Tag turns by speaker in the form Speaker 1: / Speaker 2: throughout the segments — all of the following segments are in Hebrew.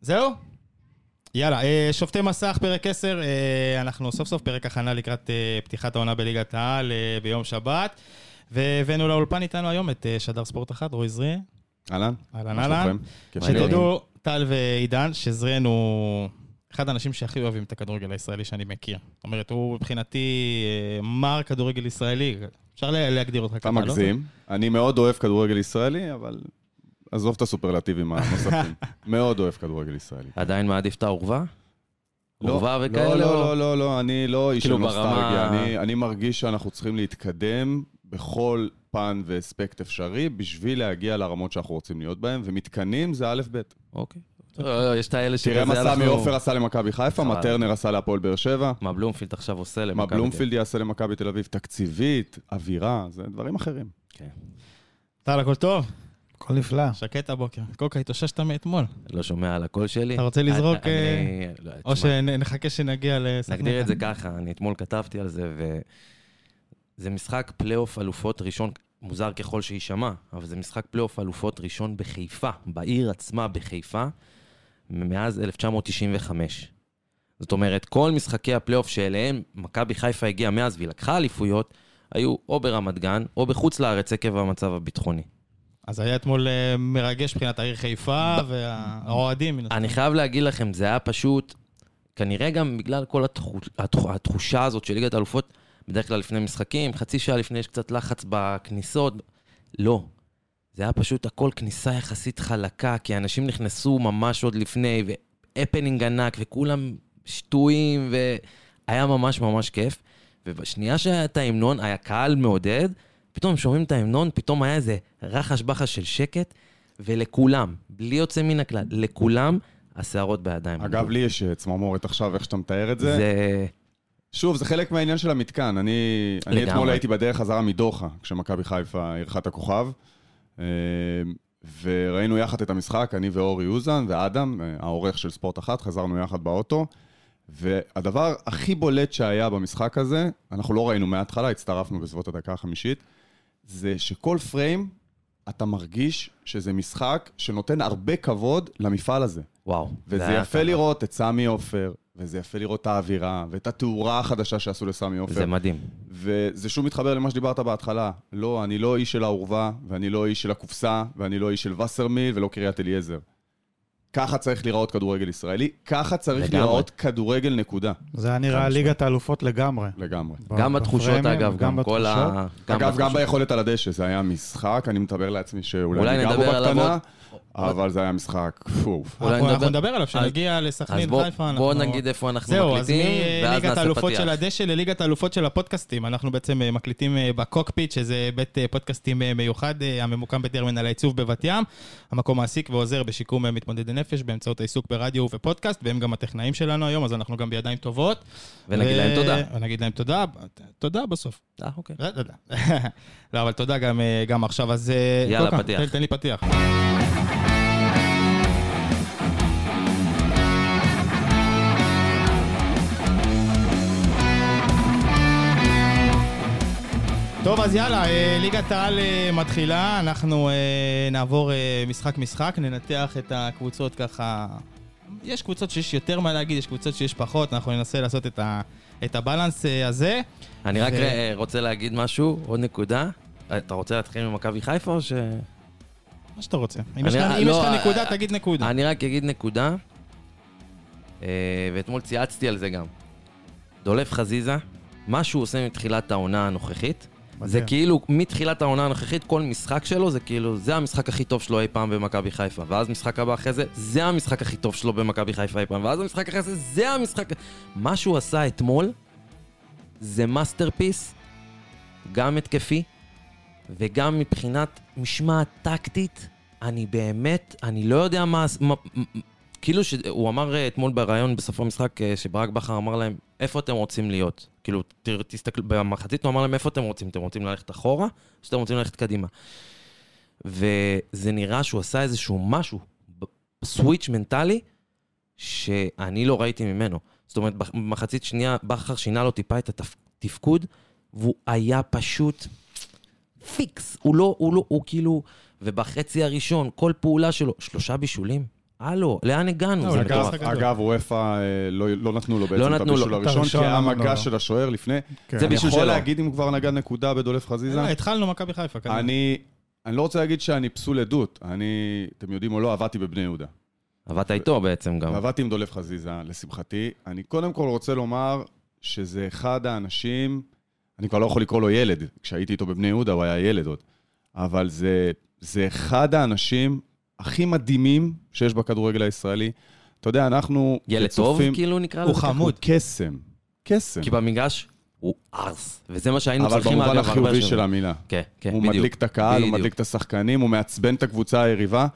Speaker 1: זהו? יאללה, אה, שופטי מסך, פרק 10. אה, אנחנו סוף סוף פרק הכנה לקראת אה, פתיחת העונה בליגת העל אה, ביום שבת. והבאנו לאולפן איתנו היום את אה, שדר ספורט אחת, רועי זריה.
Speaker 2: אהלן.
Speaker 1: אהלן
Speaker 2: מה
Speaker 1: אהלן.
Speaker 2: שלומכם?
Speaker 3: כן,
Speaker 2: כיף להיות
Speaker 1: שתדעו, טל ועידן, שזרן הוא אחד האנשים שהכי אוהבים את הכדורגל הישראלי שאני מכיר. זאת אומרת, הוא מבחינתי אה, מר כדורגל ישראלי. אפשר לה- להגדיר אותך
Speaker 2: אתה
Speaker 1: ככה, לא?
Speaker 2: מגזים. אני מאוד אוהב כדורגל ישראלי, אבל עזוב את הסופרלטיבים הנוספים. מאוד אוהב כדורגל ישראלי.
Speaker 3: עדיין מעדיף את האורווה? אורווה וכאלה?
Speaker 2: לא,
Speaker 3: או-
Speaker 2: לא, לא, לא, אני לא איש
Speaker 3: כאילו
Speaker 2: של נוסטלגיה.
Speaker 3: ברמה-
Speaker 2: אני- אני מרגיש שאנחנו צריכים להתקדם בכל פן ואספקט אפשרי בשביל להגיע לרמות שאנחנו רוצים להיות בהן, ומתקנים זה א' ב'.
Speaker 3: אוקיי. לא, לא, יש את האלה
Speaker 2: תראה מה
Speaker 3: שכזה
Speaker 2: סמי
Speaker 3: אנחנו-
Speaker 2: עופר עשה למכבי חיפה,
Speaker 3: חבל.
Speaker 2: מה טרנר עשה להפועל באר שבע,
Speaker 3: מה בלומפילד עכשיו עושה למכבי. כן.
Speaker 2: מה
Speaker 3: תל אביב.
Speaker 2: בלומפילד יעשה למכבי תל אביב, תקציבית, אווירה, זה דברים אחרים.
Speaker 3: כן.
Speaker 1: טל, הכל טוב?
Speaker 4: הכל נפלא.
Speaker 1: שקט הבוקר. קוקה, התאוששת מאתמול.
Speaker 3: לא שומע על הקול שלי.
Speaker 1: אתה רוצה לזרוק, אה,
Speaker 3: אני- אני- לא,
Speaker 1: או
Speaker 3: תשמע,
Speaker 1: שנחכה שנגיע לסכנין.
Speaker 3: נגדיר את זה ככה, אני אתמול כתבתי על זה, ו... זה משחק פלייאוף אלופות ראשון, מוזר ככל שיישמע, אבל זה משחק פלייאוף אלופות ראשון בחיפה, בעיר עצמה בחיפה, מאז 1995. זאת אומרת, כל משחקי הפלייאוף שאליהם מכבי חיפה הגיעה מאז והיא לקחה אליפויות, היו או ברמת גן או בחוץ לארץ עקב המצב הביטחוני.
Speaker 1: אז היה אתמול אה, מרגש מבחינת העיר חיפה והאוהדים. מן הסתם.
Speaker 3: אני חייב להגיד לכם, זה היה פשוט, כנראה גם בגלל כל התחוש, התח, התחושה הזאת של ליגת האלופות, בדרך כלל לפני משחקים, חצי שעה לפני יש קצת לחץ בכניסות. לא. זה היה פשוט הכל כניסה יחסית חלקה, כי אנשים נכנסו ממש עוד לפני, והפנינג ענק, וכולם שטויים, והיה ממש ממש כיף. ובשנייה שהיה את ההמנון, היה קהל מעודד, פתאום הם שומעים את ההמנון, פתאום היה איזה רחש בחש של שקט, ולכולם, בלי יוצא מן הכלל, לכולם, השערות בידיים.
Speaker 2: אגב, לי יש אה, צמרמורת עכשיו, איך שאתה מתאר את זה.
Speaker 3: זה...
Speaker 2: שוב, זה חלק מהעניין של המתקן. אני, אני
Speaker 3: לגמרי.
Speaker 2: אתמול הייתי בדרך חזרה מדוחה, כשמכבי חיפה אירחה את הכוכב, אה, וראינו יחד את המשחק, אני ואורי אוזן ואדם, אה, העורך של ספורט אחת, חזרנו יחד באוטו, והדבר הכי בולט שהיה במשחק הזה, אנחנו לא ראינו מההתחלה, הצטרפנו בסביבות הדקה החמישית, זה שכל פריים, אתה מרגיש שזה משחק שנותן הרבה כבוד למפעל הזה.
Speaker 3: וואו.
Speaker 2: וזה
Speaker 3: היה
Speaker 2: יפה
Speaker 3: ככה.
Speaker 2: לראות את סמי עופר, וזה יפה לראות את האווירה, ואת התאורה החדשה שעשו לסמי עופר.
Speaker 3: זה מדהים.
Speaker 2: וזה שוב מתחבר למה שדיברת בהתחלה. לא, אני לא איש של האורווה, ואני לא איש של הקופסה, ואני לא איש של וסרמיל ולא קריית אליעזר. ככה צריך להיראות כדורגל ישראלי, ככה צריך
Speaker 3: לגמרי.
Speaker 2: להיראות כדורגל נקודה,
Speaker 4: זה היה נראה ליגת האלופות לגמרי.
Speaker 2: לגמרי.
Speaker 3: גם בתחושות,
Speaker 4: בפריימים,
Speaker 3: אגב, גם כל ה...
Speaker 4: בתחושות.
Speaker 2: אגב, גם
Speaker 3: בתחושות.
Speaker 2: ביכולת על הדשא, זה היה משחק, אני מתאר לעצמי שאולי
Speaker 3: אולי
Speaker 2: אני גר בו
Speaker 3: נדבר עליו
Speaker 2: בקטנה,
Speaker 3: עוד-
Speaker 2: אבל זה היה משחק, פוף.
Speaker 3: אולי
Speaker 1: אנחנו
Speaker 3: נדבר-
Speaker 1: אנחנו נדבר עליו, כשנגיע
Speaker 3: אז
Speaker 1: לסכנין
Speaker 3: בוא-
Speaker 1: חיפה.
Speaker 3: בואו
Speaker 1: אנחנו- לא-
Speaker 3: נגיד איפה אנחנו
Speaker 1: זהו, אז
Speaker 3: מקליטים, ואז
Speaker 1: מליגת
Speaker 3: נעשה
Speaker 1: האלופות
Speaker 3: פתיח.
Speaker 1: של הדשא לליגת האלופות של הפודקאסטים. אנחנו בעצם אה, מקליטים אה, בקוקפיט, שזה בית אה, פודקאסטים אה, מיוחד אה, הממוקם בטרמינל העיצוב בבת ים. המקום מעסיק ועוזר בשיקום אה, מתמודדי נפש באמצעות העיסוק ברדיו ובפודקאסט, והם גם הטכנאים שלנו היום, אז אנחנו גם בידיים טובות.
Speaker 3: ונגיד להם
Speaker 1: ו-
Speaker 3: תודה.
Speaker 1: ונגיד להם תודה, תודה בסוף.
Speaker 3: אה, אוקיי.
Speaker 1: לא, לא, לא. לא, אבל תודה גם, אה, גם עכשיו, אז... אה,
Speaker 3: יאללה,
Speaker 1: קוקה,
Speaker 3: פתיח.
Speaker 1: תן- תן לי פתיח. טוב, אז יאללה, אה, ליגת העל אה, מתחילה, אנחנו אה, נעבור אה, משחק-משחק, ננתח את הקבוצות ככה. יש קבוצות שיש יותר מה להגיד, יש קבוצות שיש פחות, אנחנו ננסה לעשות את ה- את הבלנס אה, הזה.
Speaker 3: אני רק
Speaker 1: ו-
Speaker 3: אה, רוצה להגיד משהו, עוד נקודה. אתה רוצה להתחיל ממכבי חיפה או ש...
Speaker 1: מה שאתה רוצה. אם
Speaker 3: אני-
Speaker 1: יש לך-
Speaker 3: אה,
Speaker 1: אם יש
Speaker 3: לא,
Speaker 1: לך
Speaker 3: אה,
Speaker 1: נקודה,
Speaker 3: אה,
Speaker 1: תגיד נקודה.
Speaker 3: אני רק אגיד נקודה, אה, ואתמול צייצתי על זה גם. דולף חזיזה, מה שהוא עושה מתחילת העונה הנוכחית, זה
Speaker 4: מדהים.
Speaker 3: כאילו, מתחילת העונה הנוכחית, כל משחק שלו זה כאילו, זה המשחק הכי טוב שלו אי פעם במכבי חיפה. ואז משחק הבא אחרי זה, זה המשחק הכי טוב שלו במכבי חיפה אי פעם. ואז המשחק אחרי זה, זה המשחק... מה שהוא עשה אתמול, זה מאסטרפיס, גם התקפי, וגם מבחינת משמעת טקטית, אני באמת, אני לא יודע מה... מה כאילו, ש... הוא אמר אה, אתמול בריאיון בסוף המשחק, אה, שברק בכר אמר להם, איפה אתם רוצים להיות? כאילו, ת... תסתכלו, במחצית הוא אמר להם, איפה אתם רוצים? אתם רוצים ללכת אחורה, או שאתם רוצים ללכת קדימה? וזה נראה שהוא עשה איזשהו משהו, ב- סוויץ' מנטלי, שאני לא ראיתי ממנו. זאת אומרת, בח- במחצית שנייה בכר שינה לו טיפה את התפקוד, והוא היה פשוט פיקס. הוא לא, הוא לא, הוא כאילו... ובחצי הראשון, כל פעולה שלו, שלושה בישולים. הלו, לאן הגענו?
Speaker 1: לא,
Speaker 3: זה
Speaker 1: הוא לקח
Speaker 3: מטורף.
Speaker 1: שחקן גדול.
Speaker 2: אגב, וופא לא לא נתנו לו בעצם את
Speaker 3: כן, נתנו לו.
Speaker 2: הבישול
Speaker 3: את
Speaker 2: הראשון, כי
Speaker 4: הראשון
Speaker 2: היה
Speaker 4: לא נתנו
Speaker 2: מגע
Speaker 4: לו.
Speaker 2: של השוער לפני.
Speaker 4: כן.
Speaker 3: זה
Speaker 2: אני
Speaker 3: בישול
Speaker 2: יכול
Speaker 3: שלו.
Speaker 2: להגיד אם כבר נגע נקודה בדולף חזיזה?
Speaker 1: לא, התחלנו מכבי חיפה, כנראה.
Speaker 2: אני, אני לא רוצה להגיד שאני פסול עדות. אני, אתם יודעים או לא, עבדתי בבני יהודה.
Speaker 3: עבדת איתו בעצם גם.
Speaker 2: עבדתי עם דולף חזיזה, לשמחתי. אני קודם כל רוצה לומר שזה אחד האנשים, אני כבר לא יכול לקרוא לו ילד, כשהייתי איתו בבני יהודה הוא היה ילד עוד, אבל זה, זה אחד האנשים הכי מדהימים שיש בכדורגל הישראלי. אתה יודע, אנחנו...
Speaker 3: ילד טוב,
Speaker 2: כצופים-
Speaker 3: כאילו נקרא לזה?
Speaker 1: הוא חמוד.
Speaker 2: קסם. קסם.
Speaker 3: כי במגרש הוא ארס, וזה מה שהיינו
Speaker 2: אבל
Speaker 3: צריכים,
Speaker 2: במובן
Speaker 3: אגב, הרבה
Speaker 2: החיובי
Speaker 3: שנים.
Speaker 2: של המילה.
Speaker 3: כן, כן,
Speaker 2: הוא
Speaker 3: בדיוק.
Speaker 2: מדליק את הקהל, הוא
Speaker 3: בדיוק.
Speaker 2: מדליק את השחקנים, הוא מעצבן את הקבוצה היריבה.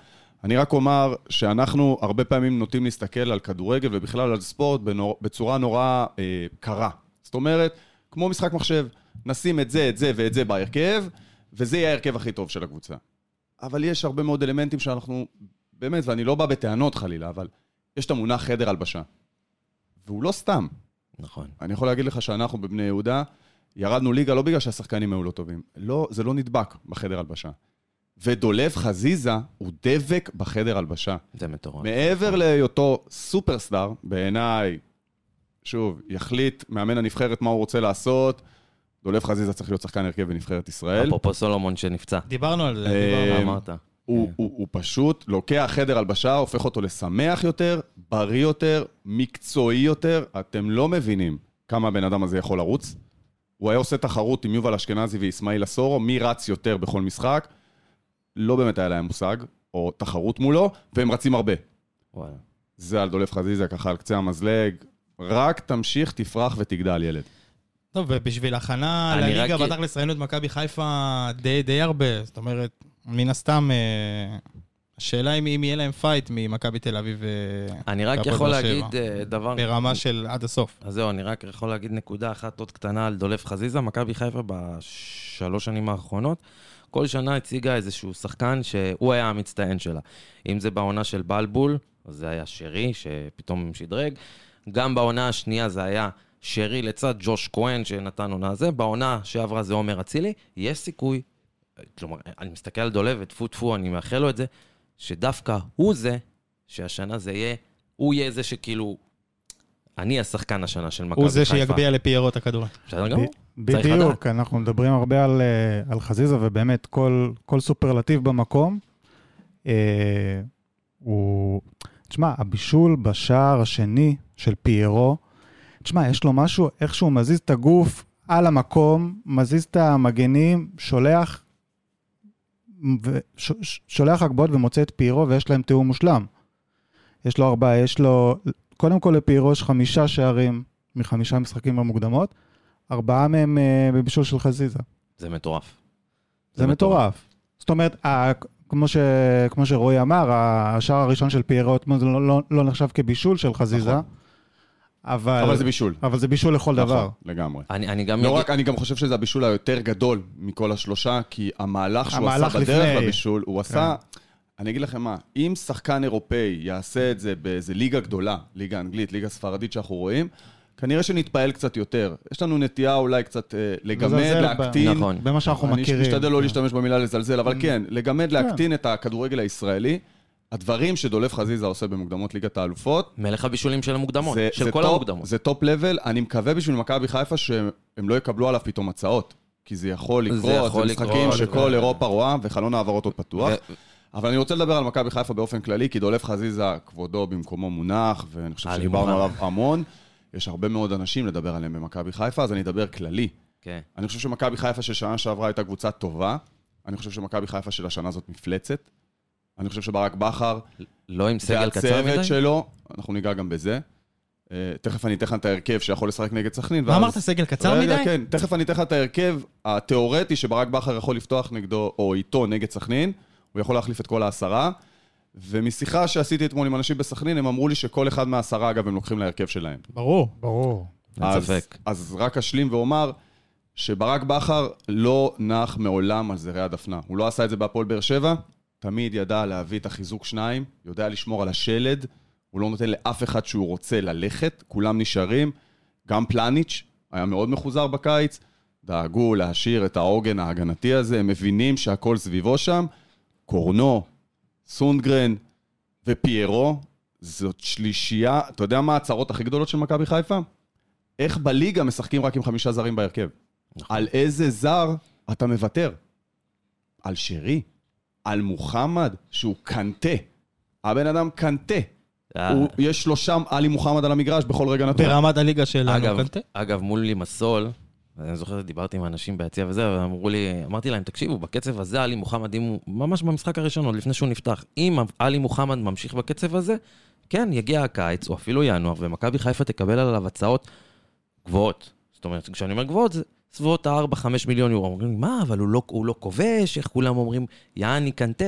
Speaker 2: אני רק אומר שאנחנו הרבה פעמים נוטים להסתכל על כדורגל ובכלל על ספורט בנור... בצורה נורא אה, קרה. זאת אומרת, כמו משחק מחשב, נשים את זה, את זה ואת זה בהרכב, וזה יהיה ההרכב הכי טוב של הקבוצה. אבל יש הרבה מאוד אלמנטים שאנחנו, באמת, ואני לא בא בטענות חלילה, אבל יש את המונח חדר הלבשה. והוא לא סתם.
Speaker 3: נכון.
Speaker 2: אני יכול להגיד לך שאנחנו בבני יהודה ירדנו ליגה לא בגלל שהשחקנים היו לא טובים. לא, זה לא נדבק בחדר הלבשה. ודולף חזיזה הוא דבק בחדר הלבשה.
Speaker 3: זה מטורף.
Speaker 2: מעבר להיותו סופרסטאר, בעיניי, שוב, יחליט מאמן הנבחרת מה הוא רוצה לעשות, דולף חזיזה צריך להיות שחקן הרכב בנבחרת ישראל.
Speaker 3: אפרופו סולומון שנפצע.
Speaker 1: דיברנו על זה.
Speaker 2: אה,
Speaker 1: דיברנו.
Speaker 3: מה
Speaker 2: אמ,
Speaker 3: אמרת?
Speaker 2: הוא, הוא, הוא פשוט לוקח חדר הלבשה, הופך אותו לשמח יותר, בריא יותר, מקצועי יותר. אתם לא מבינים כמה הבן אדם הזה יכול לרוץ. הוא היה עושה תחרות עם יובל אשכנזי ואיסמעיל אסורו, מי רץ יותר בכל משחק. לא באמת היה להם מושג, או תחרות מולו, והם רצים הרבה.
Speaker 3: וואלה.
Speaker 2: זה על דולף חזיזה, ככה על קצה המזלג. רק תמשיך, תפרח ותגדל, ילד.
Speaker 1: טוב, ובשביל הכנה
Speaker 3: אני
Speaker 1: לליגה,
Speaker 3: רק-
Speaker 1: בתכלס ראינו את מכבי חיפה די, די הרבה. זאת אומרת, מן הסתם, אה, השאלה אם, אם יהיה להם פייט ממכבי תל אביב אה,
Speaker 3: אני רק
Speaker 1: והפועל
Speaker 3: יכול
Speaker 1: באר שבע.
Speaker 3: להגיד אה, דבר...
Speaker 1: ברמה של עד הסוף.
Speaker 3: אז זהו, אני רק יכול להגיד נקודה אחת עוד קטנה על דולף חזיזה. מכבי חיפה בשלוש שנים האחרונות, כל שנה הציגה איזשהו שחקן שהוא היה המצטיין שלה. אם זה בעונה של בלבול, אז זה היה שרי, שפתאום שדרג. גם בעונה השנייה זה היה שרי לצד ג'וש כהן, שנתן עונה זה. בעונה שעברה זה עומר אצילי. יש סיכוי, כלומר, אני מסתכל על דולב, וטפו טפו, אני מאחל לו את זה, שדווקא הוא זה, שהשנה זה יהיה, הוא יהיה זה שכאילו... אני השחקן השנה של מכבי חיפה.
Speaker 1: הוא זה שיגביה לפיירו את הכדור.
Speaker 3: בסדר גמור.
Speaker 4: ב-
Speaker 3: צריך לדעת.
Speaker 4: בדיוק, אנחנו מדברים הרבה על, אה, על חזיזה, ובאמת כל, כל סופרלטיב במקום, אה, הוא... תשמע, הבישול בשער השני של פיירו, תשמע, יש לו משהו, איך שהוא מזיז את הגוף על המקום, מזיז את המגנים, שולח, ו- ש- ש- שולח הגבהות ומוצא את פיירו, ויש להם תיאום מושלם. יש לו ארבעה, יש לו... קודם כל לפיירו יש חמישה שערים מחמישה משחקים במוקדמות, ארבעה מהם אה, בבישול של חזיזה.
Speaker 3: זה מטורף.
Speaker 4: זה מטורף. זאת אומרת, ה- כמו, ש, כמו שרועי אמר, ה- השער הראשון של פיירו אתמול זה לא, לא, לא נחשב כבישול של חזיזה,
Speaker 2: נכון.
Speaker 4: אבל,
Speaker 2: אבל זה בישול.
Speaker 4: אבל זה בישול לכל דבר.
Speaker 2: נכון, לגמרי.
Speaker 3: אני, אני גם...
Speaker 2: לא
Speaker 3: אגיד-
Speaker 2: רק, אני גם חושב שזה הבישול היותר גדול מכל השלושה, כי המהלך שהוא
Speaker 4: המהלך
Speaker 2: עשה בדרך
Speaker 4: לפני. כן.
Speaker 2: לבישול, הוא עשה... אני אגיד לכם מה, אם שחקן אירופאי יעשה את זה באיזה ליגה גדולה, ליגה אנגלית, ליגה ספרדית שאנחנו רואים, כנראה שנתפעל קצת יותר. יש לנו נטייה אולי קצת אה, לגמד,
Speaker 4: לזלזל ב-
Speaker 2: להקטין.
Speaker 3: נכון.
Speaker 4: במה שאנחנו
Speaker 2: אני
Speaker 4: מכירים.
Speaker 2: משתדל לא
Speaker 4: כן.
Speaker 2: להשתמש במילה לזלזל, אבל כן, לגמד, להקטין את הכדורגל הישראלי. הדברים שדולף חזיזה עושה במוקדמות ליגת האלופות,
Speaker 3: מלך הבישולים של המוקדמות,
Speaker 2: זה-
Speaker 3: של
Speaker 2: זה
Speaker 3: כל
Speaker 2: טופ-
Speaker 3: המוקדמות.
Speaker 2: זה טופ לבל, אני מקווה בשביל מכבי חיפה שהם לא יקבלו עליו פתאום הצעות. כי זה יכול
Speaker 3: זה
Speaker 2: לקרות,
Speaker 3: יכול
Speaker 2: זה משחקים
Speaker 3: לקרות,
Speaker 2: שכל
Speaker 3: זה-
Speaker 2: אירופה רואה, וחלון העברות עוד פתוח.
Speaker 3: ו-
Speaker 2: אבל אני רוצה לדבר על מכבי חיפה באופן כללי, כי דולף חזיזה, כבודו במקומו מונח, ואני חושב
Speaker 3: אני
Speaker 2: שדיברנו
Speaker 3: מוכן.
Speaker 2: עליו המון. יש הרבה מאוד אנשים לדבר עליהם במכבי חיפה, אז אני אדבר כללי.
Speaker 3: כן.
Speaker 2: אני חושב שמכבי חיפה של שנה שעברה הייתה קבוצה טובה. אני חושב שמכבי חיפה של השנה זאת מפלצת. אני חושב שברק בכר
Speaker 3: לא עם סגל קצר
Speaker 2: והצוות
Speaker 3: מדי?
Speaker 2: שלו, אנחנו ניגע גם בזה. אה, תכף אני אתן לך את ההרכב שיכול לשחק נגד סכנין.
Speaker 1: מה
Speaker 2: ואז-
Speaker 1: אמרת, סגל קצר
Speaker 2: רגע,
Speaker 1: מדי?
Speaker 2: כן, תכף אני אתן לך את ההרכב התיאורטי שברק בכר יכול לפתוח נגדו, או איתו, נגד סכנין. הוא יכול להחליף את כל העשרה. ומשיחה שעשיתי אתמול עם אנשים בסכנין, הם אמרו לי שכל אחד מהעשרה, אגב, הם לוקחים להרכב שלהם.
Speaker 1: ברור.
Speaker 4: ברור.
Speaker 3: אין
Speaker 2: אז-
Speaker 3: ספק.
Speaker 2: אז רק אשלים ואומר שברק בכר לא נח מעולם על זרי הדפנה. הוא לא עשה את זה בהפועל באר שבע, תמיד ידע להביא את החיזוק שניים, יודע לשמור על השלד, הוא לא נותן לאף אחד שהוא רוצה ללכת, כולם נשארים. גם פלניץ' היה מאוד מחוזר בקיץ, דאגו להשאיר את העוגן ההגנתי הזה, הם מבינים שהכל סביבו שם. קורנו, סונדגרן, ופיירו, זאת שלישייה, אתה יודע מה הצרות הכי גדולות של מכבי חיפה? איך בליגה משחקים רק עם חמישה זרים בהרכב. על איזה זר אתה מוותר? על שרי? על מוחמד? שהוא קנטה. הבן אדם קנטה.
Speaker 3: אה,
Speaker 2: הוא- יש שלושה עלי מוחמד על המגרש בכל רגע נתון.
Speaker 1: ברמת הליגה שלנו. כן?
Speaker 3: אגב,
Speaker 1: קנטה?
Speaker 3: אגב, מול לימסול, אני זוכר שדיברתי עם אנשים ביציע וזה, ואמרו לי, אמרתי להם, תקשיבו, בקצב הזה עלי מוחמד, אם הוא, ממש במשחק הראשון, עוד לפני שהוא נפתח, אם עלי מוחמד ממשיך בקצב הזה, כן, יגיע הקיץ, או אפילו ינואר, ומכבי חיפה תקבל עליו הצעות גבוהות. זאת אומרת, כשאני אומר גבוהות, זה סביבות ה-4-5 מיליון יורו. אומרים לי, מה, אבל הוא לא, הוא לא כובש, איך כולם אומרים, יעני קנטה.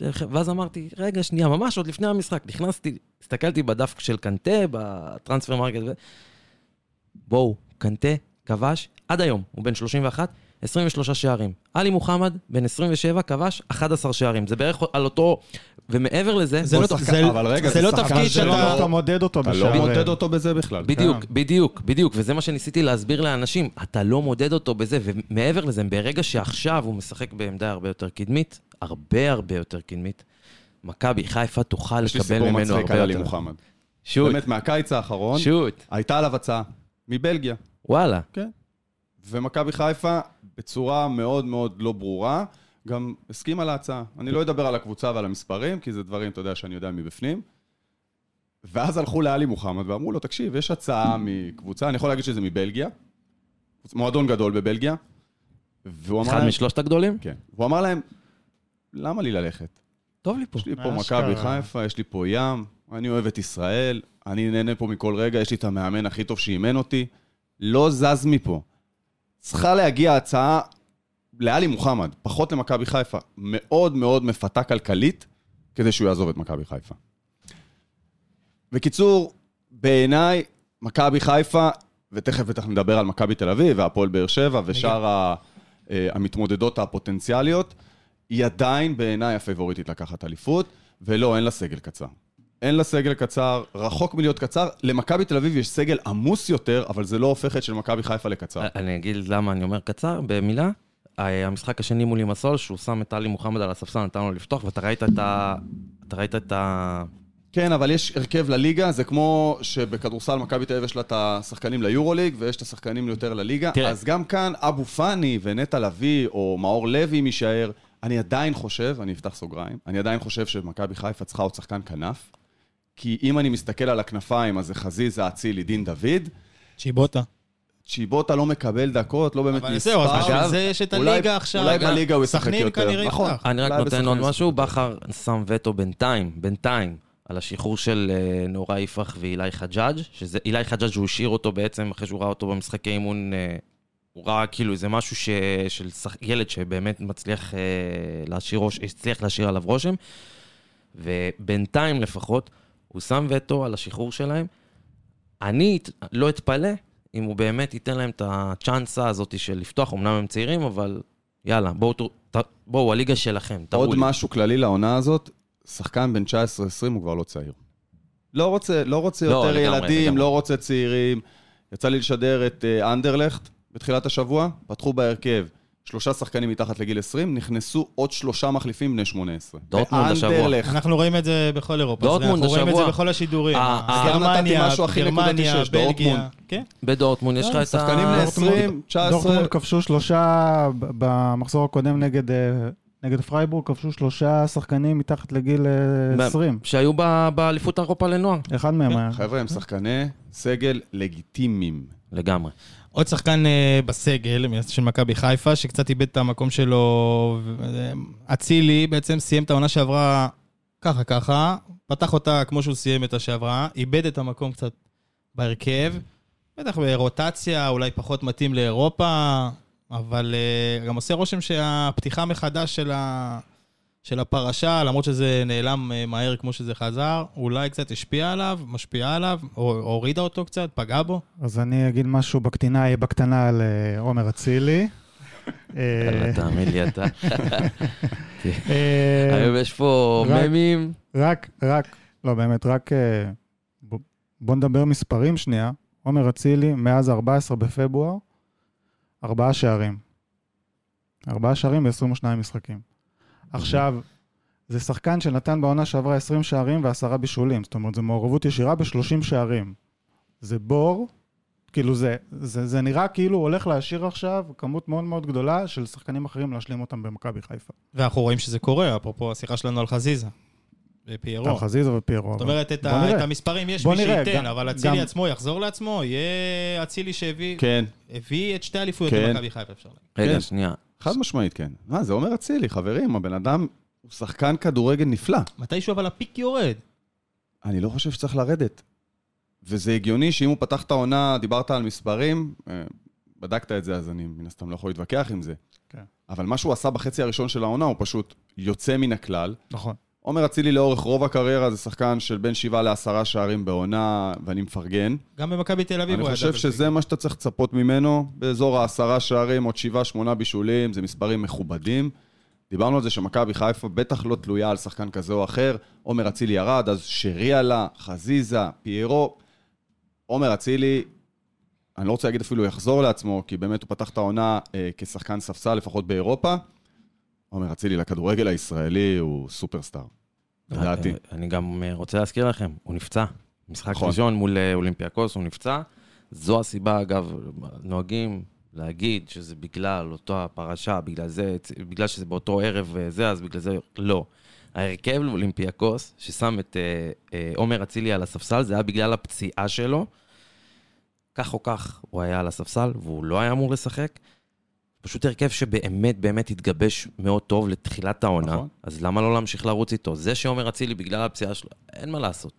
Speaker 3: ואז אמרתי, רגע, שנייה, ממש עוד לפני המשחק, נכנסתי, הסתכלתי בדף של קנטה, בטרנספר מרקט, ו- בואו, קנטה, כבש, עד היום, הוא בן 31, 23 שערים. עלי מוחמד, בן 27, כבש 11 שערים. זה בערך על אותו... ומעבר לזה...
Speaker 1: זה לא
Speaker 3: בוא-
Speaker 1: זה-
Speaker 2: אבל רגע,
Speaker 1: זה לא
Speaker 2: שחקן
Speaker 1: תפקיד
Speaker 2: שלא
Speaker 1: שאתה-
Speaker 4: אתה מודד אותו
Speaker 2: אתה
Speaker 4: בשער.
Speaker 2: לא מודד אותו בזה בכלל.
Speaker 3: בדיוק, בדיוק, בדיוק, וזה מה שניסיתי להסביר לאנשים. אתה לא מודד אותו בזה, ומעבר לזה, ברגע שעכשיו הוא משחק בעמדה הרבה יותר קדמית, הרבה הרבה יותר קדמית, מכבי חיפה תוכל
Speaker 2: יש לי
Speaker 3: לקבל
Speaker 2: סיפור
Speaker 3: ממנו
Speaker 2: מצחיק
Speaker 3: הרבה
Speaker 2: על עלי
Speaker 3: יותר.
Speaker 2: מוחמד.
Speaker 3: שוט,
Speaker 2: באמת, מהקיץ האחרון,
Speaker 3: שוט,
Speaker 2: הייתה עליו הצעה. מבלגיה.
Speaker 3: וואלה.
Speaker 2: ומכבי חיפה, בצורה מאוד מאוד לא ברורה, גם הסכימה להצעה. אני לא אדבר על הקבוצה ועל המספרים, כי זה דברים, אתה יודע, שאני יודע מבפנים. ואז הלכו לאלי מוחמד ואמרו לו, תקשיב, יש הצעה מקבוצה, אני יכול להגיד שזה מבלגיה, מועדון גדול בבלגיה, והוא אמר,
Speaker 3: אחד
Speaker 2: להם,
Speaker 3: משלושת הגדולים?
Speaker 2: כן. והוא אמר להם, למה לי ללכת?
Speaker 3: טוב לי פה.
Speaker 2: יש לי פה
Speaker 4: אשכרה.
Speaker 2: מכבי חיפה, יש לי פה ים, אני אוהב את ישראל, אני נהנה פה מכל רגע, יש לי את המאמן הכי טוב שאימן אותי, לא זז מפה. צריכה להגיע הצעה לאלי מוחמד, פחות למכבי חיפה, מאוד מאוד מפתה כלכלית, כדי שהוא יעזוב את מכבי חיפה. בקיצור, בעיניי, מכבי חיפה, ותכף בטח נדבר על מכבי תל אביב והפועל באר שבע ושאר ה- אה, המתמודדות הפוטנציאליות, היא עדיין בעיניי הפייבוריטית לקחת אליפות, ולא, אין לה סגל קצר. אין לה סגל קצר, רחוק מלהיות קצר. למכבי תל אביב יש סגל עמוס יותר, אבל זה לא הופך את של מכבי חיפה לקצר.
Speaker 3: אה, אני אגיד למה אני אומר קצר, במילה. ה- המשחק השני מול ימסול, שהוא שם את עלי מוחמד על הספסל, נתן לו לפתוח, ואתה ראית את ה... אתה ראית את ה...
Speaker 2: כן, אבל יש הרכב לליגה, זה כמו שבכדורסל מכבי תל אביב יש לה את השחקנים ליורוליג ויש את השחקנים יותר לליגה.
Speaker 3: תראה.
Speaker 2: תראה. אז גם כאן אבו פאני ונטע לביא או מאור לוי, אם יישאר, אני עדיין חושב, אני אפתח סוגריים, אני עדיין חושב שמכבי חיפה צריכה עוד שחקן כנף, כי אם אני מסתכל על הכנפיים, אז זה חזיזה, אצילי, דין דוד,
Speaker 1: צ'יבוטה.
Speaker 2: צ'יבוטה לא מקבל דקות, לא באמת
Speaker 1: אבל
Speaker 2: נספר.
Speaker 1: זהו, אז בשביל
Speaker 3: אגב,
Speaker 1: זה יש את
Speaker 2: אולי-
Speaker 1: הליגה עכשיו.
Speaker 2: אולי
Speaker 1: אגב,
Speaker 2: בליגה הוא ישחק
Speaker 1: סכנין
Speaker 2: יותר,
Speaker 1: כנראה
Speaker 2: נכון.
Speaker 1: יפתח.
Speaker 3: אני רק
Speaker 2: אולי
Speaker 3: נותן
Speaker 2: בסכנין
Speaker 3: עוד
Speaker 2: זה
Speaker 3: משהו, בכר שם וטו בינתיים, בינתיים, על השחרור של אה, נורה יפרח ואילי חג'אג', שזה אילי חג'אג' הוא השאיר אותו בעצם אחרי שהוא ראה אותו במשחקי אימון, אה, הוא ראה כאילו איזה משהו ש... של שח... ילד שבאמת מצליח אה, להשאיר ראש, הצליח להשאיר עליו רושם, ובינתיים לפחות, הוא שם וטו על השחרור שלהם. אני את- לא אתפלא אם הוא באמת ייתן להם את הצ'אנסה הזאת של לפתוח, אמנם הם צעירים, אבל יאללה, בואו, תור- ת- בואו, הליגה שלכם, תראו לי.
Speaker 2: עוד משהו כללי לעונה הזאת, שחקן בן 19-20 הוא כבר לא צעיר. לא רוצה, לא רוצה
Speaker 3: לא,
Speaker 2: יותר
Speaker 3: לגמרי,
Speaker 2: ילדים,
Speaker 3: לגמרי.
Speaker 2: לא רוצה צעירים. יצא לי לשדר את אה, אנדרלכט בתחילת השבוע, פתחו בהרכב. שלושה שחקנים מתחת לגיל 20, נכנסו עוד שלושה מחליפים בני 18.
Speaker 3: דורטמונד השבוע.
Speaker 2: באנדרלכט.
Speaker 1: אנחנו רואים את זה בכל אירופה. אז
Speaker 3: דורטמונד
Speaker 1: אנחנו רואים את
Speaker 3: השבוע.
Speaker 1: זה בכל השידורים.
Speaker 3: אה, אה,
Speaker 1: גרמניה,
Speaker 2: נתתי משהו הכי
Speaker 1: גרמניה,
Speaker 2: נקודתי שיש,
Speaker 1: בלגיה.
Speaker 2: דורטמונד.
Speaker 1: כן.
Speaker 3: בדורטמונד יש לך את
Speaker 2: שחקנים
Speaker 3: ה...
Speaker 2: בני 20, 19,
Speaker 4: דורטמונד כבשו שלושה ב- במחזור הקודם נגד, אה, נגד פרייבורג, כבשו שלושה שחקנים מתחת לגיל אה,
Speaker 3: ב-
Speaker 4: 20.
Speaker 3: שהיו ב- באליפות אירופה לנוער.
Speaker 4: אחד מהם היה.
Speaker 2: חבר'ה, הם שחקני סגל לגיטימיים.
Speaker 3: לגמרי.
Speaker 1: עוד שחקן אה, בסגל מ- של מכבי חיפה, שקצת איבד את המקום שלו, ו- אה, אצילי בעצם סיים את העונה שעברה ככה ככה, פתח אותה כמו שהוא סיים את השעברה, איבד את המקום קצת בהרכב, בטח ברוטציה, אולי פחות מתאים לאירופה, אבל אה, גם עושה רושם שהפתיחה מחדש של ה... של הפרשה, למרות שזה נעלם אה, מהר כמו שזה חזר, אולי קצת השפיע עליו, משפיעה עליו, או הורידה אותו קצת, פגעה בו.
Speaker 4: אז אני אגיד משהו בקטינה, בקטנה על אה, עומר אצילי. אה,
Speaker 3: יאללה, תאמין לי אתה.
Speaker 4: אה,
Speaker 3: היום יש פה
Speaker 4: רק-
Speaker 3: ממים.
Speaker 4: רק, רק, לא באמת, רק... אה, ב- בוא נדבר מספרים שנייה. עומר אצילי, מאז 14 בפברואר, ארבעה שערים. ארבעה שערים ב-22 משחקים. עכשיו, זה שחקן שנתן בעונה שעברה 20 שערים ועשרה בישולים. זאת אומרת, זו מעורבות ישירה ב-30 שערים. זה בור, כאילו זה, זה, זה נראה כאילו הוא הולך להשאיר עכשיו כמות מאוד מאוד גדולה של שחקנים אחרים להשלים אותם במכבי חיפה.
Speaker 1: ואנחנו רואים שזה קורה, אפרופו השיחה שלנו על חזיזה.
Speaker 4: טל
Speaker 1: ופיירו.
Speaker 4: חזיזה ופיירו.
Speaker 1: זאת
Speaker 4: אבל-
Speaker 1: אומרת, את
Speaker 4: בוא
Speaker 1: ה-
Speaker 4: נראה.
Speaker 1: את המספרים יש
Speaker 4: בוא
Speaker 1: מי
Speaker 4: נראה,
Speaker 1: שייתן,
Speaker 4: גם-
Speaker 1: אבל אצילי
Speaker 4: גם-
Speaker 1: עצמו יחזור לעצמו, יהיה אצילי שהביא
Speaker 2: כן,
Speaker 1: הביא את שתי האליפויות
Speaker 2: כן.
Speaker 1: למכבי חיפה, אפשר להגיד.
Speaker 2: כן.
Speaker 3: רגע, שנייה.
Speaker 2: חד משמעית כן. מה, זה עומר אצילי, חברים, הבן אדם הוא שחקן כדורגל נפלא.
Speaker 1: מתישהו אבל הפיק יורד.
Speaker 2: אני לא חושב שצריך לרדת. וזה הגיוני שאם הוא פתח את העונה, דיברת על מספרים, אה, בדקת את זה, אז אני מן הסתם לא יכול להתווכח עם זה.
Speaker 4: כן.
Speaker 2: אבל מה שהוא עשה בחצי הראשון של העונה, הוא פשוט יוצא מן הכלל.
Speaker 4: נכון.
Speaker 2: עומר אצילי לאורך רוב הקריירה זה שחקן של בין שבעה לעשרה שערים בעונה, ואני מפרגן.
Speaker 1: גם במכבי תל אביב
Speaker 2: אני
Speaker 1: הוא היה
Speaker 2: חושב
Speaker 1: דאבל
Speaker 2: שזה מה שאתה צריך לצפות ממנו, באזור העשרה שערים, עוד שבעה, שמונה בישולים, זה מספרים מכובדים. דיברנו על זה שמכבי חיפה בטח לא תלויה על שחקן כזה או אחר. עומר אצילי ירד, אז שרי עלה, חזיזה, פיירו. עומר אצילי, אני לא רוצה להגיד אפילו יחזור לעצמו, כי באמת הוא פתח את העונה אה, כשחקן ספסל, לפחות באירופה. עומר אצילי לכדורגל הישראלי הוא סופרסטאר, לדעתי.
Speaker 3: אה, אני גם אה, רוצה להזכיר לכם, הוא נפצע. משחק
Speaker 2: נכון.
Speaker 3: ראשון מול אה, אולימפיאקוס, הוא נפצע. זו הסיבה, אגב, נוהגים להגיד שזה בגלל אותה הפרשה, בגלל זה, בגלל שזה באותו ערב אה, זה, אז בגלל זה לא. ההרכב לאולימפיאקוס, ששם את אה, אה, עומר אצילי על הספסל, זה היה בגלל הפציעה שלו. כך או כך, הוא היה על הספסל, והוא לא היה אמור לשחק. פשוט הרכב שבאמת באמת התגבש מאוד טוב לתחילת העונה,
Speaker 2: נכון.
Speaker 3: נכון. אז למה לא להמשיך לרוץ איתו? זה שעומר אצילי, בגלל הפציעה שלו, אין מה לעשות.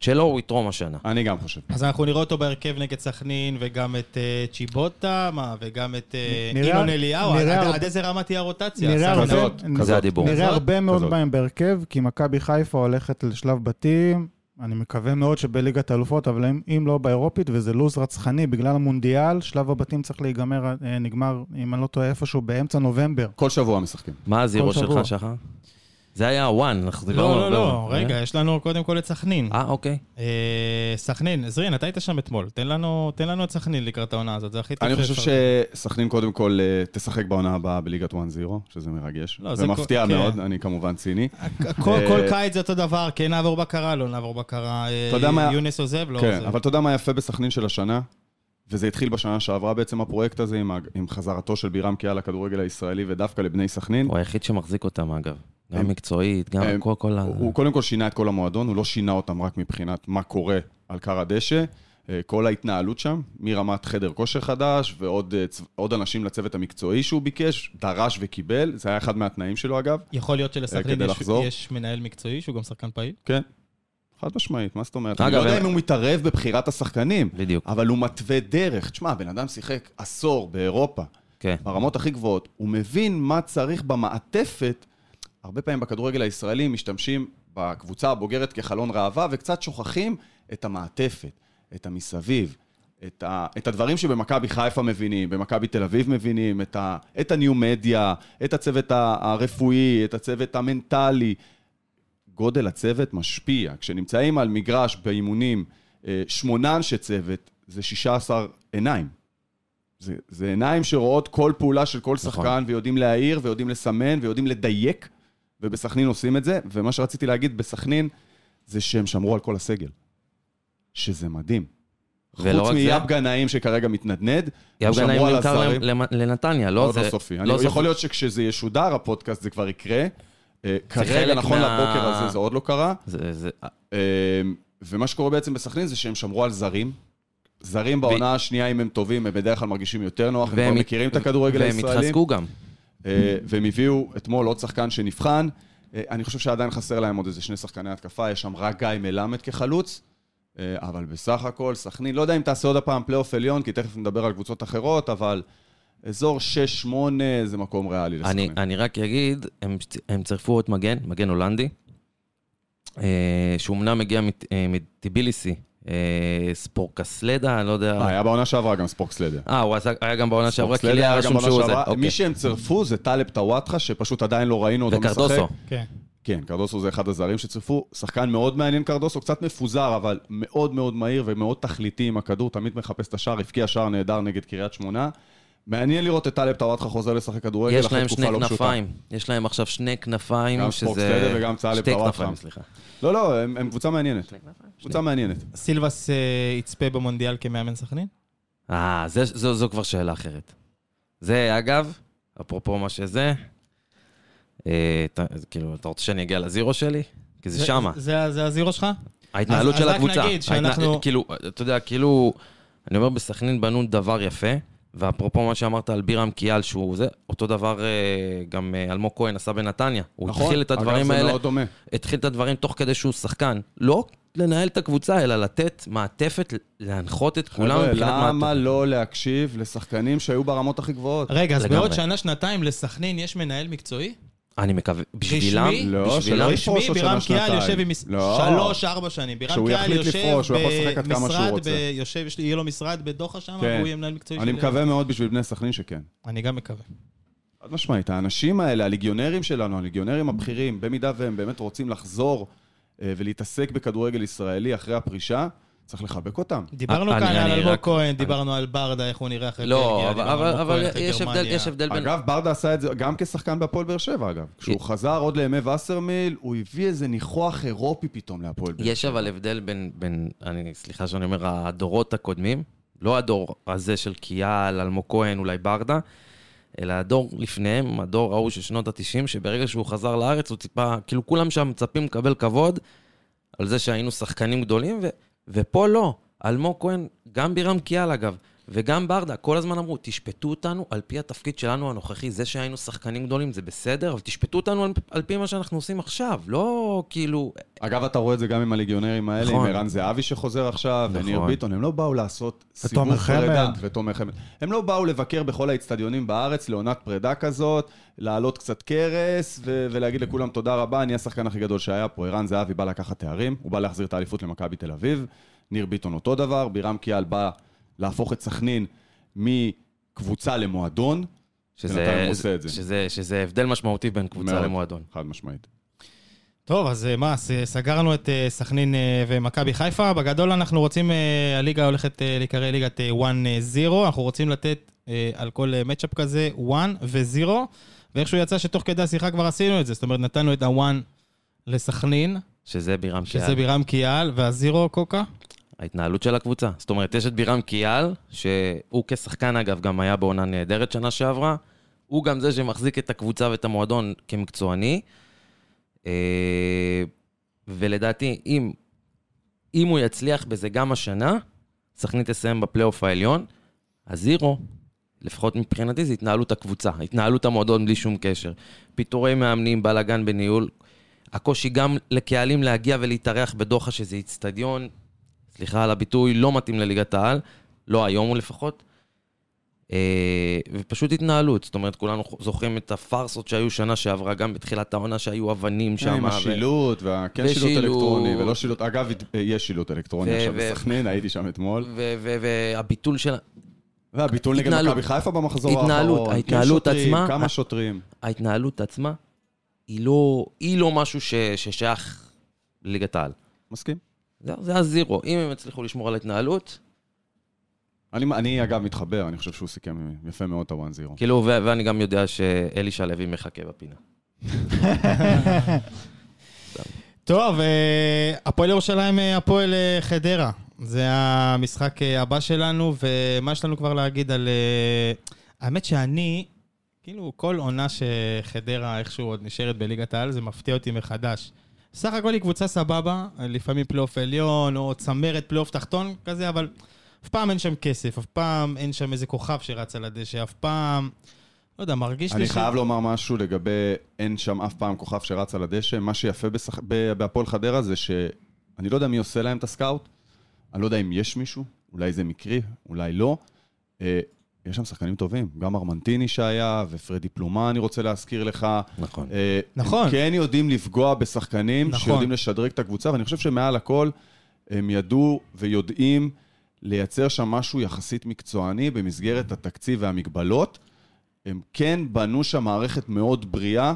Speaker 3: צ'לו הוא יתרום השנה.
Speaker 2: אני גם חושב.
Speaker 1: אז אנחנו נראה אותו בהרכב נגד סכנין, וגם את אה, צ'יבוטה, מה, וגם את אה,
Speaker 4: נראה-
Speaker 1: ינון אליהו,
Speaker 4: נראה
Speaker 1: עד-
Speaker 4: הרבה-
Speaker 1: עד איזה רמה תהיה הרוטציה?
Speaker 4: נראה הרבה-
Speaker 1: סכנין.
Speaker 2: כזאת, כזאת.
Speaker 3: זה הדיבור.
Speaker 4: נראה
Speaker 1: כזאת,
Speaker 4: הרבה מאוד
Speaker 2: כזאת.
Speaker 4: בהם בהרכב, כי מכבי חיפה הולכת לשלב בתים, אני מקווה מאוד שבליגת האלופות, אבל אם, אם לא באירופית, וזה לו"ז רצחני בגלל המונדיאל, שלב הבתים צריך להיגמר, אה, נגמר, אם אני לא טועה, איפשהו באמצע נובמבר.
Speaker 2: כל שבוע משחקים.
Speaker 3: מה הזירו
Speaker 4: כל שבוע.
Speaker 3: שלך, שחר? זה אה? היה הוואן, אנחנו דיברנו
Speaker 1: לא, לא,
Speaker 3: הרבה
Speaker 1: לא,
Speaker 3: מאוד.
Speaker 1: רגע, יש לנו קודם כל את סכנין.
Speaker 3: אה, אוקיי.
Speaker 1: אה, סכנין, זרין, אתה היית שם אתמול, תן לנו תן לנו את סכנין לקראת העונה הזאת, זה הכי טוב
Speaker 2: אני
Speaker 1: שאפשר.
Speaker 2: חושב שסכנין קודם כל אה, תשחק בעונה הבאה בליגת 1-0, שזה מרגש.
Speaker 1: לא, זה
Speaker 2: זה מפתיע
Speaker 1: כל- כן.
Speaker 2: מאוד, אני כמובן ציני.
Speaker 1: כל
Speaker 2: אה,
Speaker 1: כל קיץ זה אותו דבר, כן נעבור בקרה, לא נעבור בקרה, אה,
Speaker 2: אתה יודע מה-
Speaker 1: יונס עוזב, לא
Speaker 2: כן,
Speaker 1: עוזב.
Speaker 2: אבל אתה יודע מה יפה בסכנין של השנה? וזה התחיל בשנה שעברה בעצם הפרויקט הזה עם, ה- עם חזרתו של בירם קיאה לכדורגל הישראלי ודווקא לבני סכנין.
Speaker 3: הוא היחיד שמחזיק אותם, אגב.
Speaker 2: הם-
Speaker 3: גם מקצועית, גם
Speaker 2: הם-
Speaker 3: כל- כל ה...
Speaker 2: הוא הוא קודם כל שינה את כל המועדון, הוא לא שינה אותם רק מבחינת מה קורה על כר הדשא. אה, כל ההתנהלות שם, מרמת חדר כושר חדש ועוד אה, צו- עוד אנשים לצוות המקצועי שהוא ביקש, דרש וקיבל, זה היה אחד מהתנאים שלו אגב.
Speaker 1: יכול להיות שלסכנין
Speaker 2: אה, כדי
Speaker 1: יש-
Speaker 2: לחזור.
Speaker 1: יש מנהל מקצועי שהוא גם שחקן פעיל?
Speaker 2: כן. חד משמעית, מה זאת אומרת?
Speaker 3: אגב,
Speaker 2: אני לא יודע
Speaker 3: הם-
Speaker 2: אם הוא מתערב בבחירת השחקנים,
Speaker 3: בדיוק,
Speaker 2: אבל הוא מתווה דרך. תשמע, הבן אדם שיחק עשור באירופה,
Speaker 3: כן.
Speaker 2: ברמות הכי גבוהות, הוא מבין מה צריך במעטפת. הרבה פעמים בכדורגל הישראלי משתמשים בקבוצה הבוגרת כחלון ראווה, וקצת שוכחים את המעטפת, את המסביב, את, ה, את הדברים שבמכבי חיפה מבינים, במכבי תל אביב מבינים, את, ה, את הניו-מדיה, את הצוות ה- הרפואי, את הצוות המנטלי. גודל הצוות משפיע. כשנמצאים על מגרש באימונים אה, שמונה אנשי צוות, זה 16 עיניים. זה, זה עיניים שרואות כל פעולה של כל
Speaker 3: נכון.
Speaker 2: שחקן, ויודעים להעיר, ויודעים לסמן, ויודעים לדייק, ובסכנין עושים את זה. ומה שרציתי להגיד בסכנין, זה שהם שמרו על כל הסגל. שזה מדהים.
Speaker 3: ולא
Speaker 2: חוץ
Speaker 3: רק זה,
Speaker 2: מיאב גנאים שכרגע מתנדנד,
Speaker 3: יאב
Speaker 2: שמרו
Speaker 3: גנאים
Speaker 2: על
Speaker 3: נמכר
Speaker 2: הזרים.
Speaker 3: למ- לנתניה, לא?
Speaker 2: עוד
Speaker 3: זה-
Speaker 2: לא סופי.
Speaker 3: לא
Speaker 2: אני-
Speaker 3: סופי.
Speaker 2: יכול להיות שכשזה ישודר, הפודקאסט, זה כבר יקרה. אה, כרגע,
Speaker 3: חלק
Speaker 2: נכון
Speaker 3: מה-
Speaker 2: לבוקר הזה, זה עוד לא קרה.
Speaker 3: זה- זה-
Speaker 2: אה, ומה שקורה בעצם בסכנין זה שהם שמרו על זרים. זרים בעונה השנייה, אם הם טובים, הם בדרך כלל מרגישים יותר נוח, הם אוקיי, כבר
Speaker 3: והם-
Speaker 2: מכירים את הכדורגל
Speaker 3: והם
Speaker 2: הישראלי.
Speaker 3: התחזקו גם.
Speaker 2: אה, והם הביאו אתמול עוד שחקן שנבחן. אה, אני חושב שעדיין חסר להם עוד איזה שני שחקני התקפה, יש שם רק גיא מלמד כחלוץ, אה, אבל בסך הכל, סכנין, לא יודע אם תעשה עוד הפעם פלייאוף עליון, כי תכף נדבר על קבוצות אחרות, אבל אזור 6-8 זה מקום ריאלי
Speaker 3: אני,
Speaker 2: לסכנין.
Speaker 3: אני רק אגיד, הם, הם צירפו את מגן, מגן הולנדי, אה, שאומנם מגיע מת- אה, מטיביליסי, אה, ספורקסלדה, אני לא
Speaker 2: אה,
Speaker 3: יודע.
Speaker 2: היה בעונה שעברה גם ספורקסלדה.
Speaker 3: אה, הוא עשה, היה גם בעונה שעברה, כי לי היה רשום
Speaker 2: בעונה
Speaker 3: שהוא זה.
Speaker 2: שעברה.
Speaker 3: אוקיי.
Speaker 2: מי שהם צירפו זה טלב טוואטחה, שפשוט עדיין לא ראינו אותו משחק.
Speaker 3: וקרדוסו.
Speaker 1: כן.
Speaker 2: כן, קרדוסו זה אחד הזרים שצירפו. שחקן מאוד מעניין קרדוסו, קצת מפוזר, אבל מאוד מאוד מהיר ומאוד תכליתי עם הכדור, תמיד מחפש את השער, הבקיע שער נהדר נגד קריית שמונה. מעניין לראות את טלב טוואטחה חוזר לשחק כדורגל
Speaker 3: יש
Speaker 2: אחרי
Speaker 3: להם שני
Speaker 2: תקופה לא פשוטה.
Speaker 3: כנפיים. יש להם עכשיו שני
Speaker 2: גם
Speaker 3: כנפיים, שזה...
Speaker 2: ספורטסטדה וגם צהל
Speaker 3: שתי
Speaker 2: לטוואטחה.
Speaker 3: כנפיים, סליחה.
Speaker 2: לא, לא, הם הם קבוצה מעניינת. קבוצה מעניינת.
Speaker 1: סילבס אה, יצפה במונדיאל כמאמן סכנין?
Speaker 3: אה, זה- זו זו כבר שאלה אחרת. זה, אגב, אפרופו מה שזה, אה, אתה- כאילו, אתה רוצה שאני אגיע לזירו שלי? כי זה
Speaker 1: זה-
Speaker 3: שמה.
Speaker 1: זה זה הזירו שלך?
Speaker 3: ההתנהלות
Speaker 1: אז- אז
Speaker 3: של
Speaker 1: רק
Speaker 3: הקבוצה.
Speaker 1: נגיד
Speaker 3: ההתנה-
Speaker 1: שאנחנו-
Speaker 3: כאילו, אתה יודע, כאילו, אני אומר, בסכנין בנו דבר יפה, ואפרופו מה שאמרת על בירם קיאל, שהוא זה, אותו דבר אה, גם אה, אלמוג כהן עשה בנתניה. הוא
Speaker 2: נכון?
Speaker 3: התחיל את הדברים
Speaker 2: אגב, זה
Speaker 3: האלה,
Speaker 2: מאוד דומה.
Speaker 3: התחיל את הדברים תוך כדי שהוא שחקן. לא לנהל את הקבוצה, אלא לתת מעטפת, להנחות את כולם
Speaker 2: חבר'ה,
Speaker 3: מבחינת
Speaker 2: למה
Speaker 3: מעטפת.
Speaker 2: לא להקשיב לשחקנים שהיו ברמות הכי גבוהות?
Speaker 1: רגע, אז
Speaker 3: לגמרי.
Speaker 1: בעוד שנה, שנתיים, לסכנין יש מנהל מקצועי?
Speaker 3: אני מקווה, בשבילם,
Speaker 1: רשמי?
Speaker 2: לא,
Speaker 3: בשבילם,
Speaker 2: שלא יפרוש
Speaker 1: רשמי,
Speaker 2: עוד
Speaker 1: בירם
Speaker 2: שנה,
Speaker 1: קיאל
Speaker 2: שנתיים.
Speaker 1: יושב עם מס-
Speaker 2: לא.
Speaker 1: שלוש, ארבע שנים. בירם
Speaker 2: כשהוא
Speaker 1: קיאל
Speaker 2: יחליט
Speaker 1: יושב
Speaker 2: לפרוש, הוא יכול לשחק עד כמה שהוא
Speaker 1: במשרד
Speaker 2: רוצה.
Speaker 1: ב- יושב, יש לי- יהיה לו משרד בדוחה שם,
Speaker 2: כן.
Speaker 1: והוא יהיה מנהל מקצועי
Speaker 2: אני
Speaker 1: של-
Speaker 2: מקווה מאוד בשביל בני סכנין שכן.
Speaker 1: אני גם מקווה.
Speaker 2: חד משמעית, האנשים האלה, הליגיונרים שלנו, הליגיונרים הבכירים, במידה והם באמת רוצים לחזור אה, ולהתעסק בכדורגל ישראלי אחרי הפרישה, צריך לחבק אותם.
Speaker 1: דיברנו
Speaker 3: אני-
Speaker 1: כאן
Speaker 3: אני-
Speaker 1: על
Speaker 3: אני
Speaker 1: אלמוג
Speaker 3: רק-
Speaker 1: כהן, דיברנו על ברדה, איך הוא נראה אחרי
Speaker 3: לא,
Speaker 1: בלגיה,
Speaker 3: אבל-
Speaker 1: דיברנו על
Speaker 3: אבל
Speaker 1: אלמוג
Speaker 3: אבל
Speaker 1: כהן אחרי
Speaker 3: יש הבדל-
Speaker 1: גרמניה.
Speaker 3: יש הבדל בין...
Speaker 2: אגב, ברדה עשה את זה גם כשחקן בהפועל באר שבע, אגב. כשהוא חזר עוד לימי וסרמיל, הוא הביא איזה ניחוח אירופי פתאום להפועל באר שבע.
Speaker 3: יש אבל הבדל בין, בין, אני, סליחה שאני אומר, הדורות הקודמים, לא הדור הזה של קיאל, אלמוג כהן, אולי ברדה, אלא הדור לפניהם, הדור ההוא של שנות ה-90, שברגע שהוא חזר לארץ, הוא ציפה, כאילו כולם שם מצפים לקבל כבוד על זה שהיינו שחקנים גדולים, ו, ופה לא. אלמוג כהן, גם בירם קיאל אגב, וגם ברדה, כל הזמן אמרו, תשפטו אותנו על פי התפקיד שלנו הנוכחי. זה שהיינו שחקנים גדולים זה בסדר, אבל תשפטו אותנו על, על פי מה שאנחנו עושים עכשיו, לא כאילו...
Speaker 2: אגב, אתה רואה את זה גם עם הליגיונרים האלה,
Speaker 3: נכון.
Speaker 2: עם ערן זהבי שחוזר עכשיו,
Speaker 3: נכון.
Speaker 2: וניר ביטון, הם לא באו לעשות סיבוב
Speaker 4: ותומר
Speaker 2: פרידה.
Speaker 4: חמד.
Speaker 2: ותומר חמד. הם לא באו לבקר בכל האצטדיונים בארץ לעונת פרידה כזאת, לעלות קצת קרס ו- ולהגיד לכולם תודה רבה, אני השחקן הכי גדול שהיה פה. ערן זהבי בא לקחת תארים, הוא בא להחזיר את האליפות למכבי תל אביב, ניר ביטון אותו דבר, בירם קיאל בא להפוך את סכנין מקבוצה למועדון. בינתיים
Speaker 3: שזה,
Speaker 2: הוא עושה את זה.
Speaker 3: שזה, שזה הבדל משמעותי בין קבוצה
Speaker 2: מאוד.
Speaker 3: למועדון.
Speaker 2: חד משמעית.
Speaker 1: טוב, אז אה, מה, ס- סגרנו את אה, סכנין אה, ומכבי חיפה. בגדול אנחנו רוצים, אה, הליגה הולכת אה, להיקרא ליגת אה, 1-0. אנחנו רוצים לתת אה, על כל אה, מצ'אפ כזה 1 ו-0, ואיכשהו יצא שתוך כדי השיחה כבר עשינו את זה. זאת אומרת, נתנו את ה-1 לסכנין,
Speaker 3: שזה בירם
Speaker 1: שזה
Speaker 3: קיאל,
Speaker 1: בירם קיאל, וה-0 קוקה.
Speaker 3: ההתנהלות של הקבוצה. זאת אומרת, יש את בירם קיאל, שהוא כשחקן אגב גם היה בעונה נהדרת שנה שעברה, הוא גם זה שמחזיק את הקבוצה ואת המועדון כמקצועני. אה, ולדעתי, אם, אם הוא יצליח בזה גם השנה, סכנין תסיים בפלייאוף העליון, הזירו, לפחות מבחינתי, זה התנהלות הקבוצה, התנהלות המועדון בלי שום קשר. פיטורי מאמנים, בלאגן בניהול, הקושי גם לקהלים להגיע ולהתארח בדוחה, שזה איצטדיון, סליחה על הביטוי, לא מתאים לליגת העל, לא היום הוא לפחות. אה, ופשוט התנהלות, זאת אומרת, כולנו זוכרים את הפארסות שהיו שנה שעברה, גם בתחילת העונה שהיו אבנים שם.
Speaker 2: עם
Speaker 3: ו-
Speaker 2: השילוט, והכן שילוט
Speaker 3: ושילוט.
Speaker 2: אלקטרוני, ולא שילוט, אגב, אה, יש שילוט אלקטרוני
Speaker 3: ו-
Speaker 2: עכשיו
Speaker 3: ו-
Speaker 2: בסכנין, הייתי שם אתמול.
Speaker 3: ו- ו- והביטול של...
Speaker 2: והביטול נגד
Speaker 3: התנהלות.
Speaker 2: מכבי חיפה במחזור
Speaker 3: התנהלות,
Speaker 2: האחרון. עם
Speaker 3: ההתנהלות
Speaker 2: שוטרים,
Speaker 3: עצמה-
Speaker 2: כמה שוטרים.
Speaker 3: ההתנהלות עצמה היא לא, היא לא משהו ש, ששייך לליגת העל.
Speaker 2: מסכים.
Speaker 3: זה, זה הזירו. אם הם יצליחו לשמור על ההתנהלות,
Speaker 2: אני, אני אגב מתחבר, אני חושב שהוא סיכם יפה מאוד את הוואן זירו.
Speaker 3: כאילו, ו, ואני גם יודע שאלישע לוי מחכה בפינה.
Speaker 1: טוב, אה, הפועל ירושלים, אה, הפועל אה, חדרה. זה המשחק אה, הבא שלנו, ומה יש לנו כבר להגיד על... אה, האמת שאני, כאילו, כל עונה שחדרה איכשהו עוד נשארת בליגת העל, זה מפתיע אותי מחדש. סך הכל היא קבוצה סבבה, לפעמים פלייאוף עליון, או צמרת פלייאוף תחתון כזה, אבל אף פעם אין שם כסף, אף פעם אין שם איזה כוכב שרץ על הדשא, אף פעם... לא יודע, מרגיש לי
Speaker 2: אני
Speaker 1: ש-
Speaker 2: חייב לומר משהו לגבי אין שם אף פעם כוכב שרץ על הדשא. מה שיפה בשח- ב- בהפועל חדרה זה שאני לא יודע מי עושה להם את הסקאוט, אני לא יודע אם יש מישהו, אולי זה מקרי, אולי לא. אה, יש שם שחקנים טובים, גם ארמנטיני שהיה, ופרדי פלומה, אני רוצה להזכיר לך.
Speaker 3: נכון.
Speaker 2: אה,
Speaker 1: נכון.
Speaker 2: הם כן יודעים לפגוע בשחקנים
Speaker 1: נכון.
Speaker 2: שיודעים לשדרג את הקבוצה, ואני חושב שמעל הכל הם ידעו ויודעים לייצר שם משהו יחסית מקצועני במסגרת התקציב והמגבלות. הם כן בנו שם מערכת מאוד בריאה.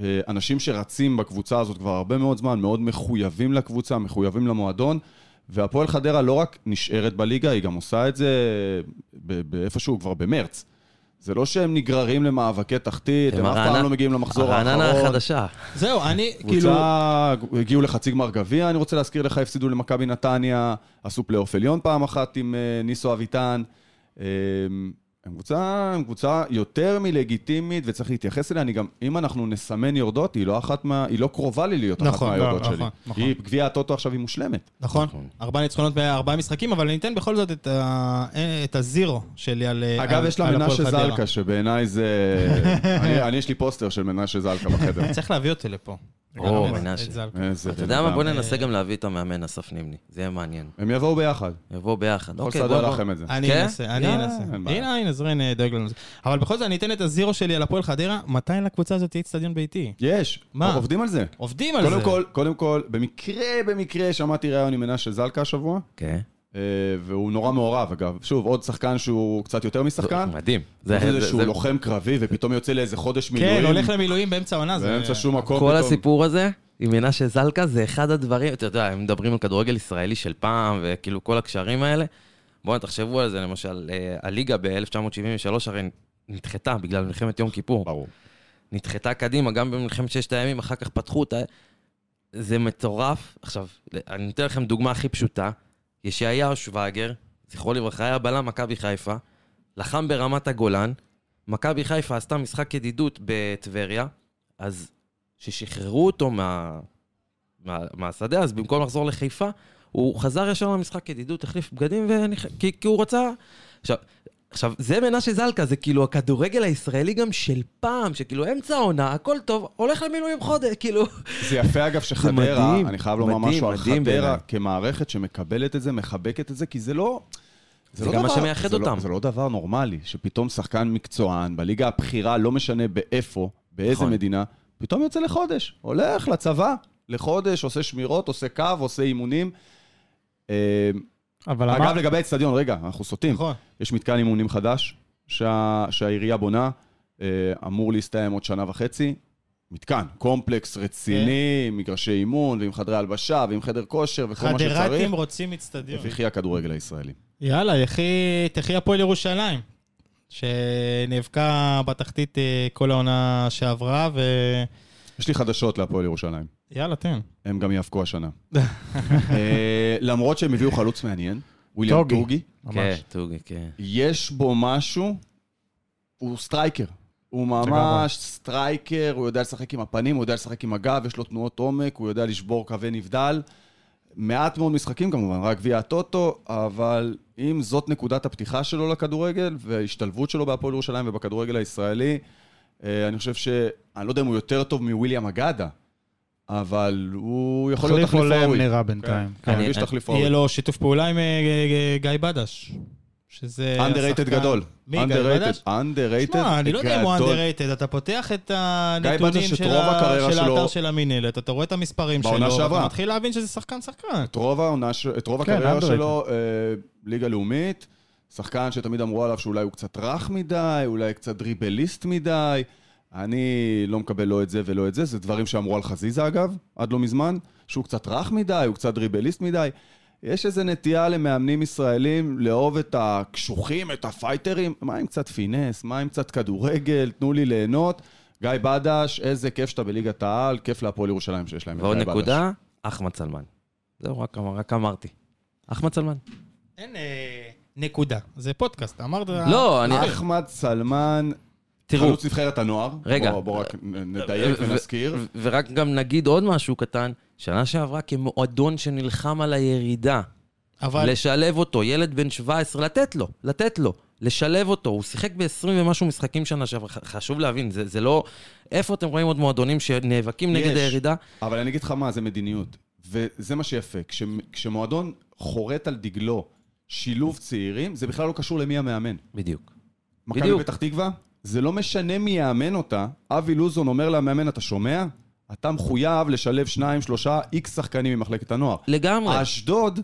Speaker 2: אה, אנשים שרצים בקבוצה הזאת כבר הרבה מאוד זמן, מאוד מחויבים לקבוצה, מחויבים למועדון. והפועל חדרה לא רק נשארת בליגה, היא גם עושה את זה ב- באיפשהו אה, כבר במרץ. זה לא שהם נגררים למאבקי תחתית,
Speaker 3: הם
Speaker 2: הם אף
Speaker 3: הרעננה-
Speaker 2: פעם לא מגיעים למחזור האחרון.
Speaker 3: רעננה החדשה.
Speaker 1: זהו, אני, כאילו...
Speaker 2: קבוצה, הגיעו לחצי גמר גביע, אני רוצה להזכיר לך, הפסידו למכבי נתניה, עשו פלייאוף עליון פעם אחת עם אה, ניסו אביטן. אה, הם קבוצה, הם קבוצה יותר מלגיטימית וצריך להתייחס אליה. אני גם, אם אנחנו נסמן יורדות, היא לא אחת מה... היא לא קרובה לי להיות אחת
Speaker 1: נכון,
Speaker 2: מהיורדות
Speaker 1: נכון,
Speaker 2: שלי.
Speaker 1: נכון.
Speaker 2: היא, גביע הטוטו עכשיו היא מושלמת.
Speaker 1: נכון,
Speaker 3: נכון.
Speaker 1: ארבעה ניצחונות בארבעה משחקים, אבל אני אתן בכל זאת את ה- אה, את הזירו שלי על אה,
Speaker 2: אגב,
Speaker 1: על-
Speaker 2: יש לה
Speaker 1: על הפועל
Speaker 2: מנשה
Speaker 1: חדרה.
Speaker 2: זלקה, שבעיניי זה... אני- אני, יש לי פוסטר של מנשה זלקה בחדר.
Speaker 1: צריך להביא אותו לפה.
Speaker 3: או,
Speaker 1: גם את-
Speaker 3: מנשה.
Speaker 1: את זלקה.
Speaker 2: איזה
Speaker 3: אתה
Speaker 2: בן
Speaker 3: יודע מה?
Speaker 2: אדם.
Speaker 3: בוא ננסה גם להביא את המאמן אסף נימני. זה יהיה מעניין.
Speaker 2: הם יבואו ביחד.
Speaker 3: יבואו ביחד.
Speaker 2: יכול
Speaker 3: אוקיי, בוא,
Speaker 2: לסדר
Speaker 3: בוא.
Speaker 2: לכם את זה.
Speaker 1: אני
Speaker 3: כן?
Speaker 1: אנסה, אני
Speaker 2: יאללה,
Speaker 1: אנסה.
Speaker 2: אין בעיה.
Speaker 1: הנה, הנה, זרין אה, דואג לנו לזה. אבל בכל זאת, אני אתן את הזירו שלי על הפועל חדרה, מתי לקבוצה הזאת תהיה אצטדיון ביתי?
Speaker 2: יש,
Speaker 1: מה?
Speaker 2: עובדים על זה.
Speaker 1: עובדים על זה.
Speaker 2: קודם כל, קודם כל, במקרה, במקרה, שמעתי ראיון עם מנשה זלקה השבוע,
Speaker 3: כן.
Speaker 2: אה, והוא נורא מעורב, אגב. שוב, עוד שחקן שהוא קצת יותר משחקן.
Speaker 3: מדהים.
Speaker 2: זה איזה שהוא לא לוחם קרבי, ופתאום יוצא לאיזה חודש מילואים.
Speaker 1: כן, הולך למילואים באמצע העונה. זה-
Speaker 2: באמצע שום מקום.
Speaker 3: כל
Speaker 2: פתאום.
Speaker 3: הסיפור הזה, עם מנשה זלקה, זה אחד הדברים, אתה יודע, הם מדברים על כדורגל ישראלי של פעם, וכאילו כל הקשרים האלה. בואו תחשבו על זה, למשל, אה, הליגה ב-1973 הרי נדחתה בגלל מלחמת יום כיפור.
Speaker 2: ברור.
Speaker 3: נדחתה קדימה, גם במלחמת ששת הימים, אחר כך פתחו אותה. זה מטורף. עכשיו, אני נותן לכם דוגמה הכי פשוטה. ישעיהו שוואגר, זכרו לברכה, היה בלם מכבי חיפה, לחם ברמת הגולן, מכבי חיפה עשתה משחק ידידות בטבריה, אז כששחררו אותו מה, מה, מהשדה, אז במקום לחזור לחיפה, הוא חזר ישר למשחק ידידות, החליף בגדים, ונח... כי, כי הוא רצה... עכשיו, עכשיו, זה מנשה זלקה, זה כאילו הכדורגל הישראלי גם של פעם, שכאילו אמצע העונה, הכל טוב, הולך למילואים חודש, כאילו...
Speaker 2: זה יפה, אגב, שחדרה,
Speaker 3: מדהים.
Speaker 2: אני חייב לומר
Speaker 3: מדהים,
Speaker 2: משהו על
Speaker 3: מדהים בעיניי.
Speaker 2: חדרה, כמערכת שמקבלת את זה, מחבקת את זה, כי זה לא...
Speaker 3: זה גם מה שמייחד
Speaker 2: זה
Speaker 3: אותם.
Speaker 2: לא, זה לא דבר נורמלי, שפתאום שחקן מקצוען בליגה הבכירה, לא משנה באיפה, באיזה
Speaker 3: נכון.
Speaker 2: מדינה, פתאום יוצא לחודש, הולך לצבא, לחודש, עושה שמירות, עושה קו, עושה אימונים. אה,
Speaker 4: אבל
Speaker 2: אגב,
Speaker 4: אמר...
Speaker 2: לגבי האצטדיון, רגע, אנחנו סוטים.
Speaker 1: נכון.
Speaker 2: יש מתקן אימונים חדש שה... שהעירייה בונה, אה, אמור להסתיים עוד שנה וחצי. מתקן, קומפלקס רציני, עם מגרשי אימון, ועם חדרי הלבשה, ועם חדר כושר, וכל מה שצריך.
Speaker 1: חדרתים רוצים אצטדיון.
Speaker 2: וכי הכדורגל הישראלי.
Speaker 1: יאללה, יחי- תחי הפועל ירושלים, שנאבקה בתחתית אה, כל העונה שעברה, ויאללה,
Speaker 2: יש לי חדשות להפועל ירושלים.
Speaker 1: תן.
Speaker 2: הם גם יאבקו השנה. אה, למרות שהם הביאו חלוץ מעניין, וויליאם
Speaker 4: טוגי.
Speaker 2: טוגי,
Speaker 3: כן,
Speaker 4: ממש.
Speaker 3: טוגי, כן.
Speaker 2: יש בו משהו, הוא סטרייקר. הוא
Speaker 4: לגמרי.
Speaker 2: ממש סטרייקר, הוא יודע לשחק עם הפנים, הוא יודע לשחק עם הגב, יש לו תנועות עומק, הוא יודע לשבור קווי נבדל. מעט מאוד משחקים כמובן, רק גביע הטוטו, אבל אם זאת נקודת הפתיחה שלו לכדורגל, וההשתלבות שלו בהפועל ירושלים ובכדורגל הישראלי, אה, אני חושב ש... אני לא יודע אם הוא יותר טוב מוויליאם אגדה, אבל הוא יכול להיות תחליף
Speaker 4: החליף עולם
Speaker 2: ראוי.
Speaker 4: נראה בינתיים.
Speaker 2: כן,
Speaker 4: כן.
Speaker 2: אני מרגיש
Speaker 3: אני-
Speaker 2: תחליף ראוי.
Speaker 1: יהיה לו שיתוף פעולה עם אה, אה, גיא בדש, שזה...
Speaker 2: אנדררייטד
Speaker 1: השחקן-
Speaker 2: גדול.
Speaker 1: מי, גיא
Speaker 2: Underrated,
Speaker 1: בדש?
Speaker 2: underrated.
Speaker 1: שמע, אני לא יודע אם הוא
Speaker 2: גדול.
Speaker 1: underrated, אתה פותח את
Speaker 2: בדש,
Speaker 1: הנתונים
Speaker 2: את
Speaker 1: של
Speaker 2: רוב
Speaker 1: ה-
Speaker 2: הקריירה
Speaker 1: של
Speaker 2: שלו-
Speaker 1: האתר של המינהלת, אתה רואה את המספרים
Speaker 2: בעונה
Speaker 1: שלו,
Speaker 2: שעברה.
Speaker 1: ואתה מתחיל להבין שזה שחקן-שחקן.
Speaker 2: את רוב העונה, ש- את רוב
Speaker 4: כן,
Speaker 2: הקריירה
Speaker 4: underrated.
Speaker 2: שלו, אה, ליגה לאומית, שחקן שתמיד אמרו עליו שאולי הוא קצת רך מדי, אולי קצת דריבליסט מדי. אני לא מקבל לא את זה ולא את זה, זה דברים שאמרו על חזיזה אגב, עד לא מזמן, שהוא קצת רך מדי, הוא קצת דריבליסט מדי. יש איזו נטייה למאמנים ישראלים לאהוב את הקשוחים, את הפייטרים, מה עם קצת פינס, מה עם קצת כדורגל, תנו לי ליהנות. גיא בדש, איזה כיף שאתה בליגת העל, כיף להפועל ירושלים שיש להם את
Speaker 3: ועוד
Speaker 2: גיא בדש.
Speaker 3: נקודה, אחמד סלמן. זהו, רק אמר- רק אמרתי. אחמד סלמן.
Speaker 1: אין אה, נקודה, זה פודקאסט, אמרת...
Speaker 3: לא, אני...
Speaker 2: אחמד סלמן,
Speaker 3: תראו,
Speaker 2: אה, חלוץ נבחרת הנוער.
Speaker 3: רגע.
Speaker 2: בוא, בוא רק נ- נדייק
Speaker 3: ו-
Speaker 2: ונזכיר.
Speaker 3: ו- ורק גם נגיד עוד משהו קטן, שנה שעברה כמועדון שנלחם על הירידה,
Speaker 1: אבל...
Speaker 3: לשלב אותו, ילד בן 17, לתת לו, לתת לו, לשלב אותו. הוא שיחק ב-20 ומשהו משחקים שנה שעברה, ח- חשוב להבין, זה זה לא... איפה אתם רואים עוד מועדונים שנאבקים נגד
Speaker 2: יש.
Speaker 3: הירידה?
Speaker 2: אבל אני אגיד לך מה, זה מדיניות. וזה מה שיפה. כש- כשמועדון חורט על דגלו שילוב צעירים, זה בכלל לא קשור למי המאמן.
Speaker 3: בדיוק.
Speaker 2: מכבי
Speaker 3: בדיוק.
Speaker 2: פתח תקווה, זה לא משנה מי יאמן אותה. אבי לוזון אומר למאמן, אתה שומע? אתה מחויב לשלב שניים, שלושה, איקס שחקנים ממחלקת הנוער.
Speaker 3: לגמרי.
Speaker 2: אה, אשדוד,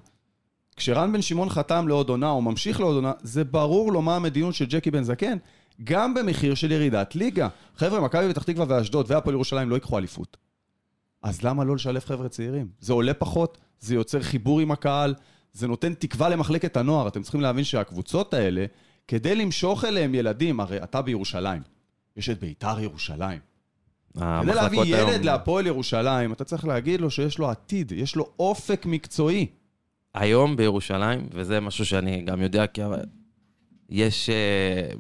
Speaker 2: כשרן בן שמעון חתם לעוד עונה, או ממשיך לעוד עונה, זה ברור לו מה המדיניות של ג'קי בן זקן, גם במחיר של ירידת ליגה. חבר'ה, מכבי פתח תקווה ואשדוד והפועל ירושלים לא ייקחו אליפות. אז למה לא לשלב חבר'ה צעירים? זה עולה פחות, זה יוצר חיבור עם הקהל, זה נותן תקווה למחלקת הנוער. אתם צריכים להבין שהקבוצות האלה, כדי למשוך אליהם ילדים, הרי אתה בירושלים, יש את ביתר ירושלים. כדי להביא
Speaker 3: המחלקות
Speaker 2: ילד
Speaker 3: היום...
Speaker 2: להפועל ירושלים, אתה צריך להגיד לו שיש לו עתיד, יש לו אופק מקצועי.
Speaker 3: היום בירושלים, וזה משהו שאני גם יודע, כי יש אה,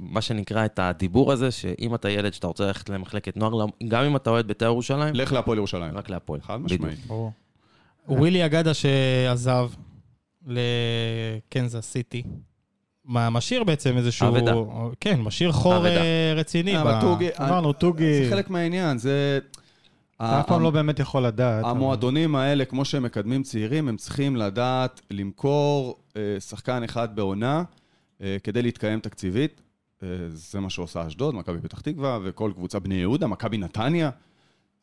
Speaker 3: מה שנקרא את הדיבור הזה, שאם אתה ילד שאתה רוצה ללכת למחלקת נוער, למ- גם אם אתה אוהד בית"ר ירושלים,
Speaker 2: לך להפועל ירושלים.
Speaker 3: רק להפועל.
Speaker 2: חד משמעית.
Speaker 3: בדיוק.
Speaker 4: ברור.
Speaker 1: ווילי אגדה שעזב לקנזס סיטי, מה- משאיר בעצם איזשהו...
Speaker 3: אבדה.
Speaker 1: כן, משאיר חור
Speaker 3: אבדה.
Speaker 1: אה, רציני.
Speaker 2: אבל
Speaker 1: ב-
Speaker 2: טוגי-
Speaker 4: אמרנו, טוגי,
Speaker 2: אה, זה חלק אה, מהעניין, זה...
Speaker 4: אתה אף פעם לא באמת יכול לדעת.
Speaker 2: אה,
Speaker 4: אבל-
Speaker 2: המועדונים האלה, כמו שהם מקדמים צעירים, הם צריכים לדעת למכור אה, שחקן אחד בעונה אה, כדי להתקיים תקציבית. אה, זה מה שעושה אשדוד, מכבי פתח תקווה וכל קבוצה בני יהודה, מכבי נתניה.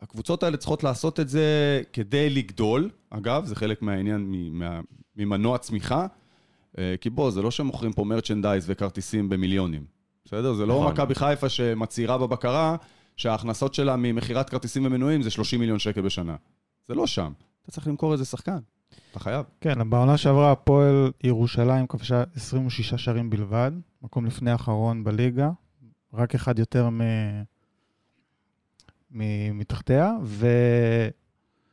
Speaker 2: הקבוצות האלה צריכות לעשות את זה כדי לגדול, אגב, זה חלק מהעניין מ- מה- ממנוע צמיחה. אה, כי בוא, זה לא שמוכרים פה מרצ'נדייז וכרטיסים במיליונים, בסדר? זה לא
Speaker 3: נכון.
Speaker 2: מכבי חיפה שמצהירה בבקרה שההכנסות שלה ממכירת כרטיסים ומנויים זה 30 מיליון שקל בשנה. זה לא שם. אתה צריך למכור איזה שחקן. אתה חייב.
Speaker 4: כן, בעונה שעברה הפועל ירושלים כבשה 26 שערים בלבד, מקום לפני האחרון בליגה, רק אחד יותר מ... מ... מתחתיה,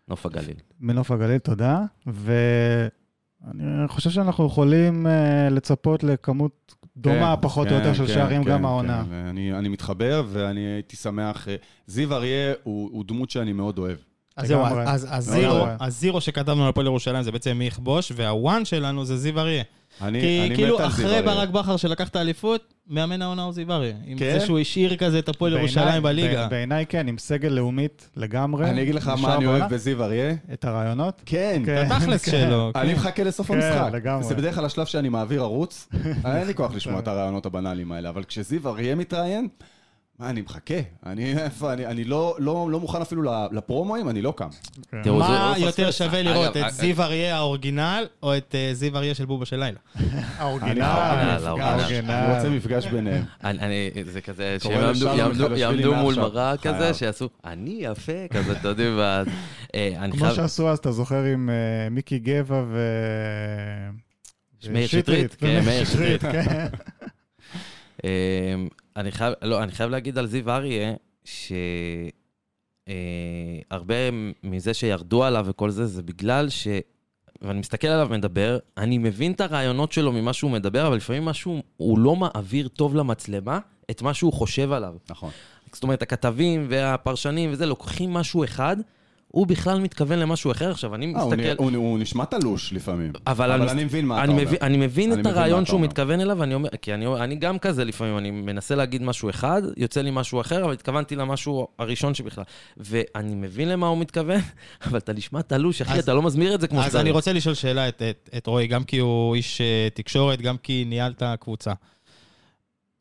Speaker 3: נוף הגליל.
Speaker 2: כן.
Speaker 4: ומנוף הגליל, תודה. ואני חושב שאנחנו יכולים אה, לצפות לכמות דומה,
Speaker 2: כן,
Speaker 4: פחות
Speaker 2: כן,
Speaker 4: או יותר, של
Speaker 2: כן,
Speaker 4: שערים
Speaker 2: כן,
Speaker 4: גם
Speaker 2: כן.
Speaker 4: העונה.
Speaker 2: אני, אני מתחבר, ואני הייתי שמח... אה, זיו אריה הוא, הוא דמות שאני מאוד אוהב.
Speaker 1: אז זהו,
Speaker 4: לגמרי.
Speaker 1: אז- אז
Speaker 2: לא
Speaker 1: הזירו-
Speaker 4: לגמרי.
Speaker 1: הזירו שכתבנו על הפועל ירושלים זה בעצם מי יכבוש, והוואן שלנו זה זיו אריה.
Speaker 2: אני,
Speaker 1: כי
Speaker 2: אני מת
Speaker 1: כאילו
Speaker 2: על זיו
Speaker 1: אחרי
Speaker 2: אריה.
Speaker 1: ברק בכר שלקח את האליפות, מאמן העונה הוא זיו אריה. עם
Speaker 2: כן?
Speaker 1: זה שהוא השאיר כזה את הפועל
Speaker 4: בעיניי-
Speaker 1: ירושלים בליגה.
Speaker 4: ב- בעיניי כן, עם סגל לאומית לגמרי.
Speaker 2: אני אגיד לך
Speaker 4: נשאר
Speaker 2: מה אני אוהב
Speaker 4: בעונה.
Speaker 2: בזיו אריה.
Speaker 4: את הרעיונות.
Speaker 2: כן.
Speaker 4: כן.
Speaker 1: התכלס
Speaker 4: כן.
Speaker 1: שלו.
Speaker 2: אני מחכה לסוף
Speaker 4: כן,
Speaker 2: המשחק.
Speaker 4: לגמרי.
Speaker 2: זה בדרך כלל השלב שאני מעביר ערוץ, אין לי כוח לשמוע את הרעיונות הבנאליים האלה, אבל כשזיו אריה מתראיין, מה, אני מחכה. אני, איפה, אני, אני לא, לא, לא מוכן אפילו לפרומואים, אני לא קם.
Speaker 4: כן.
Speaker 3: תראו, זה
Speaker 1: מה
Speaker 3: לא
Speaker 1: יותר
Speaker 3: פספס.
Speaker 1: שווה
Speaker 3: אגב,
Speaker 1: לראות,
Speaker 3: אגב, אה,
Speaker 1: את זיו אריה האורגינל, או את אה, זיו אריה של בובה של לילה?
Speaker 4: האורגינל,
Speaker 3: האורגינל,
Speaker 4: האורגינל.
Speaker 2: אני רוצה מפגש ביניהם.
Speaker 3: אני, אני, זה כזה, שהם
Speaker 2: קורא
Speaker 3: יעמדו,
Speaker 2: לשלום
Speaker 3: יעמדו,
Speaker 2: מיכאלשווילי
Speaker 3: יעמדו מול
Speaker 2: מעכשיו.
Speaker 3: מראה כזה,
Speaker 2: חייב.
Speaker 3: שיעשו, אני יפה, כזה, אתם יודעים, ואז... אה, אני
Speaker 4: כמו
Speaker 3: חייב...
Speaker 4: שעשו אז, אתה זוכר, עם אה, מיקי גבע ו...
Speaker 3: מאיר שטרית, כן,
Speaker 4: ומאיר
Speaker 3: מאיר
Speaker 4: שטרית, כן.
Speaker 3: אה, אני חייב, לא, אני חייב להגיד על זיו אריה, שהרבה מזה שירדו עליו וכל זה, זה בגלל ש... ואני מסתכל עליו מדבר, אני מבין את הרעיונות שלו ממה שהוא מדבר, אבל לפעמים משהו, הוא לא מעביר טוב למצלמה את מה שהוא חושב עליו.
Speaker 2: נכון.
Speaker 3: זאת אומרת, הכתבים והפרשנים וזה, לוקחים משהו אחד, הוא בכלל מתכוון למשהו אחר. עכשיו, אני
Speaker 2: אה, הוא,
Speaker 3: מסתכל...
Speaker 2: נראה- הוא, הוא נשמע תלוש לפעמים.
Speaker 3: אבל אני-
Speaker 2: אני מבין מה אתה
Speaker 3: אני
Speaker 2: אומר.
Speaker 3: מבין, אני מבין
Speaker 2: אני
Speaker 3: את
Speaker 2: מבין מה
Speaker 3: הרעיון
Speaker 2: אתה
Speaker 3: שהוא
Speaker 2: אומר.
Speaker 3: מתכוון אליו, ואני אומר, כי אני, אני גם כזה לפעמים, אני מנסה להגיד משהו אחד, יוצא לי משהו אחר, אבל התכוונתי למשהו הראשון שבכלל. ואני מבין למה הוא מתכוון, אבל אתה נשמע תלוש, אחי,
Speaker 1: אז-
Speaker 3: אתה לא מסביר את זה כמו
Speaker 1: אז אני
Speaker 3: שצריך.
Speaker 1: רוצה לשאול שאלה את, את, את רועי, גם כי הוא איש אה, תקשורת, גם כי ניהלת קבוצה.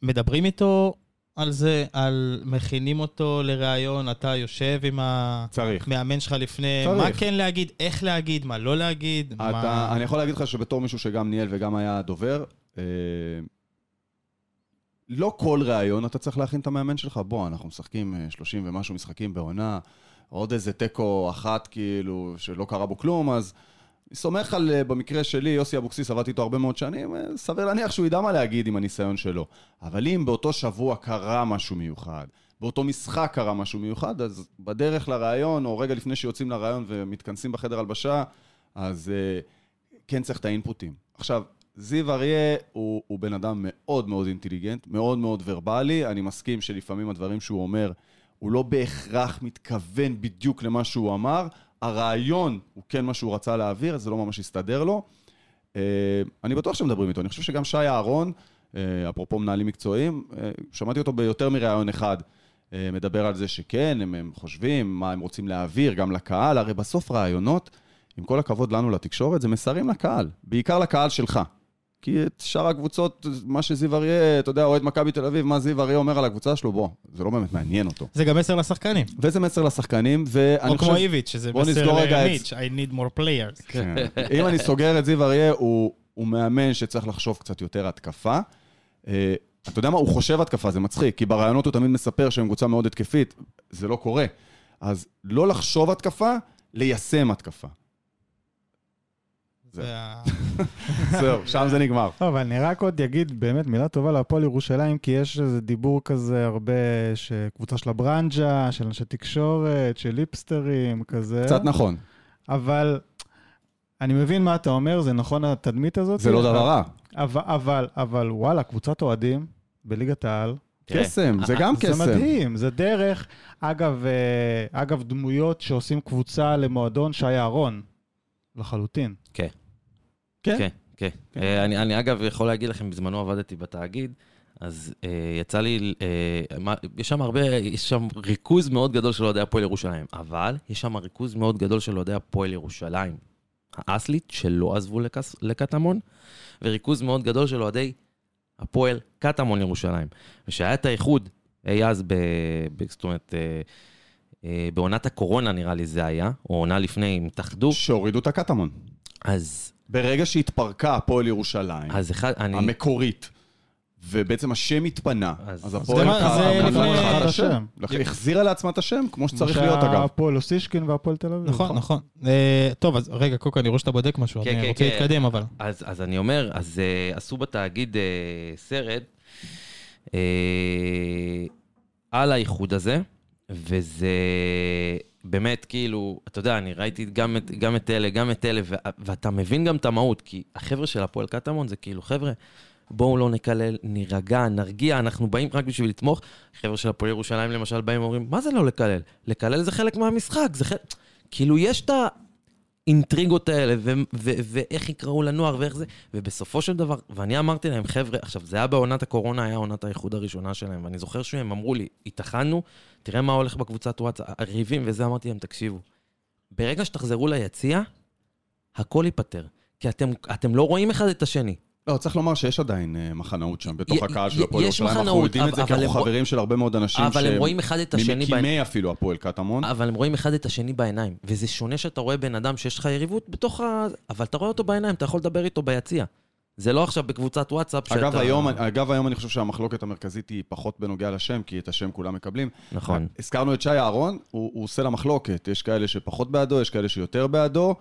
Speaker 1: מדברים איתו על זה, על מכינים אותו לראיון, אתה יושב עם
Speaker 2: צריך.
Speaker 1: המאמן שלך לפני,
Speaker 2: צריך.
Speaker 1: מה כן להגיד, איך להגיד, מה לא להגיד,
Speaker 2: אתה,
Speaker 1: מה...
Speaker 2: אני יכול להגיד לך שבתור מישהו שגם ניהל וגם היה דובר, אה, לא כל ראיון אתה צריך להכין את המאמן שלך. בוא, אנחנו משחקים אה, 30 ומשהו משחקים בעונה, עוד איזה תיקו אחת כאילו, שלא קרה בו כלום, אז אני סומך על, אה, במקרה שלי, יוסי אבוקסיס, עבדתי איתו הרבה מאוד שנים, אה, סביר להניח שהוא ידע מה להגיד עם הניסיון שלו. אבל אם באותו שבוע קרה משהו מיוחד, באותו משחק קרה משהו מיוחד, אז בדרך לראיון, או רגע לפני שיוצאים לראיון ומתכנסים בחדר הלבשה, אז אה, כן צריך את האינפוטים. עכשיו, זיו אריה הוא, הוא בן אדם מאוד מאוד אינטליגנט, מאוד מאוד ורבלי. אני מסכים שלפעמים הדברים שהוא אומר, הוא לא בהכרח מתכוון בדיוק למה שהוא אמר. הרעיון הוא כן מה שהוא רצה להעביר, אז זה לא ממש הסתדר לו. אה, אני בטוח שמדברים איתו. אני חושב שגם שי אהרון, אה, אפרופו מנהלים מקצועיים, אה, שמעתי אותו ביותר מראיון אחד. אה, מדבר על זה שכן, הם, הם חושבים, מה הם רוצים להעביר, גם לקהל. הרי בסוף רעיונות, עם כל הכבוד לנו לתקשורת, זה מסרים לקהל, בעיקר לקהל שלך. כי את שאר הקבוצות, מה שזיו אריה, אתה יודע, אוהד מכבי תל אביב, מה זיו אריה אומר על הקבוצה שלו, בוא, זה לא באמת מעניין אותו.
Speaker 1: זה גם מסר לשחקנים.
Speaker 2: וזה מסר לשחקנים, ואני
Speaker 1: או
Speaker 2: חושב...
Speaker 1: כמו איביץ', שזה
Speaker 2: בוא
Speaker 1: מסר
Speaker 2: נסגור רגע את-
Speaker 1: למיץ', I need more players.
Speaker 2: כן. אם אני סוגר את זיו אריה, הוא, הוא מאמן שצריך לחשוב קצת יותר התקפה. אה, אתה יודע מה? הוא חושב התקפה, זה מצחיק, כי ברעיונות הוא תמיד מספר שהם קבוצה מאוד התקפית, זה לא קורה. אז לא לחשוב התקפה, ליישם התקפה.
Speaker 1: זה ה-
Speaker 2: זהו, שם זה נגמר.
Speaker 4: טוב, אבל אני רק עוד אגיד באמת מילה טובה להפועל ירושלים, כי יש איזה דיבור כזה הרבה, שקבוצה של הברנז'ה, של אנשי תקשורת, של ליפסטרים, כזה.
Speaker 2: קצת נכון.
Speaker 4: אבל אני מבין מה אתה אומר, זה נכון התדמית הזאת.
Speaker 2: זה לא דבר רע.
Speaker 4: אבל, אבל, אבל וואלה, קבוצת אוהדים בליגת העל,
Speaker 3: תראה,
Speaker 2: קסם, זה גם קסם.
Speaker 4: זה מדהים, זה דרך. אגב, אה, אגב, דמויות שעושים קבוצה למועדון, שי אהרון, לחלוטין.
Speaker 3: כן.
Speaker 4: כן?
Speaker 3: כן, כן. אה, אני, אני אגב יכול להגיד לכם, בזמנו עבדתי בתאגיד, אז אה, יצא לי, אה, מה, יש שם הרבה, יש שם ריכוז מאוד גדול של אוהדי הפועל ירושלים, אבל יש שם ריכוז מאוד גדול של אוהדי הפועל ירושלים, האסלית, שלא עזבו לקס, לקטמון, וריכוז מאוד גדול של אוהדי הפועל קטמון ירושלים. ושהיה את האיחוד אי אז, ב, ב, זאת אומרת, אה, אה, בעונת הקורונה נראה לי זה היה, או עונה לפני, הם התאחדו,
Speaker 2: שהורידו את הקטמון.
Speaker 3: אז,
Speaker 2: ברגע שהתפרקה הפועל ירושלים,
Speaker 3: אז אחד, אני...
Speaker 2: המקורית, ובעצם השם התפנה,
Speaker 3: אז-
Speaker 2: אז
Speaker 3: אז
Speaker 2: הפועל
Speaker 1: גם- אז
Speaker 2: קטמון
Speaker 1: זה
Speaker 2: לקחה
Speaker 1: לפני-
Speaker 2: לעצמה את השם.
Speaker 4: השם.
Speaker 2: לק- החזירה לעצמה את השם, כמו שצריך להיות אגב.
Speaker 4: הפועל אוסישקין והפועל תל אביב.
Speaker 1: נכון, נכון. אה, טוב, אז רגע, קוקו, אני רואה שאתה בודק משהו,
Speaker 3: כן,
Speaker 1: אני
Speaker 3: כן,
Speaker 1: רוצה
Speaker 3: כן.
Speaker 1: להתקדם, אבל...
Speaker 3: אז, אז אני אומר, אז uh, עשו בתאגיד uh, סרט uh, על האיחוד הזה, וזה באמת כאילו, אתה יודע, אני ראיתי גם את, גם את אלה, גם את אלה, ו, ואתה מבין גם את המהות, כי החבר'ה של הפועל קטמון זה כאילו, חבר'ה, בואו לא נקלל, נירגע, נרגיע, אנחנו באים רק בשביל לתמוך. חבר'ה של הפועל ירושלים למשל באים ואומרים, מה זה לא לקלל? לקלל זה חלק מהמשחק, זה חלק... כאילו, יש את ה... האינטריגות האלה, ו- ו- ואיך יקראו לנוער ואיך זה, ובסופו של דבר, ואני אמרתי להם, חבר'ה, עכשיו, זה היה בעונת הקורונה, היה עונת האיחוד הראשונה שלהם, ואני זוכר שהם אמרו לי, התאחדנו, תראה מה הולך בקבוצת וואטסאפ, הריבים וזה, אמרתי להם, תקשיבו, ברגע שתחזרו ליציע, הכל ייפתר, כי אתם, אתם לא רואים אחד את השני.
Speaker 2: לא, צריך לומר שיש עדיין אה, מחנאות שם, בתוך
Speaker 3: י-
Speaker 2: הקהל של
Speaker 3: י-
Speaker 2: הפועל
Speaker 3: יש
Speaker 2: ירושלים. אנחנו
Speaker 3: מחנאות,
Speaker 2: יודעים את זה, כי
Speaker 3: אבל
Speaker 2: אנחנו
Speaker 3: הם רוא-
Speaker 2: חברים של הרבה מאוד אנשים
Speaker 3: אבל הם
Speaker 2: שהם
Speaker 3: רואים אחד את השני בעיניים. אה,
Speaker 2: ממקימי אפילו הפועל קטמון.
Speaker 3: אבל הם רואים אחד את השני בעיניים, וזה שונה שאתה רואה בן אדם שיש לך יריבות בתוך ה... אבל אתה רואה אותו בעיניים, אתה יכול לדבר איתו ביציע. זה לא עכשיו בקבוצת וואטסאפ שאתה...
Speaker 2: אגב, היום- אגב, היום אני חושב שהמחלוקת המרכזית היא פחות בנוגע לשם, כי את השם כולם מקבלים.
Speaker 3: נכון.
Speaker 2: הזכרנו את שי אהרון, הוא, הוא עושה לה מחלוקת. יש כאלה שפחות בעדו, יש כאלה שיותר בעדו.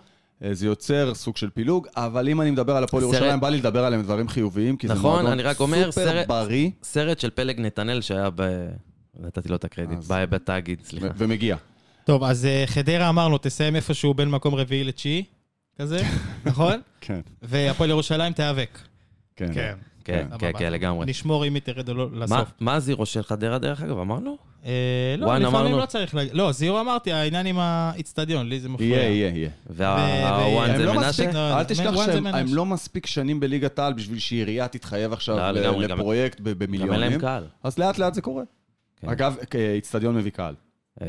Speaker 2: אה, זה יוצר סוג של פילוג, אבל אם אני מדבר על הפועל
Speaker 3: סרט-
Speaker 2: ירושלים, בא לי לדבר עליהם דברים חיוביים, כי זה
Speaker 3: נכון,
Speaker 2: מועדון
Speaker 3: אני רק אומר,
Speaker 2: סופר
Speaker 3: סרט-
Speaker 2: בריא
Speaker 3: סרט של פלג נתנאל שהיה ב... נתתי לו את הקרדיט,
Speaker 2: אז-
Speaker 3: ב- בתאגיד, סליחה.
Speaker 2: ו- ומגיע.
Speaker 1: טוב, אז אה, חדרה אמרנו, תסיים איפשהו בין מקום רביעי לתשיעי, כזה, נכון?
Speaker 2: כן,
Speaker 1: והפועל ירושלים תיאבק.
Speaker 2: כן.
Speaker 3: כן, כן,
Speaker 1: סבבה.
Speaker 3: כן, לגמרי.
Speaker 1: נשמור אם היא תרד או לא
Speaker 3: מה-
Speaker 1: לסוף.
Speaker 3: מה הזירו של חדרה, דרך אגב, אמרנו?
Speaker 1: אה, לא,
Speaker 3: וואן,
Speaker 1: לפעמים
Speaker 3: אמרנו.
Speaker 1: לא צריך להגיד. לא, זירו אמרתי, העניין עם האיצטדיון, לי זה מפריע.
Speaker 2: יהיה, יהיה, יהיה.
Speaker 1: ו-
Speaker 3: והוואן
Speaker 2: הם
Speaker 3: אה, זה
Speaker 2: לא
Speaker 3: מנשה?
Speaker 2: מספיק,
Speaker 1: לא,
Speaker 2: אל
Speaker 1: מ-
Speaker 2: תשכח
Speaker 1: וואן זה
Speaker 2: שהם
Speaker 1: מנשה.
Speaker 2: הם לא מספיק שנים בליגת העל בשביל שעירייה תתחייב עכשיו
Speaker 3: לא,
Speaker 2: ל-
Speaker 3: לגמרי, גם-
Speaker 2: לפרויקט ב-
Speaker 3: גם אין להם
Speaker 2: במיליונים.
Speaker 3: קהל.
Speaker 2: אז לאט לאט זה קורה.
Speaker 3: כן.
Speaker 2: אגב, כ- איצטדיון מביא קהל.
Speaker 3: אה,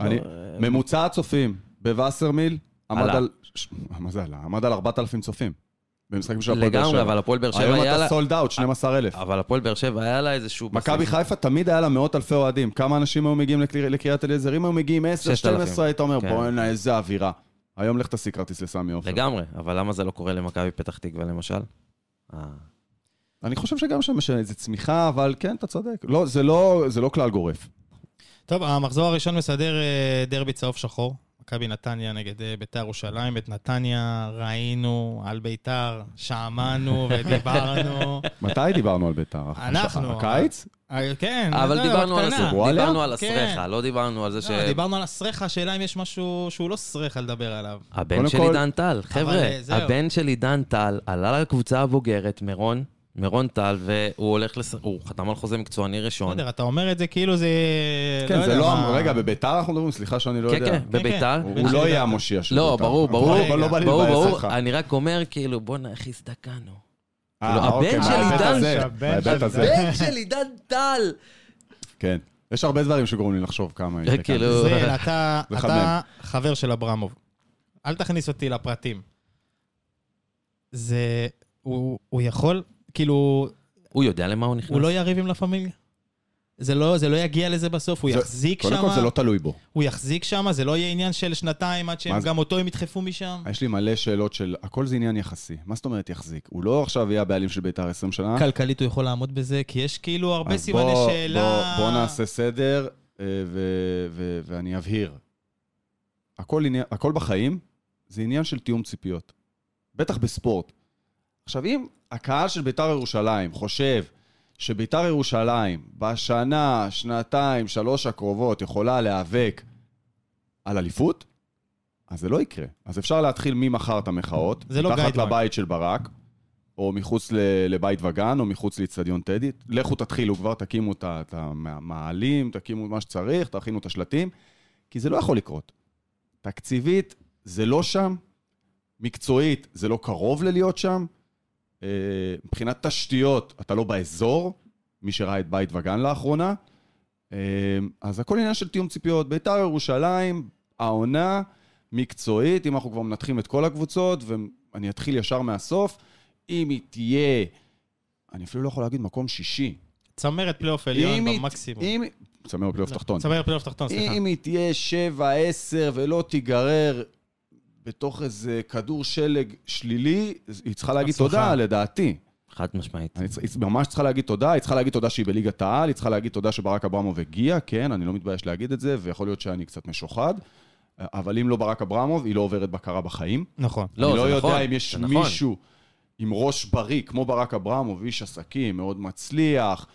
Speaker 3: לא,
Speaker 2: אני-
Speaker 3: אה,
Speaker 2: ממוצע הצופים בווסרמיל עמד
Speaker 3: עלה.
Speaker 2: על... ש- מה זה עלה? עמד על 4,000 צופים. במשחקים של הפועל באר שבע.
Speaker 3: לגמרי, אבל הפועל באר שבע
Speaker 2: היום
Speaker 3: היה לה...
Speaker 2: אתה סולד אאוט, 12,000.
Speaker 3: אבל הפועל באר שבע היה לה איזשהו...
Speaker 2: מכבי
Speaker 3: בסיס.
Speaker 2: חיפה תמיד היה לה מאות אלפי אוהדים. כמה אנשים היו מגיעים לקר- לקריית אליעזר? אם היו מגיעים 10,
Speaker 3: 6,000.
Speaker 2: 12, היית אומר,
Speaker 3: כן.
Speaker 2: בואנה, איזה אווירה. היום לך תשיג כרטיס לסמי עופר.
Speaker 3: לגמרי, אבל למה זה לא קורה למכבי פתח תקווה למשל? אה,
Speaker 2: אני חושב שגם שם יש איזו צמיחה, אבל כן, אתה צודק. לא, זה לא- זה לא כלל גורף.
Speaker 1: טוב, המחזור הראשון מסדר אה, דרבי צהוב שחור. מכבי נתניה נגד אה, ביתר ירושלים. את נתניה ראינו על ביתר, שמענו ודיברנו.
Speaker 2: מתי דיברנו על בית"ר?
Speaker 1: אנחנו.
Speaker 2: הקיץ?
Speaker 1: אה, כן, אתה
Speaker 3: אבל
Speaker 1: יודע,
Speaker 3: דיברנו על
Speaker 1: בקטנה.
Speaker 3: הסרחה,
Speaker 2: וואלה?
Speaker 3: דיברנו על
Speaker 1: כן.
Speaker 3: הסרחה, לא דיברנו על זה ש...
Speaker 1: לא, דיברנו על הסרחה, השאלה אם יש משהו שהוא לא סרחה לדבר עליו.
Speaker 3: הבן
Speaker 2: קודם
Speaker 3: של
Speaker 2: כל-
Speaker 3: עידן טל, חבר'ה,
Speaker 1: אה, זהו.
Speaker 3: הבן של עידן טל עלה לקבוצה הבוגרת, מירון, מירון טל, והוא הולך לס... הוא חתם על חוזה מקצועני ראשון.
Speaker 1: בסדר, אתה אומר את זה כאילו זה...
Speaker 2: נכון. כן, זה
Speaker 1: יודע
Speaker 2: לא...
Speaker 1: מה.
Speaker 2: רגע, בבית"ר אנחנו מדברים? סליחה שאני לא
Speaker 3: כן,
Speaker 2: יודע.
Speaker 3: כן, בביתר.
Speaker 2: הוא הוא לא יהיה המושיע של
Speaker 3: לא,
Speaker 2: בית"ר.
Speaker 3: ברור,
Speaker 2: אבל-
Speaker 3: ברור,
Speaker 2: אבל לא בא לי
Speaker 3: ברור,
Speaker 2: לבאס
Speaker 3: ברור,
Speaker 2: אותך.
Speaker 3: אני רק אומר, כאילו, בואנה, איך הזדקנו.
Speaker 2: אה,
Speaker 3: כאילו, הבן
Speaker 2: אוקיי,
Speaker 3: של
Speaker 2: בהיבט
Speaker 3: עידן-
Speaker 2: הזה,
Speaker 4: שהבן
Speaker 2: בהיבט
Speaker 4: של
Speaker 2: הזה,
Speaker 4: עידן-
Speaker 3: בן של עידן טל!
Speaker 2: כן. יש הרבה דברים שגורמים לי לחשוב כמה... התקנתי.
Speaker 3: כאילו-
Speaker 1: זריאל, אתה,
Speaker 2: זה
Speaker 1: אתה חבר של אברמוב. אל תכניס אותי לפרטים. זה... הוא, הוא יכול, כאילו,
Speaker 3: הוא יודע למה הוא נכנס.
Speaker 1: הוא לא יריב עם לה פמיליה. זה לא, זה לא יגיע לזה בסוף, הוא
Speaker 2: זה-
Speaker 1: יחזיק
Speaker 2: קודם כל זה
Speaker 1: שם,
Speaker 2: לא תלוי בו.
Speaker 1: הוא יחזיק שם, זה לא יהיה עניין של שנתיים עד שהם,
Speaker 2: מה זה-
Speaker 1: גם אותו הם ידחפו משם.
Speaker 2: יש לי מלא שאלות של, הכל זה עניין יחסי. מה זאת אומרת יחזיק? הוא לא עכשיו יהיה הבעלים של בית"ר 20 שנה.
Speaker 1: כלכלית הוא יכול לעמוד בזה, כי יש כאילו הרבה
Speaker 2: אה? אז
Speaker 1: סימני
Speaker 2: בוא-
Speaker 1: שאלה.
Speaker 2: בוא, בוא נעשה סדר, אה, ו- ו- ואני אבהיר. הכל, עניין, הכל בחיים זה עניין של תיאום ציפיות. בטח בספורט. עכשיו, אם הקהל של ביתר ירושלים חושב שביתר ירושלים בשנה, שנתיים, שלוש הקרובות יכולה להיאבק על אליפות, אז זה לא יקרה. אז אפשר להתחיל ממחר את המחאות.
Speaker 1: זה לא
Speaker 2: תחת
Speaker 1: guideline.
Speaker 2: לבית של ברק, או מחוץ ל- לבית וגן, או מחוץ לאיצטדיון טדי. לכו תתחילו כבר, תקימו את ה- את המעלים, תקימו מה שצריך, תכינו את השלטים, כי זה לא יכול לקרות. תקציבית, זה לא שם. מקצועית, זה לא קרוב ללהיות שם. אה, מבחינת תשתיות, אתה לא באזור, מי שראה את בית וגן לאחרונה. אה, אז הכל עניין של תיאום ציפיות. ביתר ירושלים, העונה מקצועית, אם אנחנו כבר מנתחים את כל הקבוצות, ואני אתחיל ישר מהסוף, אם היא תהיה, אני אפילו לא יכול להגיד מקום שישי.
Speaker 1: צמרת פלייאוף
Speaker 2: אם
Speaker 1: עליון
Speaker 2: היא-
Speaker 1: במקסימום.
Speaker 2: אם... צמר בפלייאוף תחתון.
Speaker 1: צמרת פלייאוף תחתון, לא, סליחה.
Speaker 2: אם היא תהיה 7-10 ולא תיגרר בתוך איזה כדור שלג שלילי, היא צריכה להגיד
Speaker 1: הצלחה.
Speaker 2: תודה, לדעתי.
Speaker 3: חד משמעית.
Speaker 2: אני צר- היא ממש צריכה להגיד תודה, היא צריכה להגיד תודה שהיא בליגת העל, היא צריכה להגיד תודה שברק אברמוב הגיע, כן, אני לא מתבייש להגיד את זה, ויכול להיות שאני קצת משוחד, אבל אם לא ברק אברמוב, היא לא עוברת בקרה בחיים.
Speaker 1: נכון.
Speaker 3: לא,
Speaker 2: אני
Speaker 3: זה
Speaker 2: לא יודע
Speaker 3: נכון,
Speaker 2: אם יש
Speaker 3: זה נכון.
Speaker 2: מישהו עם ראש בריא, כמו ברק אברמוב, איש עסקים, מאוד מצליח.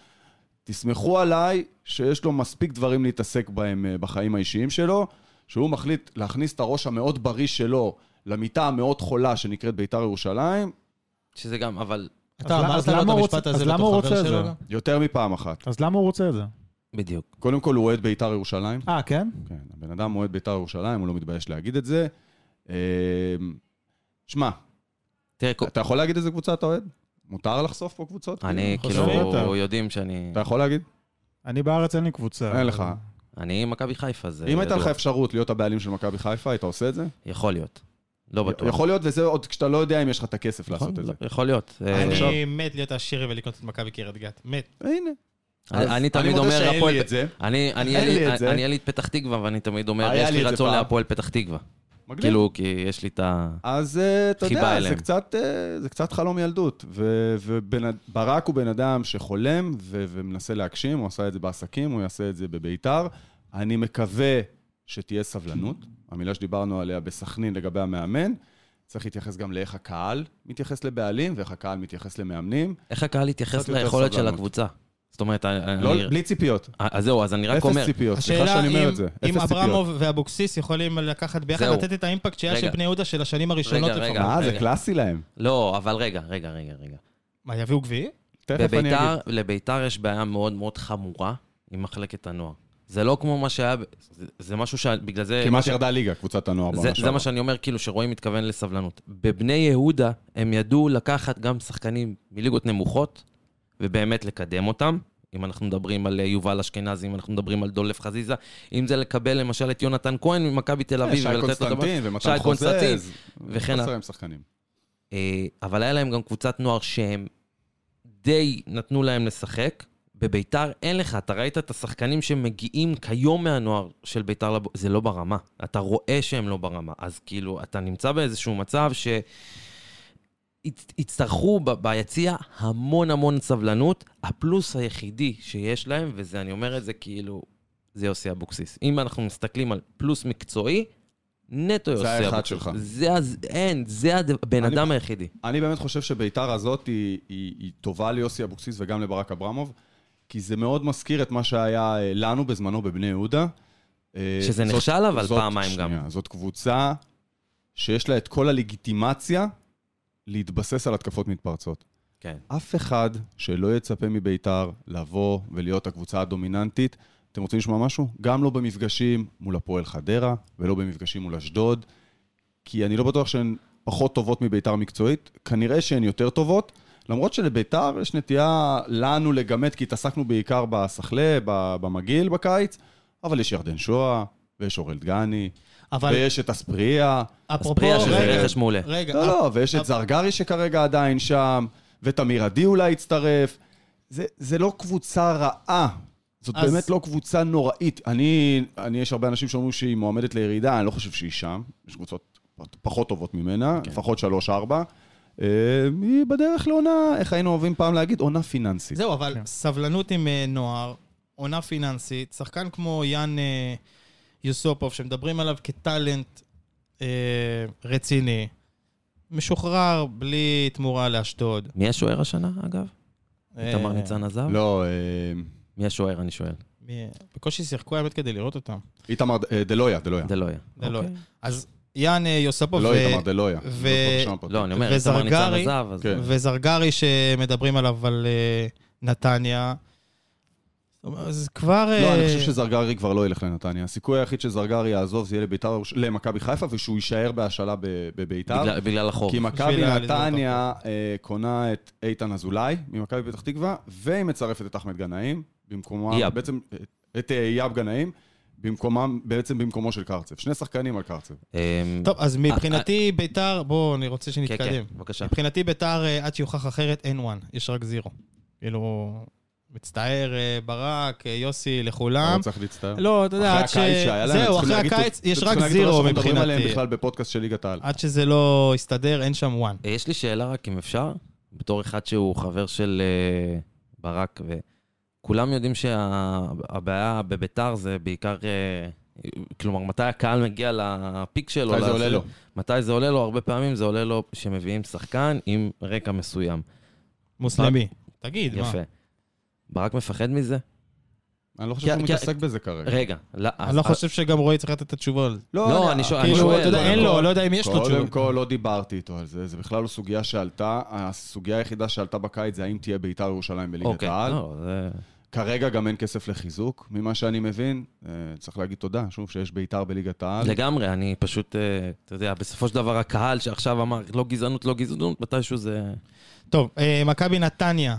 Speaker 2: תסמכו עליי שיש לו מספיק דברים להתעסק בהם אה, בחיים האישיים שלו, שהוא מחליט להכניס את הראש המאוד בריא שלו למיטה המאוד חולה שנקראת בית"ר ירושלים,
Speaker 3: שזה גם, אבל
Speaker 1: אתה
Speaker 4: אז למה-
Speaker 1: אמרת
Speaker 4: אז
Speaker 1: לו את
Speaker 4: למה הוא
Speaker 1: המשפט
Speaker 4: רוצה-
Speaker 1: הזה
Speaker 4: אז למה
Speaker 1: בתור
Speaker 4: הוא
Speaker 1: חבר
Speaker 4: רוצה את
Speaker 1: שלו?
Speaker 4: זה?
Speaker 1: גם?
Speaker 2: יותר מפעם אחת.
Speaker 4: אז למה הוא רוצה את זה?
Speaker 3: בדיוק.
Speaker 2: קודם כל, הוא אוהד בית"ר ירושלים.
Speaker 4: אה, כן?
Speaker 2: כן, הבן אדם אוהד בית"ר ירושלים, הוא לא מתבייש להגיד את זה. אה, שמע,
Speaker 3: תראה, כל-
Speaker 2: אתה יכול להגיד איזה קבוצה אתה אוהד? מותר לחשוף פה קבוצות?
Speaker 3: אני
Speaker 1: חושב
Speaker 3: כאילו,
Speaker 4: יותר.
Speaker 3: יודעים שאני...
Speaker 2: אתה יכול להגיד?
Speaker 4: אני בארץ אין לי קבוצה.
Speaker 2: אין לך.
Speaker 3: אני מכבי חיפה, זה...
Speaker 2: אם הייתה
Speaker 3: ידוע.
Speaker 2: לך אפשרות להיות הבעלים של מכבי חיפה, היית עושה את זה?
Speaker 3: יכול להיות. לא בטוח.
Speaker 2: יכול להיות, וזה עוד כשאתה לא יודע אם יש לך את הכסף
Speaker 3: נכון,
Speaker 2: לעשות את זה.
Speaker 3: לא, יכול להיות. אה,
Speaker 2: עכשיו-
Speaker 1: אני מת להיות עשיר ולקנות את מכבי קריית גת. מת.
Speaker 2: הנה. אז
Speaker 3: אני אני תמיד
Speaker 2: מודה
Speaker 3: אומר
Speaker 2: שאין
Speaker 3: הפועל...
Speaker 2: לי את זה.
Speaker 3: אני אני
Speaker 2: אין לי את
Speaker 3: יליד-
Speaker 2: זה.
Speaker 3: אני יליד פתח תקווה, ואני תמיד אומר,
Speaker 2: היה
Speaker 3: יש
Speaker 2: לי
Speaker 3: לי
Speaker 2: את זה
Speaker 3: רצון
Speaker 2: פעם.
Speaker 3: להפועל פתח תקווה.
Speaker 2: מגניב.
Speaker 3: כאילו, כי יש לי את ה...
Speaker 2: אז אה, אתה
Speaker 3: חיבה
Speaker 2: יודע, זה
Speaker 3: אליהם.
Speaker 2: קצת, אה, זה קצת חלום ילדות. ו- ובן- ברק הוא בן אדם שחולם ו- ומנסה להגשים, הוא עשה את זה בעסקים, הוא יעשה את זה בביתר. אני מקווה שתהיה סבלנות. המילה שדיברנו עליה בסכנין לגבי המאמן. צריך להתייחס גם לאיך הקהל מתייחס לבעלים ואיך הקהל מתייחס למאמנים.
Speaker 3: איך הקהל
Speaker 2: קצת
Speaker 3: התייחס
Speaker 2: יותר
Speaker 3: ליכולת של
Speaker 2: סבלנות.
Speaker 3: הקבוצה? זאת אומרת, אני...
Speaker 2: לא,
Speaker 3: אני-
Speaker 2: בלי ציפיות.
Speaker 3: אז זהו, אז אני רק אומר...
Speaker 2: אפס ציפיות. סליחה
Speaker 1: השאלה
Speaker 2: שאני אומר
Speaker 1: אם-
Speaker 2: את זה.
Speaker 1: אם
Speaker 2: אפס ציפיות.
Speaker 1: אברמוב ואבוקסיס יכולים לקחת ביחד,
Speaker 3: זהו.
Speaker 1: לתת את האימפקט שהיה של
Speaker 3: רגע.
Speaker 1: בני יהודה של השנים הראשונות
Speaker 3: רגע,
Speaker 1: לפחות.
Speaker 2: אה, זה
Speaker 3: רגע.
Speaker 2: קלאסי להם.
Speaker 3: לא, אבל רגע, רגע, רגע, רגע.
Speaker 1: מה, יביאו גביעי?
Speaker 2: תכף אני אגיד.
Speaker 3: בביתר, לביתר יש בעיה מאוד מאוד חמורה עם מחלקת הנוער. זה לא כמו מה שהיה, ב- זה, זה משהו שבגלל זה...
Speaker 2: כמעט ירדה ליגה, קבוצת הנוער.
Speaker 3: זה,
Speaker 2: בעונה
Speaker 3: זה
Speaker 2: שעברה.
Speaker 3: מה שאני אומר, כאילו, שרועי מתכוון לסבלנות. בבני יהודה, הם ידעו לקחת גם שחקנים מליגות נמוכות, ובאמת לקדם אותם. אם אנחנו מדברים על אה, יובל אשכנזי, אם אנחנו מדברים על דולף חזיזה, אם זה לקבל למשל את יונתן כהן ממכבי תל אביב,
Speaker 2: אה, שי
Speaker 3: ולתת לו את הבא-
Speaker 2: קונסטנטין ומתן
Speaker 3: שי קונסטנטין,
Speaker 2: חוזז.
Speaker 3: וכן הלאה.
Speaker 2: חסר עם שחקנים.
Speaker 3: אה, אבל היה להם גם קבוצת נוער שהם די נתנו להם לשחק. בביתר אין לך, אתה ראית את השחקנים שמגיעים כיום מהנוער של ביתר, לב... זה לא ברמה. אתה רואה שהם לא ברמה. אז כאילו, אתה נמצא באיזשהו מצב ש... יצ- יצטרכו ב- ביציע המון המון סבלנות. הפלוס היחידי שיש להם, וזה, אני אומר את זה כאילו, זה יוסי אבוקסיס. אם אנחנו מסתכלים על פלוס מקצועי, נטו יוסי אבוקסיס.
Speaker 2: האחד שלך.
Speaker 3: זה הז... אין, זה הבן
Speaker 2: אני-
Speaker 3: אדם היחידי.
Speaker 2: אני באמת חושב שביתר הזאת היא, היא, היא טובה ליוסי אבוקסיס וגם לברק אברמוב, כי זה מאוד מזכיר את מה שהיה אה, לנו בזמנו בבני יהודה. אה,
Speaker 3: שזה
Speaker 2: זאת-
Speaker 3: נכשל אבל
Speaker 2: זאת-
Speaker 3: פעמיים גם.
Speaker 2: שנייה, זאת קבוצה שיש לה את כל הלגיטימציה להתבסס על התקפות מתפרצות.
Speaker 3: כן.
Speaker 2: אף אחד שלא יצפה מביתר לבוא ולהיות הקבוצה הדומיננטית. אתם רוצים לשמוע משהו? גם לא במפגשים מול הפועל חדרה, ולא במפגשים מול אשדוד, כי אני לא בטוח שהן פחות טובות מביתר מקצועית, כנראה שהן יותר טובות, למרות שלביתר יש נטייה לנו לגמד, כי התעסקנו בעיקר בסחלה, ב- במגעיל בקיץ, אבל יש ירדן שואה, ויש אורל דגני,
Speaker 1: אבל
Speaker 2: ויש את אספריה.
Speaker 1: אפרופו,
Speaker 3: אספריה שזה
Speaker 1: רגע,
Speaker 3: רכש מעולה.
Speaker 1: רגע,
Speaker 2: לא, לא, ויש
Speaker 1: אפ-
Speaker 2: את זרגרי שכרגע עדיין שם, ותמיר עדי אולי יצטרף. זה, זה לא קבוצה רעה. זאת
Speaker 1: אז-
Speaker 2: באמת לא קבוצה נוראית. אני, אני, יש הרבה אנשים שאומרים שהיא מועמדת לירידה, אני לא חושב שהיא שם. יש קבוצות פחות- פחות טובות ממנה,
Speaker 3: כן.
Speaker 2: לפחות שלוש-ארבע. אה, היא בדרך לעונה, איך היינו אוהבים פעם להגיד, עונה פיננסית.
Speaker 1: זהו, אבל
Speaker 4: כן.
Speaker 1: סבלנות עם אה, נוער, עונה פיננסית, שחקן כמו יאן אה, יוסופוב, שמדברים עליו כטאלנט אה, רציני, משוחרר בלי תמורה לאשדוד.
Speaker 3: מי השוער השנה, אגב? איתמר
Speaker 1: אה,
Speaker 3: ניצן עזב?
Speaker 2: לא, אה,
Speaker 3: מי השוער, אני שואל.
Speaker 1: מי- בקושי שיחקו האמת כדי לראות אותם.
Speaker 2: איתמר, אה, דלויה, דלויה.
Speaker 3: זה לא היה.
Speaker 1: זה לא היה.
Speaker 3: אוקיי.
Speaker 1: אז יאן אה, יוספוב
Speaker 2: לא
Speaker 1: ו-
Speaker 2: איתמר, דלויה.
Speaker 1: ו-
Speaker 2: לא, בבקשה, פה.
Speaker 3: לא, אני אומר, איתמר ניצן
Speaker 1: וזרגרי-
Speaker 3: עזב, אז...
Speaker 2: כן.
Speaker 1: וזרגרי שמדברים עליו על אה, נתניה. אז כבר...
Speaker 2: לא,
Speaker 1: אה,
Speaker 2: אני חושב שזרגרי כבר לא ילך לנתניה. הסיכוי היחיד שזרגרי יעזוב זה יהיה לביתר, למכבי חיפה, ושהוא יישאר בהשאלה ב- בביתר.
Speaker 3: בגלל- בגלל החוב.
Speaker 2: כי מכבי
Speaker 1: בשביל לזרוק
Speaker 2: נתניה אה, קונה את איתן אזולאי ממכבי פתח תקווה, והיא מצרפת את אחמד גנאים, במקומו,
Speaker 3: אייב.
Speaker 2: בעצם, אה, את אה, אייב גנאים, במקומם, בעצם במקומו של קרצב. שני שחקנים על קרצב.
Speaker 3: אמ,
Speaker 1: טוב,
Speaker 2: אה,
Speaker 1: אז מבחינתי ביתר, בואו, אני רוצה
Speaker 3: כן, כן,
Speaker 1: שנתקדם.
Speaker 3: בבקשה.
Speaker 1: מבחינתי ביתר, אה, עד שיוכח אחרת, אין וואן, יש רק זירו. כאילו, מצטער, אה, ברק, אה, יוסי, לכולם.
Speaker 2: לא צריך להצטער.
Speaker 1: לא, אתה יודע, עד ש...
Speaker 2: אחרי הקיץ שהיה להם,
Speaker 1: זהו,
Speaker 2: צריכים
Speaker 1: אחרי
Speaker 2: להגיד-
Speaker 1: הקיץ יש
Speaker 2: צריכים
Speaker 1: רק
Speaker 2: להגיד
Speaker 1: זירו
Speaker 2: תודה שאנחנו מדברים עליהם
Speaker 1: מבחינתי.
Speaker 2: בכלל בפודקאסט של ליגת העל.
Speaker 1: עד שזה לא יסתדר, אין שם וואן.
Speaker 3: אה, יש לי שאלה רק, אם אפשר, בתור אחד שהוא חבר של אה, ברק, וכולם יודעים שהבעיה בביתר זה בעיקר, אה, כלומר, מתי הקהל מגיע לפיק שלו.
Speaker 1: לא,
Speaker 2: מתי זה
Speaker 3: לזה-
Speaker 2: עולה לו?
Speaker 3: מתי זה עולה לו? הרבה פעמים זה עולה לו שמביאים שחקן עם רקע מסוים.
Speaker 1: מוסלמי.
Speaker 2: לא.
Speaker 1: תגיד, מה?
Speaker 3: יפה. ברק מפחד מזה?
Speaker 2: אני לא
Speaker 3: כי-
Speaker 2: חושב שהוא
Speaker 3: כי-
Speaker 2: מתעסק בזה כרגע.
Speaker 3: רגע, לא, אז-
Speaker 1: אני לא
Speaker 3: אז-
Speaker 1: חושב שגם רועי צריך לתת את התשובה על זה.
Speaker 3: לא, נכון. אני שואל, אני
Speaker 1: כאילו,
Speaker 3: שואל.
Speaker 1: אתה יודע, אין לו, לא יודע אם יש לו
Speaker 2: קודם
Speaker 1: תשובה.
Speaker 2: כל, לא דיברתי איתו על זה, זה בכלל לא סוגיה שעלתה. הסוגיה היחידה שעלתה בקיץ זה האם תהיה ביתר ירושלים בליגת
Speaker 3: אוקיי,
Speaker 2: העל.
Speaker 3: לא, זה...
Speaker 2: כרגע גם אין כסף לחיזוק, ממה שאני מבין. אה, צריך להגיד תודה, שוב, שיש ביתר בליגת העל.
Speaker 3: לגמרי, אני פשוט, אה, אתה יודע, בסופו של דבר הקהל שעכשיו אמר לא גזענות, לא גזענות, מתישהו זה...
Speaker 1: טוב, אה, מכבי נתניה,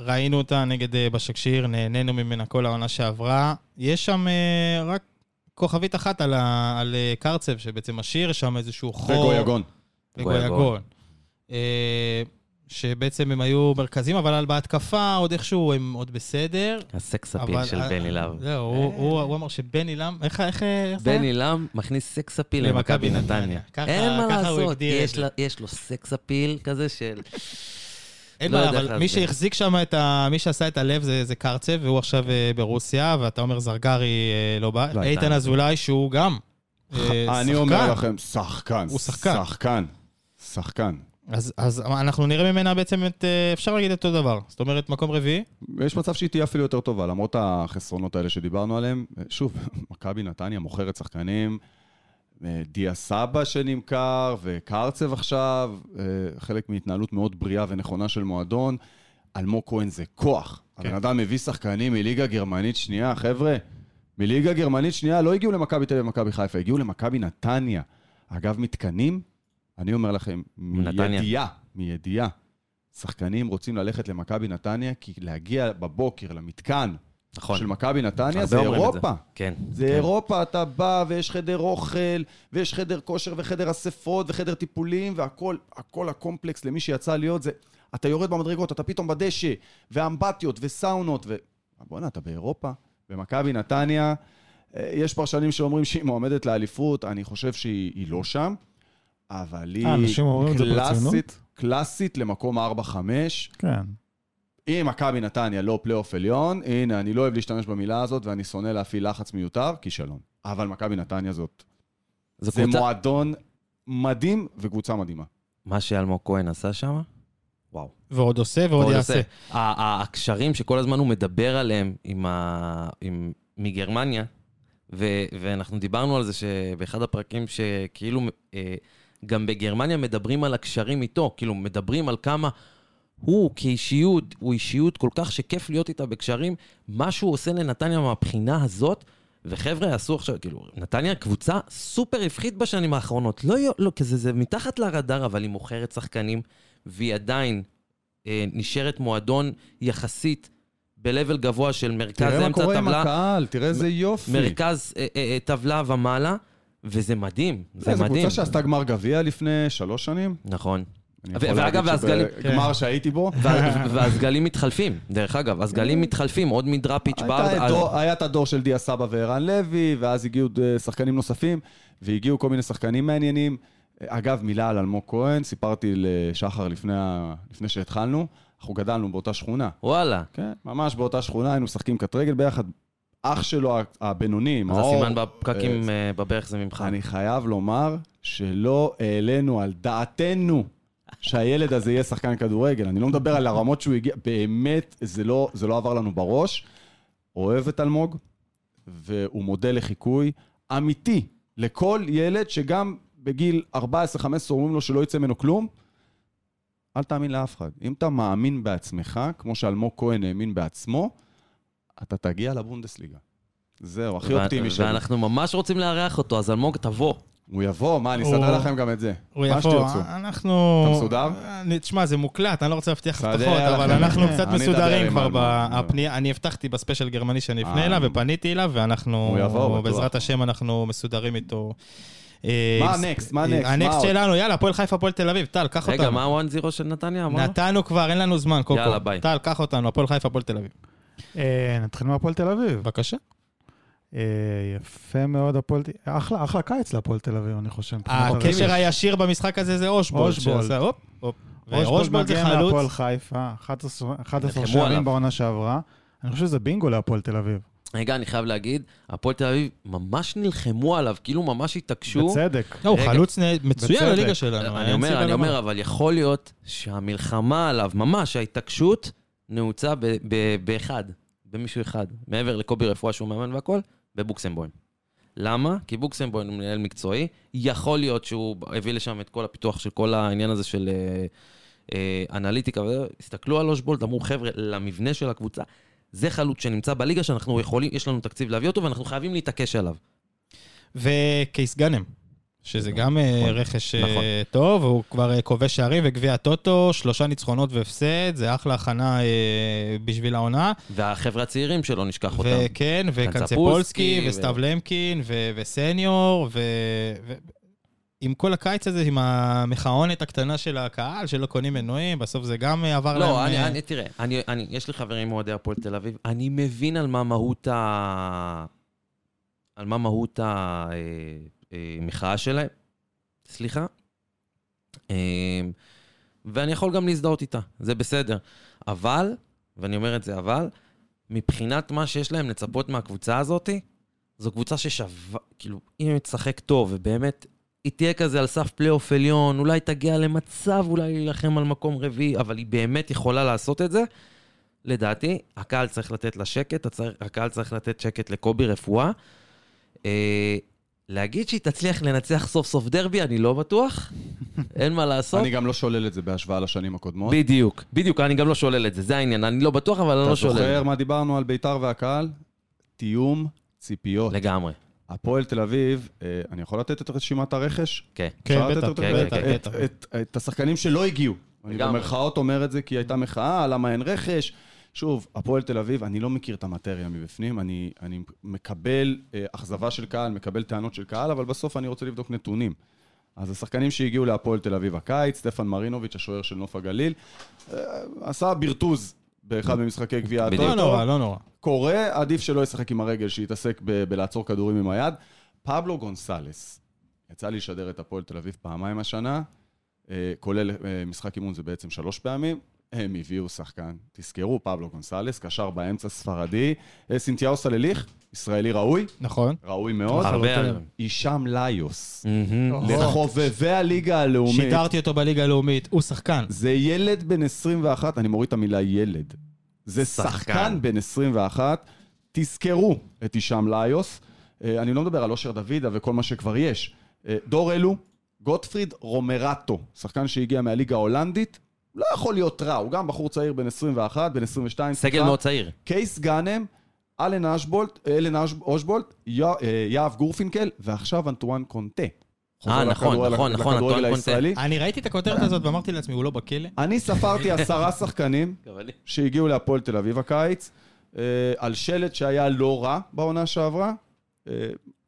Speaker 1: ראינו אותה נגד אה, בשקשיר, נהנינו ממנה כל העונה שעברה. יש שם אה, רק כוכבית אחת על ה- על אה, קרצב, שבעצם משאיר שם איזשהו חור.
Speaker 2: וגויגון.
Speaker 1: וגויגון. אה, שבעצם הם היו מרכזים, אבל על בהתקפה עוד איכשהו הם עוד בסדר.
Speaker 3: הסקס
Speaker 1: אבל-
Speaker 3: אפיל של
Speaker 1: אה,
Speaker 3: בני להב.
Speaker 1: זהו, הוא- הוא הוא אמר שבני לם, איך איך- איך זה היה?
Speaker 3: בני לם מכניס סקס אפיל
Speaker 1: למכבי
Speaker 3: למכבי
Speaker 1: נתניה.
Speaker 3: נתניה.
Speaker 1: ככה-
Speaker 3: אין מה
Speaker 1: ככה הוא
Speaker 3: לעשות,
Speaker 1: הגדיר את
Speaker 3: יש
Speaker 1: זה.
Speaker 3: לה- יש לו סקס אפיל כזה של...
Speaker 1: אין
Speaker 3: לא
Speaker 1: בעיה,
Speaker 3: יודע איך
Speaker 1: אבל מי
Speaker 3: להסביר.
Speaker 1: שהחזיק שם את ה... מי שעשה את הלב זה, זה קרצב, והוא עכשיו אה, ברוסיה, ואתה אומר זרגרי אה, לא בא.
Speaker 3: לא,
Speaker 1: איתן
Speaker 3: איתן.
Speaker 1: אזולאי, שהוא גם אה,
Speaker 2: אני אומר
Speaker 1: שחקן.
Speaker 2: לכם, שחקן.
Speaker 1: הוא שחקן.
Speaker 2: שחקן. שחקן.
Speaker 1: אז- אז אנחנו נראה ממנה בעצם את... אה, אפשר להגיד את אותו דבר. זאת אומרת, מקום רביעי.
Speaker 2: יש מצב שהיא תהיה אפילו יותר טובה, למרות החסרונות האלה שדיברנו עליהם. אה, שוב, מכבי נתניה מוכרת שחקנים, אה, דיה סבא שנמכר, וקרצב עכשיו, אה, חלק מהתנהלות מאוד בריאה ונכונה של מועדון. אלמוג כהן זה כוח.
Speaker 1: כן.
Speaker 2: הבן אדם מביא שחקנים מליגה גרמנית שנייה, חבר'ה. מליגה גרמנית שנייה לא הגיעו למכבי תל אביב ומכבי חיפה, הגיעו למכבי נתניה. אגב, מתקנים, אני אומר לכם,
Speaker 3: נתניה.
Speaker 2: מידיעה, מידיעה, שחקנים רוצים ללכת למכבי נתניה, כי להגיע בבוקר למתקן
Speaker 3: נכון.
Speaker 2: של מכבי נתניה
Speaker 3: הרבה
Speaker 2: זה
Speaker 3: אומרים את
Speaker 2: אירופה.
Speaker 3: כן.
Speaker 2: זה
Speaker 3: כן.
Speaker 2: אירופה, אתה בא ויש חדר אוכל, ויש חדר כושר וחדר אספות וחדר טיפולים, והכל, הכל הקומפלקס למי שיצא להיות זה, אתה יורד במדרגות, אתה פתאום בדשא, ואמבטיות וסאונות, ו... בואנה, אתה באירופה, במכבי נתניה, אה, יש פרשנים שאומרים שהיא מועמדת לאליפות, אני חושב שהיא היא לא שם, אבל היא
Speaker 4: אה, אנשים אומרים את זה
Speaker 2: קלאסית,
Speaker 4: ברצינות?
Speaker 2: קלאסית למקום 4-5.
Speaker 4: כן.
Speaker 2: אם מכבי נתניה לא פלייאוף עליון, הנה, אני לא אוהב להשתמש במילה הזאת ואני שונא להפעיל לחץ מיותר, כישלון. אבל מכבי נתניה זאת,
Speaker 3: זה
Speaker 2: זה
Speaker 3: קבוצה...
Speaker 2: מועדון מדהים וקבוצה מדהימה.
Speaker 3: מה שאלמוג כהן עשה שם? וואו.
Speaker 1: ועוד עושה ועוד יעשה.
Speaker 3: ה- ה- הקשרים שכל הזמן הוא מדבר עליהם עם ה... עם... מגרמניה, ו... ואנחנו דיברנו על זה שבאחד הפרקים שכאילו אה, גם בגרמניה מדברים על הקשרים איתו, כאילו מדברים על כמה הוא כאישיות, הוא אישיות כל כך שכיף להיות איתה בקשרים, מה שהוא עושה לנתניה מהבחינה הזאת, וחבר'ה עשו עכשיו, כאילו, נתניה קבוצה סופר רווחית בשנים האחרונות. לא, יו- לא, כזה, זה מתחת לרדאר, אבל היא מוכרת שחקנים, והיא עדיין אה, נשארת מועדון יחסית ב-level גבוה של מרכז אמצע טבלה,
Speaker 2: הקהל, תראה איזה יופי.
Speaker 3: מרכז אה, אה, אה, טבלה ומעלה, וזה מדהים, זה
Speaker 2: זו
Speaker 3: מדהים.
Speaker 2: אה, קבוצה שעשתה גמר גביע לפני שלוש שנים.
Speaker 3: נכון.
Speaker 2: אני
Speaker 3: ו-
Speaker 2: יכול
Speaker 3: ואגב,
Speaker 2: להגיד
Speaker 3: והסגלים-
Speaker 2: שבגמר שהייתי בו,
Speaker 3: וה- והסגלים מתחלפים, דרך אגב, הסגלים מתחלפים, עוד מדראפיץ'
Speaker 2: אה. הייתה
Speaker 3: בארד.
Speaker 2: את
Speaker 3: אז-
Speaker 2: דור- היה את הדור של דיה סבא וערן לוי, ואז הגיעו אה, שחקנים נוספים, והגיעו כל מיני שחקנים מעניינים. אה, אגב, מילה על אלמוג כהן, סיפרתי לשחר לפני ה- לפני שהתחלנו, אנחנו גדלנו באותה שכונה.
Speaker 3: וואלה.
Speaker 2: כן, ממש באותה שכונה, היינו משחקים קט רגל ביחד. אח שלו הבינוני,
Speaker 3: אז
Speaker 2: מאור,
Speaker 3: הסימן בפקקים אה, בברך זה ממך.
Speaker 2: אני חייב לומר שלא העלינו על דעתנו שהילד הזה יהיה שחקן כדורגל. אני לא מדבר על הרמות שהוא הגיע, באמת, זה לא, זה לא עבר לנו בראש. אוהב את אלמוג, והוא מודל לחיקוי אמיתי לכל ילד שגם בגיל 14-15 אומרים לו שלא יצא ממנו כלום. אל תאמין לאף אחד. אם אתה מאמין בעצמך, כמו שאלמוג כהן האמין בעצמו, אתה תגיע לבונדסליגה. זהו, הכי
Speaker 3: ו-
Speaker 2: אופטימי שלי.
Speaker 3: ואנחנו ממש רוצים לארח אותו, אז אלמוג, תבוא.
Speaker 2: הוא יבוא, מה, אני
Speaker 1: הוא-
Speaker 2: אסדר לכם גם את זה.
Speaker 1: הוא
Speaker 2: מה
Speaker 1: יבוא,
Speaker 2: שתרצו.
Speaker 1: אנחנו...
Speaker 2: אתה מסודר?
Speaker 1: אני- תשמע, זה מוקלט, אני לא רוצה להבטיח
Speaker 2: סדר
Speaker 1: הבטחות, אבל
Speaker 2: לכם.
Speaker 1: אנחנו קצת
Speaker 2: אני אדבר
Speaker 1: מסודרים
Speaker 2: עם
Speaker 1: כבר
Speaker 2: אלמוג.
Speaker 1: בפנייה. אני הבטחתי בספיישל גרמני שאני אפנה
Speaker 2: אה.
Speaker 1: אליו, ופניתי אליו, ואנחנו...
Speaker 2: הוא יבוא, בטוח.
Speaker 1: בעזרת השם, אנחנו מסודרים איתו. אה,
Speaker 2: מה
Speaker 1: עם-
Speaker 2: הנקסט? מה
Speaker 1: אה,
Speaker 2: הנקסט? מה
Speaker 1: הנקסט
Speaker 2: עוד?
Speaker 1: שלנו, יאללה, הפועל חיפה, הפועל תל אביב. טל, קח אותנו.
Speaker 3: רגע, מה הוואן זירו של נתניה? אמרנו?
Speaker 1: נתנו כבר, אין לנו זמן, קוקו.
Speaker 3: יאללה, ביי.
Speaker 1: טל, קח אותנו, הפועל חיפה, הפועל תל אביב.
Speaker 4: אה, נתחיל מהפועל תל אביב.
Speaker 1: בבקשה.
Speaker 4: אה, יפה מאוד, הפועל... ת- אחלה, אחלה קיץ להפועל תל אביב, אני חושב. מבחינת
Speaker 1: אה, הקשר
Speaker 2: אוקיי.
Speaker 4: הרכש.
Speaker 1: הישיר במשחק הזה זה אושבולד.
Speaker 4: אושבולד.
Speaker 1: שעשה, הופ, הופ.
Speaker 4: אושבולד
Speaker 1: ואושבולד זה
Speaker 4: מגיע מהפועל
Speaker 1: חלוץ.
Speaker 4: חיפה, 11 11
Speaker 3: נלחמו
Speaker 4: שערים
Speaker 3: עליו.
Speaker 4: בעונה שעברה. אני חושב שזה בינגו להפועל תל אביב.
Speaker 3: רגע, אני חייב להגיד, הפועל תל אביב ממש נלחמו עליו, כאילו ממש התעקשו.
Speaker 4: בצדק.
Speaker 1: לא, הוא
Speaker 3: רגע.
Speaker 1: חלוץ נ- מצוין
Speaker 4: בצדק.
Speaker 1: לליגה שלנו.
Speaker 3: אה, אני
Speaker 1: אין
Speaker 3: אומר,
Speaker 1: סיבה לא
Speaker 3: אני
Speaker 1: למה.
Speaker 3: אומר, אבל יכול להיות שהמלחמה עליו, ממש ההתעקשות, נעוצה ב- ב- באחד, במישהו אחד, מעבר לקובי רפואה שהוא מאמן והכל, בבוקסמבוים. למה? כי בוקסמבוים הוא מנהל מקצועי, יכול להיות שהוא הביא לשם את כל הפיתוח של כל העניין הזה של אה, אה, אנליטיקה, וזה. הסתכלו על אושבולט, אמרו, חבר'ה, למבנה של הקבוצה, זה חלוץ שנמצא בליגה שאנחנו יכולים, יש לנו תקציב להביא אותו ואנחנו חייבים להתעקש עליו.
Speaker 1: וקייס גאנם, שזה גם אה,
Speaker 3: נכון.
Speaker 1: רכש אה,
Speaker 3: נכון.
Speaker 1: טוב, הוא כבר אה, כובש שערים וגביע הטוטו, שלושה ניצחונות והפסד, זה אחלה הכנה אה, בשביל העונה.
Speaker 3: והחבר'ה הצעירים שלא נשכח אותם.
Speaker 1: וכן, וקנצפולסקי,
Speaker 3: קנצפולסקי, ו-
Speaker 1: וסתיו למקין, ו- וסניור, ו... ו- עם כל הקיץ הזה, עם המחאונת הקטנה של הקהל, שלא קונים מנויים, בסוף זה גם אה, עבר להם...
Speaker 3: לא, אני,
Speaker 1: אה,
Speaker 3: אני, תראה, אני, אני, יש לי חברים אוהדי הפועל תל אביב, אני מבין על מה מהות ה... על מה מהות המחאה שלהם, סליחה, אה, ואני יכול גם להזדהות איתה, זה בסדר. אבל, ואני אומר את זה אבל, מבחינת מה שיש להם לצפות מהקבוצה הזאתי, זו קבוצה ששווה, כאילו, אם היא תשחק טוב, ובאמת, היא תהיה כזה על סף פלייאוף עליון, אולי תגיע למצב, אולי להילחם על מקום רביעי, אבל היא באמת יכולה לעשות את זה. לדעתי, הקהל צריך לתת לה שקט, הצר- הקהל צריך לתת שקט לקובי רפואה. אה, להגיד שהיא תצליח לנצח סוף סוף דרבי, אני לא בטוח, אין מה לעשות.
Speaker 2: אני גם לא שולל את זה בהשוואה לשנים הקודמות.
Speaker 3: בדיוק, בדיוק, אני גם לא שולל את זה, זה העניין, אני לא בטוח, אבל אני
Speaker 2: אתה
Speaker 3: לא שולל.
Speaker 2: זוכר מה דיברנו על בית"ר והקהל? תיאום ציפיות.
Speaker 3: לגמרי.
Speaker 2: הפועל תל אביב, אה, אני יכול לתת את רשימת הרכש?
Speaker 3: כן.
Speaker 1: כן,
Speaker 2: אפשר לתת
Speaker 1: בטח,
Speaker 2: את-
Speaker 1: כן,
Speaker 2: את-
Speaker 1: בטח,
Speaker 2: את-
Speaker 1: בטח.
Speaker 2: את- את השחקנים שלא הגיעו. אני
Speaker 3: לגמרי.
Speaker 2: במרכאות אומר את זה כי הייתה מחאה, למה אין רכש. שוב, הפועל תל אביב, אני לא מכיר את המטריה מבפנים, אני, אני מקבל אה, אכזבה של קהל, מקבל טענות של קהל, אבל בסוף אני רוצה לבדוק נתונים. אז השחקנים שהגיעו להפועל תל אביב הקיץ, סטפן מרינוביץ', השוער של נוף הגליל, אה, עשה ברטוז באחד ממשחקי גביע
Speaker 3: בדיוק.
Speaker 1: לא
Speaker 2: הטוטו.
Speaker 1: נורא, לא נורא.
Speaker 2: קורה, עדיף שלא ישחק עם הרגל, שיתעסק ב- בלעצור כדורים עם היד. פבלו גונסלס, יצא לי לשדר את הפועל תל אביב פעמיים השנה, אה, כולל אה, משחק אימון זה בעצם שלוש פעמים. הם הביאו שחקן, תזכרו, פבלו גונסלס, קשר באמצע ספרדי, אה, סינתיהו סלליך, ישראלי ראוי,
Speaker 1: נכון.
Speaker 2: ראוי מאוד,
Speaker 3: הרבה
Speaker 1: לחלוטין.
Speaker 3: על...
Speaker 2: הישאם ליוס,
Speaker 3: מהמם.
Speaker 4: אוהו.
Speaker 2: לחובבי הליגה הלאומית.
Speaker 1: שידרתי אותו בליגה הלאומית, הוא שחקן.
Speaker 2: זה ילד בן 21, אני מוריד את המילה ילד. זה
Speaker 3: שחקן.
Speaker 2: שחקן, שחקן בן 21. תזכרו את הישאם ליוס. אה, אני לא מדבר על אושר דוידה וכל מה שכבר יש. אה, דור אלו, גוטפריד רומרטו, שחקן שהגיע מהליגה ההולנדית, לא יכול להיות רע, הוא גם בחור צעיר בן 21, בן 22.
Speaker 3: סגל
Speaker 2: סליחה.
Speaker 3: מאוד צעיר.
Speaker 2: קייס גאנם, אלן אשבולט, אה, אלן אש- אושבולט, יוא- אה, יהב גורפינקל, ועכשיו אנטואן קונטה. חוזר
Speaker 3: אה, נכון,
Speaker 2: לכדורגל-
Speaker 3: נכון, נכון,
Speaker 2: לכדורגל
Speaker 3: אנטואן קונטה.
Speaker 2: הישראלי.
Speaker 1: אני ראיתי את הכותרת הזאת ואמרתי לעצמי, הוא לא בכלא?
Speaker 2: אני ספרתי עשרה שחקנים שהגיעו להפועל תל אביב הקיץ, אה, על שלט שהיה לא רע בעונה שעברה. אה,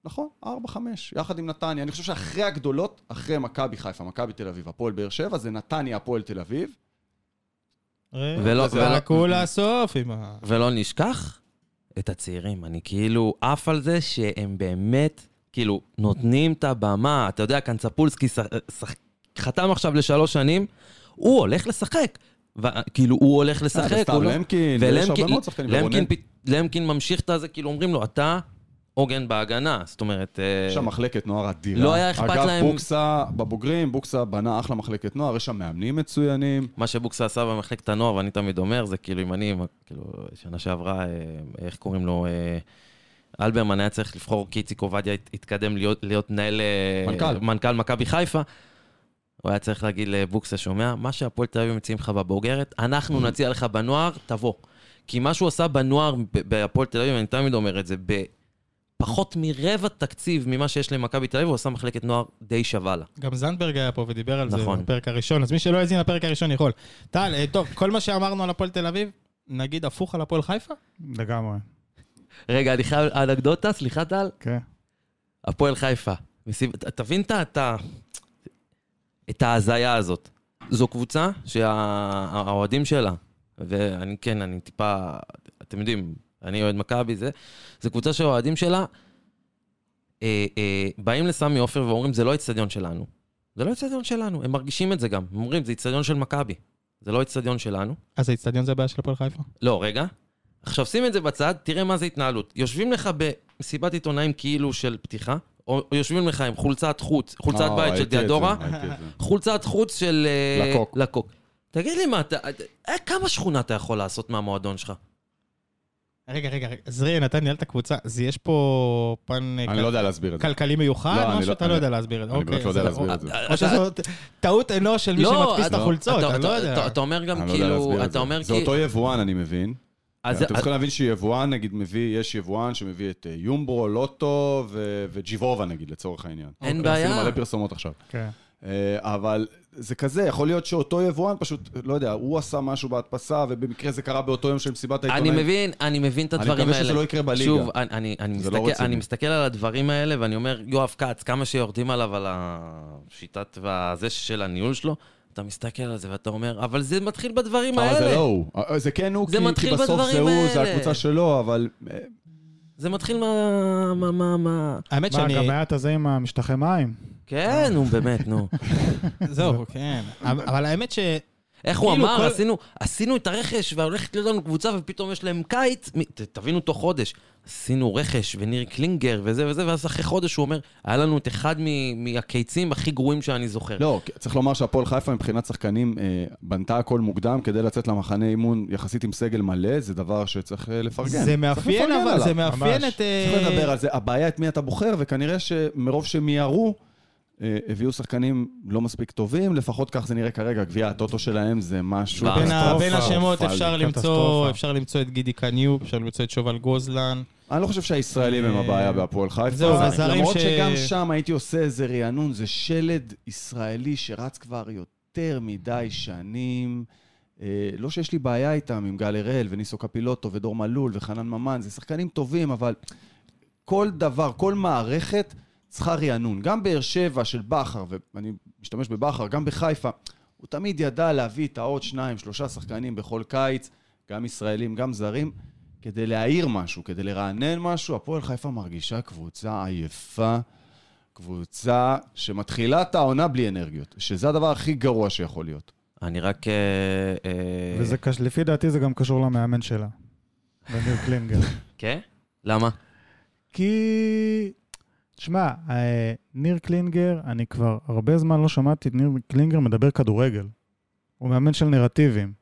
Speaker 2: נכון, ארבע, חמש, יחד עם נתניה. אני חושב שאחרי הגדולות, אחרי מכבי חיפה, מכבי תל אביב, הפועל באר שבע, זה נתניה, הפועל תל אביב.
Speaker 1: אה,
Speaker 3: ולא- ולא-
Speaker 1: ולקו לסוף עם ה...
Speaker 3: ולא נשכח את הצעירים. אני כאילו עף על זה שהם באמת, כאילו, נותנים את הבמה. אתה יודע, קנצפולסקי שח- שח- חתם עכשיו לשלוש שנים, הוא הולך לשחק. ו- כאילו, הוא הולך לשחק.
Speaker 2: אה,
Speaker 3: הוא
Speaker 2: וסתם
Speaker 3: לא-
Speaker 2: למקין, ויש הרבה
Speaker 3: ולמקין-
Speaker 2: מאוד שחקנים.
Speaker 3: למקין
Speaker 2: ורונן.
Speaker 3: פ- למקין ממשיך את זה, כאילו אומרים לו, אתה עוגן בהגנה. זאת אומרת... אה,
Speaker 2: יש שם מחלקת נוער אדירה.
Speaker 3: לא היה אכפת להם-
Speaker 2: אגב, בוקסה, בבוגרים, בוקסה בנה אחלה מחלקת נוער, יש שם מאמנים מצוינים.
Speaker 3: מה שבוקסה עשה במחלקת הנוער, ואני תמיד אומר, זה כאילו אם אני, כאילו, שנה שעברה, אה, איך קוראים לו, אה, אלברמן היה צריך לבחור, כי איציק עובדיה הת- התקדם להיות, להיות מנהל... אה,
Speaker 2: מנכ"ל.
Speaker 3: מנכ"ל מכבי חיפה. הוא היה צריך להגיד לבוקסה, שומע, מה שהפועל תל אביב מציעים לך בבוגרת, אנחנו נציע לך בנוער, תבוא. כי מה שהוא עשה בנוער, ב- בהפועל תל אביב, אני תמיד אומר את זה, בפחות מרבע תקציב ממה שיש למכבי תל אביב, הוא עשה מחלקת נוער די שווה לה.
Speaker 1: גם זנדברג היה פה ודיבר על זה
Speaker 3: נכון.
Speaker 1: בפרק הראשון, אז מי שלא האזין לפרק הראשון יכול. טל, אה, טוב, כל מה שאמרנו על הפועל תל אביב, נגיד הפוך על הפועל חיפה?
Speaker 4: לגמרי,
Speaker 3: רגע, אני חייב אנקדוטה, סליחה טל.
Speaker 4: כן.
Speaker 3: הפועל חיפה. מסיב... ת- תבין את ה- את ה... את ההזיה הזאת. זו קבוצה שהאוהדים שלה, ואני כן, אני טיפה, אתם יודעים, אני אוהד מכבי, זה, זו קבוצה שהאוהדים שלה אה, אה, באים לסמי עופר ואומרים, זה לא האיצטדיון שלנו. זה לא האיצטדיון שלנו, הם מרגישים את זה גם. הם אומרים, זה איצטדיון של מכבי. זה לא האיצטדיון שלנו.
Speaker 1: אז האיצטדיון זה הבעיה של הפועל חיפה?
Speaker 3: לא, רגע. עכשיו שים את זה בצד, תראה מה זה התנהלות. יושבים לך במסיבת עיתונאים כאילו של פתיחה, או או יושבים לך עם חולצת חוץ, חולצת
Speaker 2: אה,
Speaker 3: בית של
Speaker 2: ראיתי את
Speaker 3: דיאדורה,
Speaker 2: זה, ראיתי את זה.
Speaker 3: חולצת חוץ של... אה,
Speaker 2: לקוק.
Speaker 3: לקוק. תגיד לי מה, אתה... אה, כמה שכונה אתה יכול לעשות מהמועדון שלך?
Speaker 1: רגע, רגע, רגע, זרי נתן ניהל את הקבוצה, אז יש פה פן אה,
Speaker 2: אני
Speaker 1: כל-
Speaker 2: לא יודע להסביר את זה.
Speaker 1: כלכלי
Speaker 2: לא,
Speaker 1: מיוחד,
Speaker 2: אני
Speaker 1: משהו
Speaker 2: לא-
Speaker 1: אתה לא
Speaker 2: אני-
Speaker 1: יודע להסביר את זה.
Speaker 2: אני
Speaker 1: אוקיי,
Speaker 2: באמת לא יודע
Speaker 1: אז-
Speaker 2: להסביר
Speaker 3: אה,
Speaker 2: את זה.
Speaker 1: או שזו טעות אנוש של מי שמדפיס את
Speaker 3: לא, אתה-
Speaker 1: החולצות,
Speaker 3: אתה-
Speaker 1: אני לא
Speaker 3: אתה-
Speaker 1: יודע.
Speaker 3: אתה- אתה אומר גם
Speaker 2: אני לא יודע
Speaker 3: כאילו,
Speaker 2: להסביר את
Speaker 3: אתה
Speaker 2: זה.
Speaker 3: אומר
Speaker 2: זה
Speaker 3: כאילו...
Speaker 2: אותו יבואן, אני מבין.
Speaker 3: אז-
Speaker 2: אתם צריכים להבין שיבואן, נגיד, מביא, יש יבואן שמביא את אה, יומברו, לוטו ו- וג'יבובה, נגיד, לצורך העניין.
Speaker 3: אין
Speaker 2: אוקיי,
Speaker 3: בעיה.
Speaker 2: עשינו מלא פרסומות עכשיו.
Speaker 4: כן.
Speaker 2: אה, אבל זה כזה, יכול להיות שאותו יבואן פשוט, לא יודע, הוא עשה משהו בהדפסה, ובמקרה זה קרה באותו יום של מסיבת
Speaker 3: אני
Speaker 2: העיתונאים.
Speaker 3: מבין, אני מבין את
Speaker 2: אני
Speaker 3: הדברים האלה.
Speaker 2: מקווה שזה לא יקרה בליגה.
Speaker 3: שוב, אני- אני- אני
Speaker 2: זה לא
Speaker 3: מסתכל-
Speaker 2: רציני.
Speaker 3: אני מסתכל על הדברים האלה, ואני אומר, יואב כץ, כמה שיורדים עליו על השיטת והזה של הניהול שלו, אתה מסתכל על זה ואתה אומר, אבל זה מתחיל בדברים
Speaker 2: אבל זה לא
Speaker 3: האלה.
Speaker 2: הוא. אה, זה כן הוא,
Speaker 3: זה
Speaker 2: כי- כי
Speaker 3: מתחיל
Speaker 2: בסוף זה
Speaker 3: בדברים
Speaker 2: הוא, זה
Speaker 3: האלה.
Speaker 2: הקבוצה שלו, אבל... אה,
Speaker 3: זה מתחיל מה... מה... מה... מה...
Speaker 1: האמת
Speaker 4: מה,
Speaker 1: שאני...
Speaker 4: גם היה את הזה עם המשטחי מים.
Speaker 3: כן, נו, באמת, נו.
Speaker 1: זהו, כן. אבל אבל האמת ש...
Speaker 3: איך הוא
Speaker 1: כאילו כל-
Speaker 3: אמר, עשינו- עשינו את הרכש, והולכת להיות לנו קבוצה, ופתאום יש להם קיץ. מי- ת- תבינו, תוך חודש. עשינו רכש, וניר קלינגר, וזה וזה, ואז אחרי חודש הוא אומר, היה לנו את אחד מ- מהקיצים הכי גרועים שאני זוכר.
Speaker 2: לא, כי- צריך לומר שהפועל חיפה מבחינת שחקנים אה, בנתה הכל מוקדם כדי לצאת למחנה אימון יחסית עם סגל מלא, זה דבר שצריך אה, לפרגן.
Speaker 1: זה
Speaker 2: צריך
Speaker 1: מאפיין
Speaker 2: לפרגן
Speaker 1: אבל,
Speaker 2: עליו.
Speaker 1: זה מאפיין
Speaker 4: ממש.
Speaker 1: את... אה,
Speaker 2: צריך לדבר על זה. הבעיה את מי אתה בוחר, וכנראה שמרוב שמיהרו, אה, הביאו שחקנים לא מספיק טובים, לפחות כך זה נראה כרגע. גביע הטוטו שלהם זה משהו...
Speaker 3: בין ה-
Speaker 1: בין ה-
Speaker 2: קטסטרופה.
Speaker 1: בין השמות אפשר
Speaker 4: קטסטרופה.
Speaker 1: למצוא, אפשר למצוא את גידי קניוב, אפשר למצוא את שובל גוזלן.
Speaker 2: אני לא חושב שהישראלים הם הבעיה בהפועל חיפה.
Speaker 1: אה, זהו, הזרים
Speaker 2: למרות
Speaker 1: ש-
Speaker 2: שגם שם הייתי עושה איזה רענון, זה שלד ישראלי שרץ כבר יותר מדי שנים. אה, לא שיש לי בעיה איתם, עם גל הראל וניסו קפילוטו ודור מלול וחנן ממן, זה שחקנים טובים, אבל כל דבר, כל מערכת צריכה רענון. גם באר שבע של בכר, ואני משתמש בבכר, גם בחיפה, הוא תמיד ידע להביא את העוד שניים, שלושה שחקנים בכל קיץ, גם ישראלים, גם זרים, כדי להעיר משהו, כדי לרענן משהו. הפועל חיפה מרגישה קבוצה עייפה, קבוצה שמתחילה את העונה בלי אנרגיות, שזה הדבר הכי גרוע שיכול להיות.
Speaker 3: אני רק... אה, אה,
Speaker 4: וזה קש... לפי דעתי זה גם קשור למאמן שלה, לניר קלינגר.
Speaker 3: כן? למה?
Speaker 4: כי... תשמע, אה, ניר קלינגר, אני כבר הרבה זמן לא שמעתי את ניר קלינגר מדבר כדורגל. הוא מאמן של נרטיבים.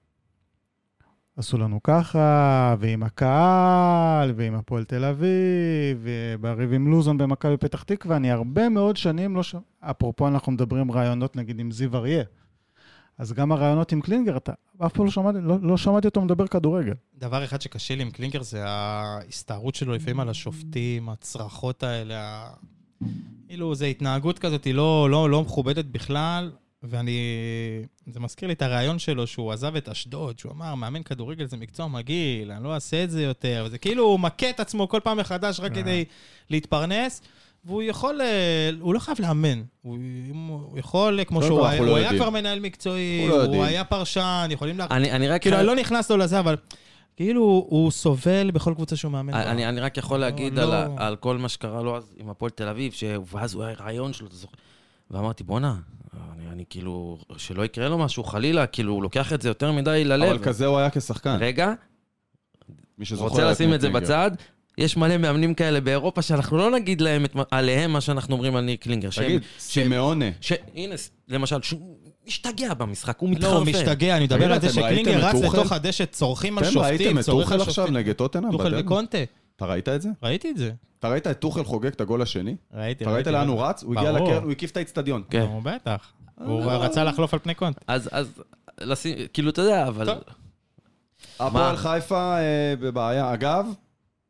Speaker 4: עשו לנו ככה, ועם הקהל, ועם הפועל תל אביב, ובריב עם לוזון במכבי פתח תקווה, אני הרבה מאוד שנים לא ש... אפרופו, אנחנו מדברים רעיונות נגיד עם זיו אריה. אז גם הרעיונות עם קלינגר, אתה אף פעם לא שמעתי, לא, לא שמעתי אותו מדבר כדורגל.
Speaker 1: דבר אחד שקשה לי עם קלינגר זה ההסתערות שלו לפעמים על השופטים, הצרחות האלה. ה- כאילו, זו התנהגות כזאת, היא לא, לא, לא מכובדת בכלל, ואני... זה מזכיר לי את הרעיון שלו שהוא עזב את אשדוד, שהוא אמר, מאמן כדורגל זה מקצוע מגעיל, אני לא אעשה את זה יותר. וזה כאילו, הוא מכה את עצמו כל פעם מחדש רק
Speaker 2: אה.
Speaker 4: כן.
Speaker 1: כדי להתפרנס. והוא יכול, אה, הוא לא חייב לאמן, הוא, אם הוא הוא יכול, אה, כמו
Speaker 2: קודם
Speaker 1: שהוא
Speaker 2: כל,
Speaker 1: היה,
Speaker 2: אנחנו לא
Speaker 1: הוא היה
Speaker 2: יודעים.
Speaker 1: כבר מנהל מקצועי,
Speaker 2: אנחנו לא
Speaker 1: הוא
Speaker 2: יודעים.
Speaker 1: היה פרשן, יכולים לה...
Speaker 3: אני, אני רק...
Speaker 1: כאילו, אני לא נכנס לו לזה, אבל כאילו, הוא סובל בכל קבוצה שהוא מאמן. בה.
Speaker 3: אני, אני רק יכול להגיד
Speaker 1: לא.
Speaker 3: על, ה- על כל מה שקרה לו אז עם הפועל תל אביב, ש... ואז הוא היה רעיון שלו, אתה זוכר? ואמרתי, בואנה, אני, אני כאילו, שלא יקרה לו משהו, חלילה, כאילו, הוא לוקח את זה יותר מדי ללב.
Speaker 2: אבל כזה הוא היה כשחקן.
Speaker 3: רגע,
Speaker 2: מי שזוכר...
Speaker 3: רוצה
Speaker 2: היה
Speaker 3: לשים את זה
Speaker 2: קלינגר.
Speaker 3: בצד. יש מלא מאמנים כאלה באירופה שאנחנו לא נגיד להם את, מה- עליהם מה שאנחנו אומרים על ניר קלינגר. שהם-
Speaker 2: תגיד, סימאונה.
Speaker 3: ש... הנה, למשל, שהוא משתגע במשחק, הוא מתחרפן.
Speaker 1: לא, הוא משתגע, אני מדבר
Speaker 2: תגיד,
Speaker 1: על זה
Speaker 2: אתם ראיתם
Speaker 1: שקלינגר
Speaker 2: את
Speaker 1: רץ
Speaker 2: טוחל?
Speaker 1: לתוך הדשא, צורכים על
Speaker 2: אתם ראיתם
Speaker 1: שופטים,
Speaker 2: כן, את
Speaker 1: צורך
Speaker 2: טוחל
Speaker 1: על
Speaker 2: עכשיו
Speaker 1: שופטים.
Speaker 2: נגד טוטנאם?
Speaker 1: טוחל
Speaker 2: בדרבי?
Speaker 1: וקונטה,
Speaker 2: אתה ראית את זה?
Speaker 1: ראיתי את זה.
Speaker 2: אתה ראית את טוחל חוגג את הגול השני?
Speaker 1: ראיתי,
Speaker 2: אתה ראית לאן הוא אה, רץ? הוא הגיע
Speaker 1: ברור.
Speaker 2: לקרן, הוא הקיף את האיצטדיון.
Speaker 3: כן.
Speaker 1: נו, בטח. הוא
Speaker 2: לא.
Speaker 1: רצה לחלוף על פני קונטה.
Speaker 3: אז, אז, לשים, כאילו, אתה יודע, אבל...
Speaker 1: טוב.
Speaker 2: הפועל חיפה אה, בבעיה. אגב,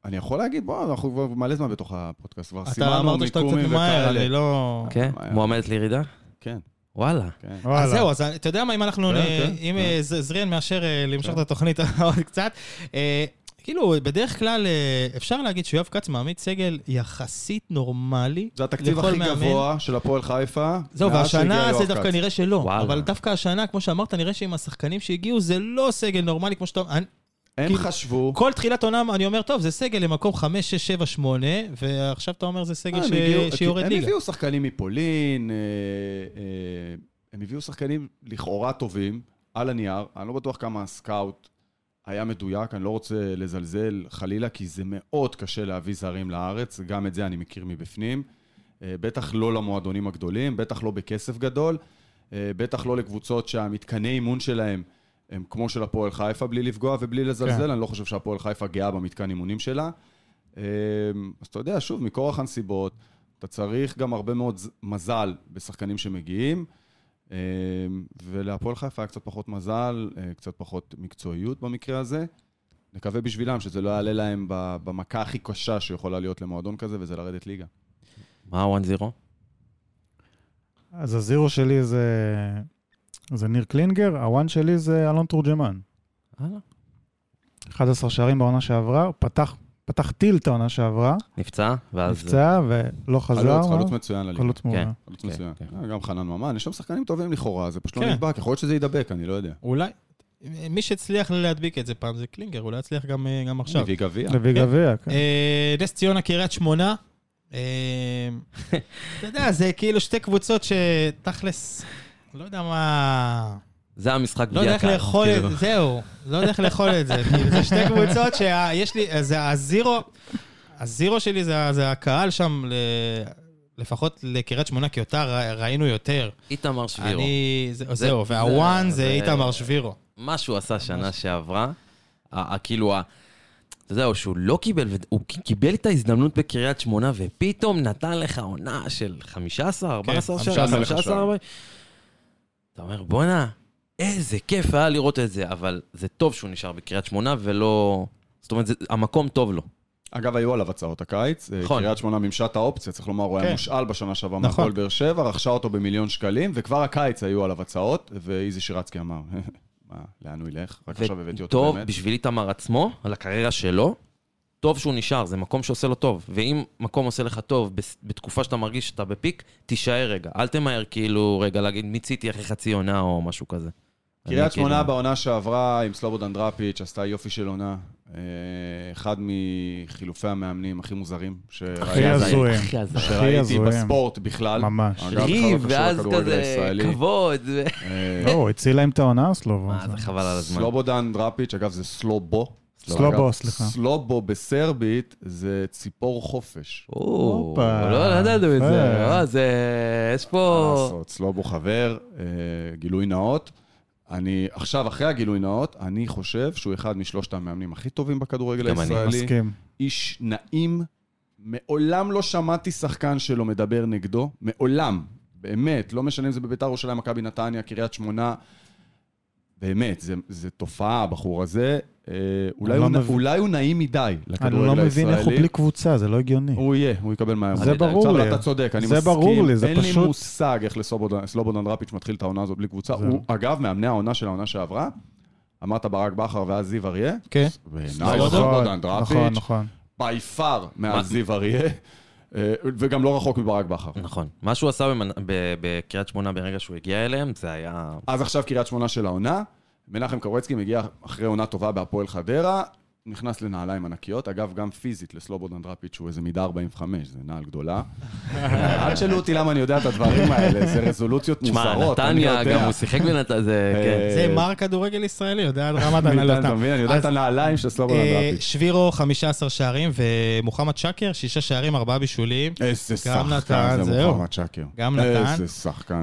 Speaker 2: אני יכול להגיד, בוא, אנחנו כבר מלא זמן בתוך הפודקאסט, כבר
Speaker 1: אתה
Speaker 2: סימנו
Speaker 1: אמרת שאתה קצת
Speaker 2: מיקומים
Speaker 1: ממהר, אני
Speaker 2: וכאלה.
Speaker 1: לא...
Speaker 3: כן?
Speaker 2: מה היה?
Speaker 3: מועמדת לירידה?
Speaker 2: כן,
Speaker 3: וואלה.
Speaker 2: כן.
Speaker 1: אז
Speaker 4: וואלה.
Speaker 1: אה, זהו, אז אתה יודע מה, אם אנחנו,
Speaker 2: כן,
Speaker 1: נ-
Speaker 2: כן,
Speaker 1: אם
Speaker 2: כן.
Speaker 1: אה, ז- זריאן מאשר אה, למשוך את התוכנית עוד קצת, אה, כאילו, בדרך כלל אה, אפשר להגיד שיואב כץ מעמיד סגל יחסית נורמלי.
Speaker 2: זה התקציב
Speaker 1: לכל
Speaker 2: הכי
Speaker 1: מאמן.
Speaker 2: גבוה של הפועל חיפה.
Speaker 1: זהו,
Speaker 2: מאז שהגיע
Speaker 1: והשנה
Speaker 2: יואב
Speaker 1: זה דווקא
Speaker 2: כץ.
Speaker 1: נראה שלא.
Speaker 3: וואלה.
Speaker 1: אבל דווקא השנה, כמו שאמרת, נראה שעם השחקנים שהגיעו, זה לא סגל נורמלי, כמו שאתה... אני-
Speaker 2: הם
Speaker 1: כאילו-
Speaker 2: חשבו...
Speaker 1: כל תחילת עונה אני אומר, טוב, זה סגל למקום 5, 6, 7, 8, ועכשיו אתה אומר, זה סגל
Speaker 2: אה,
Speaker 1: ש-
Speaker 2: הם הגיעו-
Speaker 1: שיורד
Speaker 2: הם
Speaker 1: ליגה.
Speaker 2: הביאו שחקנים מפולין, אה, אה, הם הביאו שחקנים לכאורה טובים, על הנייר. אני לא בטוח כמה הסקאוט היה מדויק, אני לא רוצה לזלזל חלילה, כי זה מאוד קשה להביא זרים לארץ, גם את זה אני מכיר מבפנים. אה, בטח לא למועדונים הגדולים, בטח לא בכסף גדול, אה, בטח לא לקבוצות שהמתקני אימון שלהם הם כמו של הפועל חיפה, בלי לפגוע ובלי לזלזל,
Speaker 1: כן.
Speaker 2: אני לא חושב שהפועל חיפה גאה במתקן אימונים שלה. אה, אז אתה יודע, שוב, מכורח הנסיבות, אתה צריך גם הרבה מאוד ז- מזל בשחקנים שמגיעים, אה, ולהפועל חיפה היה קצת פחות מזל, אה, קצת פחות מקצועיות במקרה הזה. נקווה בשבילם שזה לא יעלה להם ב- במכה הכי קשה שיכולה להיות למועדון כזה, וזה לרדת ליגה.
Speaker 3: מה הוואן זירו?
Speaker 4: אז הזירו שלי זה... זה ניר קלינגר, הוואן שלי זה אלון תורג'מן. 11 שערים בעונה שעברה, פתח, פתח טיל את העונה שעברה,
Speaker 3: נפצע, ואז...
Speaker 4: נפצע ולא חזר. אה,
Speaker 2: חלוץ, חלוץ מצוין לליגה.
Speaker 4: חלוץ מעולה.
Speaker 3: כן.
Speaker 2: חלוץ
Speaker 3: כן,
Speaker 2: מצוין.
Speaker 3: כן.
Speaker 2: אה, גם חנן ממן, יש שם שחקנים טובים לכאורה, זה פשוט לא
Speaker 1: כן.
Speaker 2: נדבק, יכול להיות שזה יידבק, אני לא יודע.
Speaker 1: אולי... מי שהצליח להדביק את זה פעם זה קלינגר, אולי יצליח גם אה, גם עכשיו.
Speaker 2: מביא גביע.
Speaker 4: לוי גביע, כן.
Speaker 1: אה, נס ציונה, קריית שמונה. אה, אתה יודע, זה כאילו שתי קבוצות שתכלס, לא יודע מה...
Speaker 3: זה המשחק
Speaker 1: לא יודע איך
Speaker 3: קהל,
Speaker 1: לאכול
Speaker 3: כאילו.
Speaker 1: את זה, זהו. לא יודע איך לאכול את זה. כאילו, זה שתי קבוצות שיש לי, זה הזירו, הזירו שלי זה זה הקהל שם, ל- לפחות לקריית שמונה, כי אותה ר- ראינו יותר.
Speaker 3: איתמר שבירו.
Speaker 1: אני, זה- זהו,
Speaker 3: זה-
Speaker 1: והוואן
Speaker 3: זה-
Speaker 1: זה
Speaker 3: זה-
Speaker 1: איתמר שבירו.
Speaker 3: מה שהוא עשה שנה שעברה, ה- ה- כאילו, ה- אתה יודע, שהוא לא קיבל, הוא ק- קיבל את ההזדמנות בקריית שמונה, ופתאום נתן לך עונה של
Speaker 1: כן,
Speaker 3: 15, 14
Speaker 1: 15
Speaker 3: שנה,
Speaker 1: לך
Speaker 3: 15,
Speaker 2: שער.
Speaker 3: 14. אתה אומר, בואנה, איזה כיף היה לראות את זה, אבל זה טוב שהוא נשאר בקריית שמונה ולא... זאת אומרת, זה, המקום טוב לו.
Speaker 2: אגב, היו עליו הצעות הקיץ. אה,
Speaker 3: נכון.
Speaker 2: קריית שמונה מימשה את האופציה, צריך לומר, הוא
Speaker 1: כן.
Speaker 2: היה מושאל בשנה שעברה
Speaker 1: נכון.
Speaker 2: מהפועל באר שבע, רכשה אותו במיליון שקלים, וכבר הקיץ היו עליו הצעות, ואיזי שירצקי אמר, מה, לאן הוא ילך? רק עכשיו הבאתי אותו
Speaker 3: וטוב,
Speaker 2: באמת.
Speaker 3: בשביל איתמר עצמו, על הקריירה שלו, טוב שהוא נשאר, זה מקום שעושה לו טוב. ואם מקום עושה לך טוב בס- בתקופה שאתה מרגיש שאתה בפיק, תישאר רגע. אל תמהר כאילו, רגע, להגיד, מיציתי אחרי חצי עונה או משהו כזה. אני
Speaker 2: קריית שמונה
Speaker 3: כאילו-
Speaker 2: בעונה שעברה עם סלובודן דראפיץ', עשתה יופי של עונה. אה, אחד מחילופי המאמנים הכי מוזרים
Speaker 4: הכי
Speaker 2: שראיתי.
Speaker 3: הזוי.
Speaker 4: הזויים.
Speaker 3: הכי הזוי.
Speaker 2: שראיתי
Speaker 4: הזויים.
Speaker 2: בספורט בכלל.
Speaker 4: ממש.
Speaker 2: אגב, בכלל לא
Speaker 3: ריב,
Speaker 2: קשור
Speaker 3: ואז
Speaker 2: לכדורגל
Speaker 3: כזה,
Speaker 2: הישראלי.
Speaker 3: כבוד. ו-
Speaker 2: אה,
Speaker 4: לא, הוא הציל להם את העונה, סלובו.
Speaker 3: מה, אה, זה חבל על הזמן.
Speaker 2: סלובודן דראפיץ', אגב, זה סלובו.
Speaker 4: סלובו,
Speaker 2: אגב,
Speaker 4: סליחה.
Speaker 2: סלובו בסרבית זה ציפור חופש.
Speaker 3: או,
Speaker 4: הופה.
Speaker 3: לא לא ידענו את זה.
Speaker 4: יפה.
Speaker 3: אה, זה... יש
Speaker 2: מה
Speaker 3: פה...
Speaker 2: לעשות, סלובו חבר, אה, גילוי נאות. אני, עכשיו, אחרי הגילוי נאות, אני חושב שהוא אחד משלושת המאמנים הכי טובים בכדורגל
Speaker 3: גם אני.
Speaker 2: הישראלי.
Speaker 4: מסכים.
Speaker 2: איש נעים, מעולם לא שמעתי שחקן שלו מדבר נגדו, מעולם, באמת, לא משנה אם זה בביתר ירושלים, מכבי נתניה, קריית שמונה, באמת, זה, זה תופעה, הבחור הזה. אה, אולי,
Speaker 4: אני
Speaker 2: הוא,
Speaker 4: לא
Speaker 2: נ-
Speaker 4: מבין.
Speaker 2: אולי הוא נעים מדי
Speaker 4: אני
Speaker 2: לכדורגל
Speaker 4: לא
Speaker 2: הישראלי.
Speaker 4: מבין איך הוא בלי קבוצה, זה לא הגיוני.
Speaker 2: הוא יהיה, הוא יקבל מהר.
Speaker 4: זה ברור
Speaker 2: אבל
Speaker 4: לי.
Speaker 2: אתה צודק, אני
Speaker 4: זה
Speaker 2: מסכים.
Speaker 4: ברור לי, זה
Speaker 2: אין
Speaker 4: פשוט-
Speaker 2: לי מושג איך לסלובודן סלובודן דראפיץ' מתחיל את העונה הזאת בלי קבוצה.
Speaker 4: זה-
Speaker 2: הוא, אגב, מאמני העונה של העונה שעברה, אמרת ברק בכר ואז זיו אריה.
Speaker 1: כן.
Speaker 2: בעיניי
Speaker 1: נכון,
Speaker 2: סלובודן
Speaker 4: נכון,
Speaker 2: דראפיץ',
Speaker 4: נכון.
Speaker 2: by far מעל זיו אריה, אה, וגם לא רחוק מברק בכר.
Speaker 3: נכון. מה שהוא עשה במנ- ב- בקריית שמונה ברגע שהוא הגיע אליהם, זה היה...
Speaker 2: אז עכשיו קריית שמונה של העונה, מנחם קרואצקי מגיע אחרי עונה טובה בהפועל חדרה, נכנס לנעליים ענקיות, אגב, גם פיזית לסלובודן דראפיץ' הוא איזה מידה 45, זה נעל גדולה. אל תשאלו אותי למה אני יודע את הדברים האלה, זה רזולוציות
Speaker 3: תשמע,
Speaker 2: מוסרות, אני
Speaker 3: נתניה,
Speaker 2: יודע.
Speaker 3: גם הוא שיחק בנתניה, זה, כן.
Speaker 2: אה,
Speaker 1: זה מר כדורגל ישראלי, יודע עד רמת
Speaker 2: מידן,
Speaker 1: הנהלתה.
Speaker 2: אתה מבין? אני יודע
Speaker 1: אז-
Speaker 2: את הנעליים של סלובודן
Speaker 1: אה,
Speaker 2: דראפיץ'.
Speaker 1: שבירו 15 שערים ומוחמד שקר, שישה שערים, ארבעה בישולים.
Speaker 2: איזה
Speaker 1: נתן,
Speaker 2: שחקן זה
Speaker 1: זהו.
Speaker 2: מוחמד שקר.
Speaker 1: גם נתן.
Speaker 2: איזה שחקן.
Speaker 1: אה,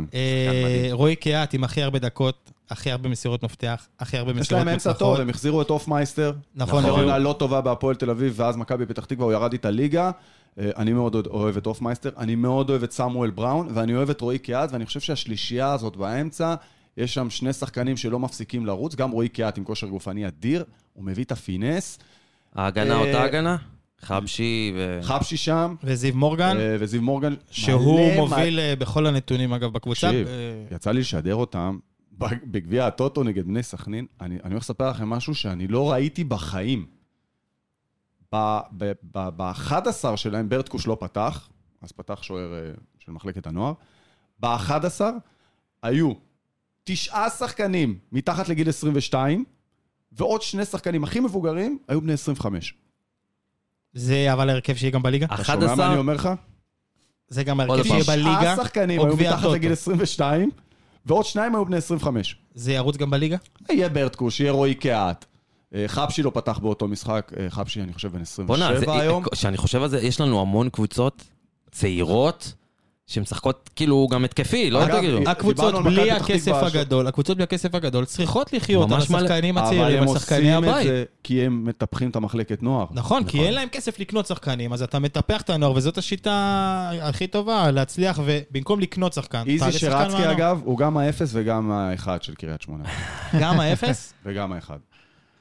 Speaker 3: מדהים.
Speaker 1: רועי קיאט עם הכי הרבה דקות, הכי הרבה מסירות מפתח, הכי הרבה
Speaker 2: יש
Speaker 1: מסירות
Speaker 2: להם אמצע טוב,
Speaker 1: מוצלחות.
Speaker 2: הם החזירו את אופמייסטר.
Speaker 1: נכון,
Speaker 2: אחרי
Speaker 1: נכון.
Speaker 2: עונה לא טובה בהפועל תל אביב, ואז מכבי פתח תקווה, הוא ירד איתה ליגה. אה, אני מאוד אוהד- אוהב את אופמייסטר, אני מאוד אוהב את סמואל בראון, ואני אוהב את רועי קיאט, ואני חושב שהשלישייה הזאת באמצע, יש שם שני שחקנים שלא מפסיקים לרוץ, גם רועי קיאט עם כושר גופני אדיר, הוא מביא את הפינס,
Speaker 3: ההגנה
Speaker 2: אה,
Speaker 3: אותה הגנה? חבשי ו...
Speaker 2: חבשי שם,
Speaker 1: וזיו מורגן,
Speaker 2: אה, וזיו מורגן.
Speaker 1: כן. שהוא
Speaker 2: מלא-
Speaker 1: מוביל אה, בכל הנתונים, אגב, בקבוצה.
Speaker 2: תקשיב,
Speaker 1: אה,
Speaker 2: יצא לי לשדר אותם ב- בגביע הטוטו נגד בני סכנין. אני, אני הולך לספר לכם משהו שאני לא ראיתי בחיים. ב-11 שלהם ברטקוש לא פתח, אז פתח שוער אה, של מחלקת הנוער. ב-11 היו תשעה שחקנים מתחת לגיל 22, ועוד שני שחקנים הכי מבוגרים היו בני 25.
Speaker 1: זה אבל ההרכב שיהיה גם בליגה.
Speaker 2: אתה שומע מה אני
Speaker 3: 11,
Speaker 2: אומר לך?
Speaker 1: זה גם
Speaker 3: עוד
Speaker 1: ההרכב
Speaker 3: פעם.
Speaker 1: שיהיה בליגה,
Speaker 2: תשעה שחקנים
Speaker 1: או
Speaker 2: היו
Speaker 1: גביע
Speaker 2: מתחת
Speaker 1: הטוטו.
Speaker 2: לגיל 22, ועוד שניים היו בני 25.
Speaker 1: זה ירוץ גם בליגה.
Speaker 2: יהיה ברטקוש, יהיה רועי קהת. אה, חבשי לא פתח באותו משחק, אה, חבשי אני חושב בן
Speaker 3: בוא'נה,
Speaker 2: 27
Speaker 3: זה-
Speaker 2: היום.
Speaker 3: כשאני חושב על זה, יש לנו המון קבוצות צעירות שמשחקות כאילו גם התקפי, לא
Speaker 2: אגב, אה,
Speaker 3: תגידו.
Speaker 2: דיברנו
Speaker 1: הקבוצות
Speaker 2: על מכבי
Speaker 1: בלי
Speaker 2: פתח תקווה
Speaker 1: הכסף
Speaker 2: השבוע.
Speaker 1: הגדול, הקבוצות בלי הכסף הגדול צריכות לחיות על
Speaker 3: ממש מלא.
Speaker 1: השחקנים
Speaker 2: אבל
Speaker 1: הצעירים,
Speaker 2: הם
Speaker 1: על שחקני
Speaker 2: עושים את
Speaker 1: הבית.
Speaker 2: זה כי הם מטפחים את המחלקת נוער.
Speaker 1: נכון, כי אין להם כסף לקנות שחקנים, אז אתה מטפח את הנוער, וזאת השיטה הכי טובה, להצליח, ובמקום לקנות שחקן,
Speaker 2: איזי
Speaker 1: תעלה שחקן
Speaker 2: שרצקי
Speaker 1: מהנוער.
Speaker 2: אגב, הוא גם האפס וגם האחד של קריית שמונה.
Speaker 1: גם האפס?
Speaker 2: וגם האחד.